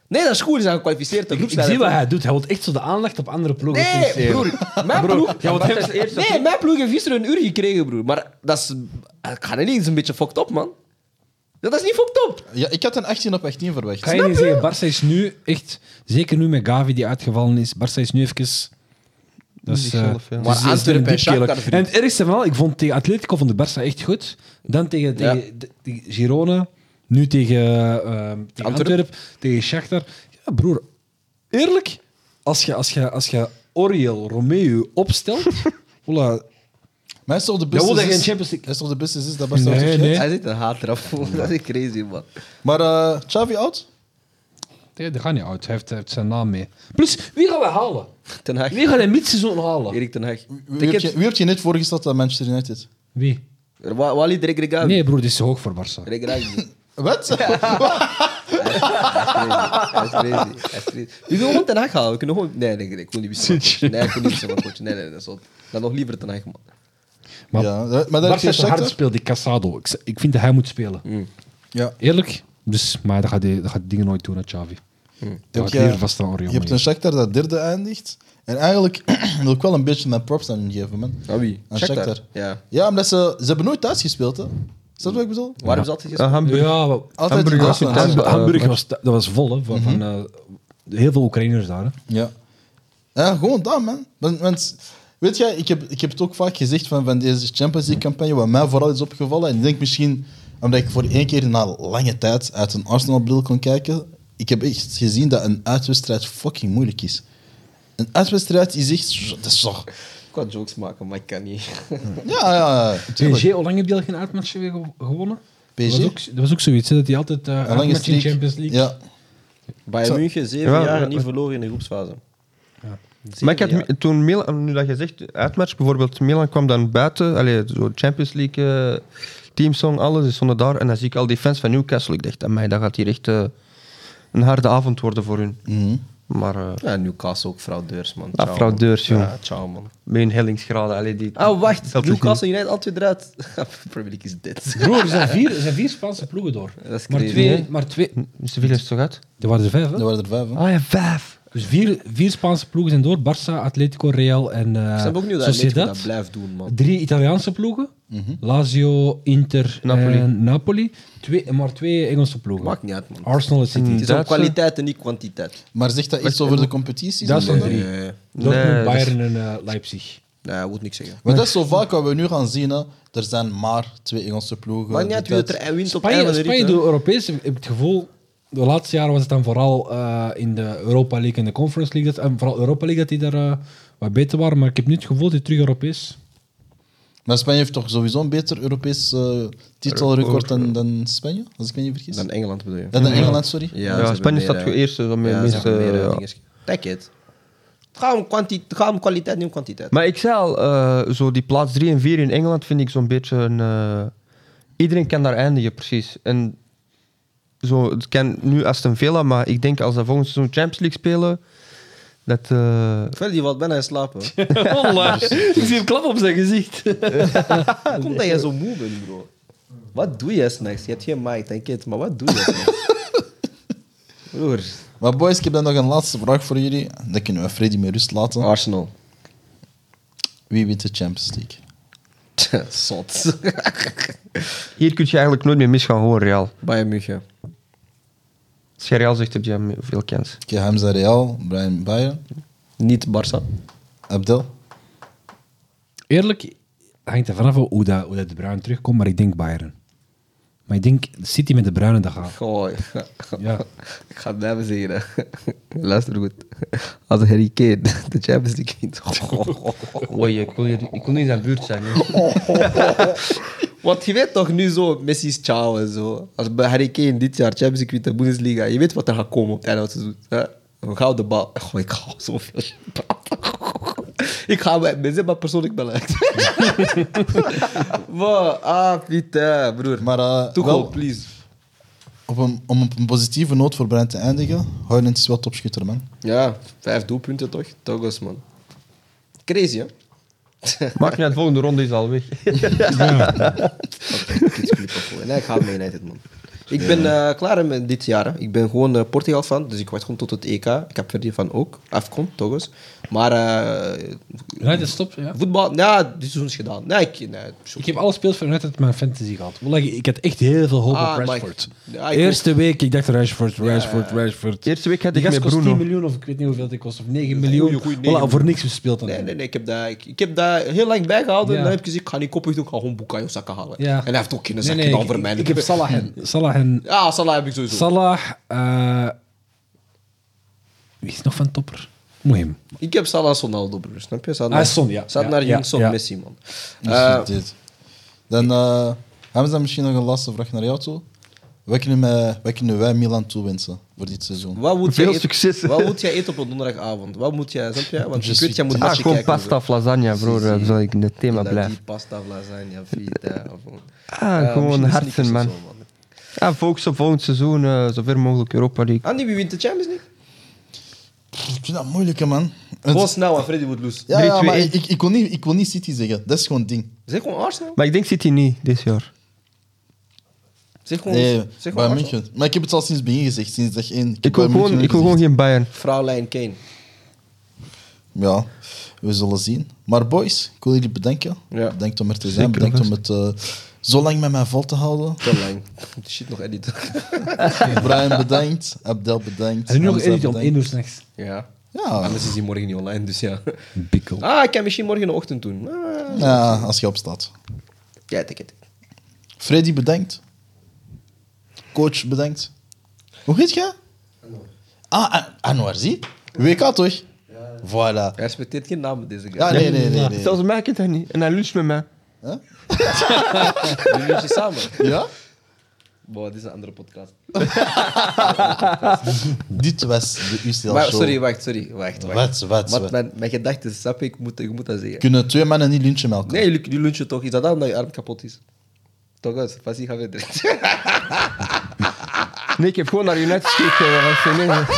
Nee, dat is goed. Ze zijn gekwalificeerd. de Ik, groepsleider. zie wat hij doet. Hij wil echt zo de aandacht op andere ploegen. Nee, broer. Mijn ploeg... nee, mijn ploeg heeft gisteren een uur gekregen, broer. Maar dat is... Ik ga niet, dat is een beetje fucked up, man. Dat is niet fucked up. ja, ik had een 18 op 18 verwacht. Kan je niet zeggen, Barça is nu echt, zeker nu met Gavi die uitgevallen is, Barça is nu even Dat is, eh, Zichzelf, ja. dus dat Maar is Antwerpen een en diepje Shakhtar laag. verdienen. En het ergste van al, ik vond tegen Atletico van de Barça echt goed. Dan tegen, tegen, de- tegen Girona, nu tegen, eh, ehm, tegen Antwerpen, tegen Shakhtar. Ja, broer, eerlijk, als je, als je, als je Oriel Romeo opstelt, voilà, Maar is toch de wil beste dat je zes- een Champions League- is toch de beste zes dat Barca Nee, heeft nee. gegeven? Hij zit een haat eraf voor. Dat is crazy, man. Maar eh Xavi oud? ja, dat gaat niet uit. Hij heeft, hij heeft zijn naam mee. Plus, wie gaan we halen? Ten Hag. Wie gaan we midseizoen halen? Erik Ten Hag. Wie heb, Ticket. je, wie heb je net voorgesteld aan Manchester United? Wie? Wa- Walid Regrega. Nee, broer, dit is te hoog voor Barça. Regrega. Wat? Hij is crazy. Hij is crazy. Wie wil gewoon Ten Hag halen? We kunnen gewoon... Nee, nee, nee. Ik wil niet wisselen. van coach. Nee, ik wil niet wisselen van coach. Nee, nee, nee. Dat is wel- Dan nog liever Ten Hag, man. Maar- ja, dat- maar dat heb Barca je is te hard Shakhtar. gespeeld. Speel die Casado. Ik, z- ik vind dat hij moet spelen. Ja. Eerlijk. Dus, maar dat gaat, die, dat gaat die dingen nooit doen, hè, Xavi. Dat gaat Heb je- hier vast aan Oriol. Je hebt een Shakhtar dat derde eindigt. En eigenlijk wil ik wel een beetje mijn props aan hun geven, man. Ah, wie? Aan Shakhtar. Ja. Ja, omdat ze... Ze hebben nooit thuis gespeeld, hè. Is dat wat ik bedoel? Waarom zat hij Eh, gisteren? Hamburg. Ja, maar Altijd Hamburg Hamburg. was het, hè? Hamburg, Eh, Hamburg was, dat was vol, hè, van, van, eh, heel veel Oekraïners daar. Hè. Ja. Ja, gewoon dat, man. Want, want weet jij, ik heb, ik heb het ook vaak gezegd van, van deze Champions League-campagne, wat mij vooral is opgevallen. En ik denk misschien omdat ik voor één keer na lange tijd uit een Arsenal-bril kon kijken. Ik heb echt gezien dat een uitwedstrijd fucking moeilijk is. Een uitwedstrijd is echt. Dat is toch. Ik kan jokes maken, maar ik kan niet. Ja, ja, ja. tuurlijk. PSG, hoe lang heb je al geen uitmatch weer gew- gewonnen? PSG? Dat, was ook, dat was ook zoiets, hè, dat hij altijd eh Een lange uitmatch in streak. Champions League. Ja. Bayern Zo. München, zeven Ja, jaar maar- niet verloren in de groepsfase. Zeven Maar ik had jaar. mi- toen Milan, nu dat je zegt, uitmatch bijvoorbeeld, Milan kwam dan buiten, allee, zo Champions League eh, teamsong, alles, die stonden daar. En dan zie ik al die fans van Newcastle. Ik dacht, mij, dat gaat hier echt eh, een harde avond worden voor hun. Mhm. Maar eh Ja, Newcastle ook fraudeurs, man. Ah, Ciao, fraudeurs, man. jong. Ja, ciao, man. met hun hellingsgraden, allee, die... Ah, wacht. Celtic Newcastle United altijd eruit. Premier League is dit. Broer, er zijn vier, er zijn vier Spaanse ploegen door. Dat is maar, crazy, twee, hè? maar twee, niet. Zoveel is het toch uit? Er waren er vijf, hè? Er waren er vijf. Hè? Ah ja, vijf. Dus vier, vier Spaanse ploegen zijn door. Barça, Atletico, Real en eh Ze hebben ook nu dat Atletico Sociedad. dat blijft doen, man. Drie Italiaanse ploegen. Lazio, Inter Napoli. en Napoli. Twee, maar twee Engelse ploegen. Maakt niet uit, Hmm. man. Arsenal en City. het is om Ah, Duitse- kwaliteit en niet kwantiteit. Maar zegt dat iets over de competitie? Dat is Nee. een drie. Nee, Dortmund, Nee, dat is- Bayern en eh, Leipzig. nee, nou, ik moet niks zeggen. Maar dat is zo vaak wat we nu gaan zien. Hè. Er zijn maar twee Engelse ploegen. Maakt niet uit wie Dit, dat er wint op Spanje, einde van de Spanje rit, door hè. Europees, ik heb het gevoel... De laatste jaren was het dan vooral eh, in de Europa League en de Conference League. Dat, en vooral Europa League dat die daar eh, wat beter waren. Maar ik heb nu het gevoel dat die terug Europees... Maar Spanje heeft toch sowieso een beter Europees eh, titelrecord dan, dan Spanje, als ik me niet vergis? Dan Dan, Engeland bedoel je? dan Engeland, sorry. Ja, ze hebben Spanje meer, staat eh, voor eerst, zo met Ja, ze minst, hebben meer, eh, eh, ja. dinges. Kijk het. Het gaat om, kwanti- het gaat om kwaliteit, niet om kwantiteit. Maar ik zei al, eh, zo die plaats 3 en 4 in Engeland vind ik zo'n beetje een. eh, iedereen kan daar eindigen, precies. En zo, het kan nu Aston Villa, maar ik denk als ze volgend seizoen Champions League spelen, dat. eh, Verder, die valt bijna in slaap. hè. dus- Ik zie een klap op zijn gezicht. Hoe komt dat jij zo moe bent, bro? Wat doe je s'nachts? Je hebt geen mic, denk het, maar wat doe je s'nachts? Broer. Maar boys, ik heb dan nog een laatste vraag voor jullie. Dan kunnen we Freddy met rust laten. Arsenal. Wie wint de Champions League? Zot. hier kun je eigenlijk nooit meer misgaan hoor, Real. Bayern München. Als je Real zegt, heb je veel kans. Oké, Hamza Real, Brian Bayer, Niet Barça. Abdel. Eerlijk, het hangt er vanaf hoe, dat, hoe dat de Bruin terugkomt, maar ik denk Bayern. Maar ik denk City met de Bruinen, dat gaat. Goh. Ja. Ik ga het blijven zeggen. hè. Luister goed. Als Harry Kane de Champions League wint. Oh, Oei, ik wil, hier, ik wil niet in zijn buurt zijn. Want je weet toch nu zo, Messi's ciao en zo. Als bij Harry Kane dit jaar Champions League wint de Bundesliga, je weet wat er gaat komen op het einde van het seizoen. hè? Een gouden bal. Goh, ik ga zoveel shit praten. Ik ga met mensen maar persoonlijk bellen. maar, ah, putain, broer. Maar eh, Tuchel, wel, please. op een, om op een positieve noot voor Brian te eindigen, Hoylund is wel topschutter, man. Ja, vijf doelpunten toch? Togos, man. Crazy, hè? Maakt niet uit, volgende ronde is al weg. Kids people. Nee, ik haat Man United, man. Ik ben eh, klaar hè, met dit jaar. hè. Ik ben gewoon eh, Portugal fan, dus ik wacht gewoon tot het EK. Ik heb verder van ook, afkom, toch eens. Maar eh, Ja, dat stopt. Ja. voetbal, ja, dit seizoen is gedaan. Nee, ik, nee, zo. Ik heb alle speels vanuit uit mijn fantasy gehad. Wallah, Ik had echt heel veel hoop Ah, op Mike. Rashford. Ja, ik Eerste week, ik dacht Rashford, Rashford, Rashford. De eerste week had Die ik gast met kost 10 Bruno. miljoen of ik weet niet hoeveel het kost. Of 9 miljoen. Wallah, voor niks gespeeld. aan Nee, hem. nee, nee. Ik heb dat, ik, ik heb dat heel lang bijgehouden. Ja. En dan heb ik gezien, ik ga niet koppig doen, ik ga gewoon Bukayo Saka halen. Ja. En hij heeft ook geen Nee, zak nee, gedaan ik- voor mij. Dus- Ik heb Salah en... Salah en... Ja, Salah heb ik sowieso. Salah... eh, Wie is nog van topper? Moeim. ik heb Salah als Ronaldo, broer. Snap je? Zat Ah, Son, ja. Zat Ja, naar ja, Jong Son, ja. Messi, man. Dus Eh, dit. Dan eh, hebben ze misschien nog een laatste vraag naar jou toe. Wat kunnen, wij, wat kunnen wij Milan toewensen voor dit seizoen? wat moet Veel jij eten- succes. Wat moet jij eten op een donderdagavond? Wat moet jij, snap je? Want Je je weet, suis jij moet Ah, matchen gewoon kijken, pasta of lasagne, broer. Dan zal ik in het broer. thema Dat blijven. Die pasta, of lasagne, fita. of- Ah, Eh, gewoon misschien een harten, sneakers man. of zo, Ja, focus op volgend seizoen, eh zover mogelijk Europa League. Andy, Ah, wie wint de Champions League? Ik vind dat moeilijk, hè, man. Het- Gewoon snel, want Freddy wordt loose. ja, Drie, ja, twee, maar één. ik, ik, ik wil niet, ik wil niet City zeggen. Dat is gewoon het ding. Zeg gewoon Arsenal. Maar ik denk City niet dit jaar. Zeg gewoon, Nee, zeg bij gewoon Arsenal. München. Maar ik heb het al sinds het begin gezegd, sinds dag één. heb Ik wil Bayern gewoon, München ik wil gewoon gezegd. geen Bayern. Fraulein Kane. Ja, we zullen zien. Maar boys, ik wil jullie bedanken. Ja. Bedankt om er te zijn. bedankt om het eh, zo lang met mij vol te houden. Te lang. Shit, nog editen. Brian, bedankt. Abdel, bedankt. Er is nog Hamza, eentje om bedankt. 1 uur s'nachts. Ja. Ja. Anders is hij morgen niet online, dus ja. Bikkel. Ah, ik kan misschien morgen in de ochtend doen. Ah, ja, als je opstaat. ja, tik het. Freddy, bedankt. Coach, bedankt. Hoe heet je? Ah, An- Anwar, zie. WK toch? Voilà. Hij respecteert geen namen, deze guy. Ja, nee, nee, nee. nee. Zelfs mij kent hij niet. En hij luncht met mij. Jullie zijn samen. Ja? Boah, dit is een andere podcast. Dit was de UCL Maar, show. sorry, wacht, sorry. Wacht, wacht. Wat, wat, Want wat? Mijn, mijn gedachten, snap je? Ik moet, ik moet dat zeggen. Kunnen twee mannen niet lunchen met elkaar? Nee, jullie, jullie lunchen toch? Is dat dan omdat je arm kapot is? Toch eens, Fassie, ga verder. Ah, Nee, ik heb gewoon naar United gekeken. dat was geen enkel.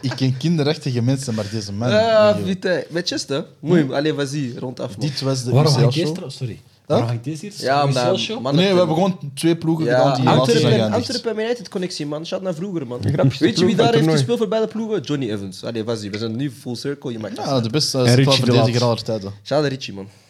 Ik ken kinderachtige mensen, maar deze man... Ah, joh. Hm? vite. Met Chester? Moeim, allez, vas-y, rondaf. man. dit was de Waarom UCL hangt deze show. trouw- Sorry. Waarom hangt deze hier? Ja, Een maar- show? maar- Nee, we hebben gewoon twee ploegen Ja, gedaan die laatst zijn Antwerpen, geëindigd. Antwerpen en United connectie, man. Shout naar vroeger, man. grapje, Weet je ploeg wie van daar heeft toernooi. gespeeld voor beide ploegen? Johnny Evans. Allee, was die. We zijn nu full circle. Je maakt Ja, de beste Richie de centrale verdediger Laat. aller tijden. Shout naar Richie, man.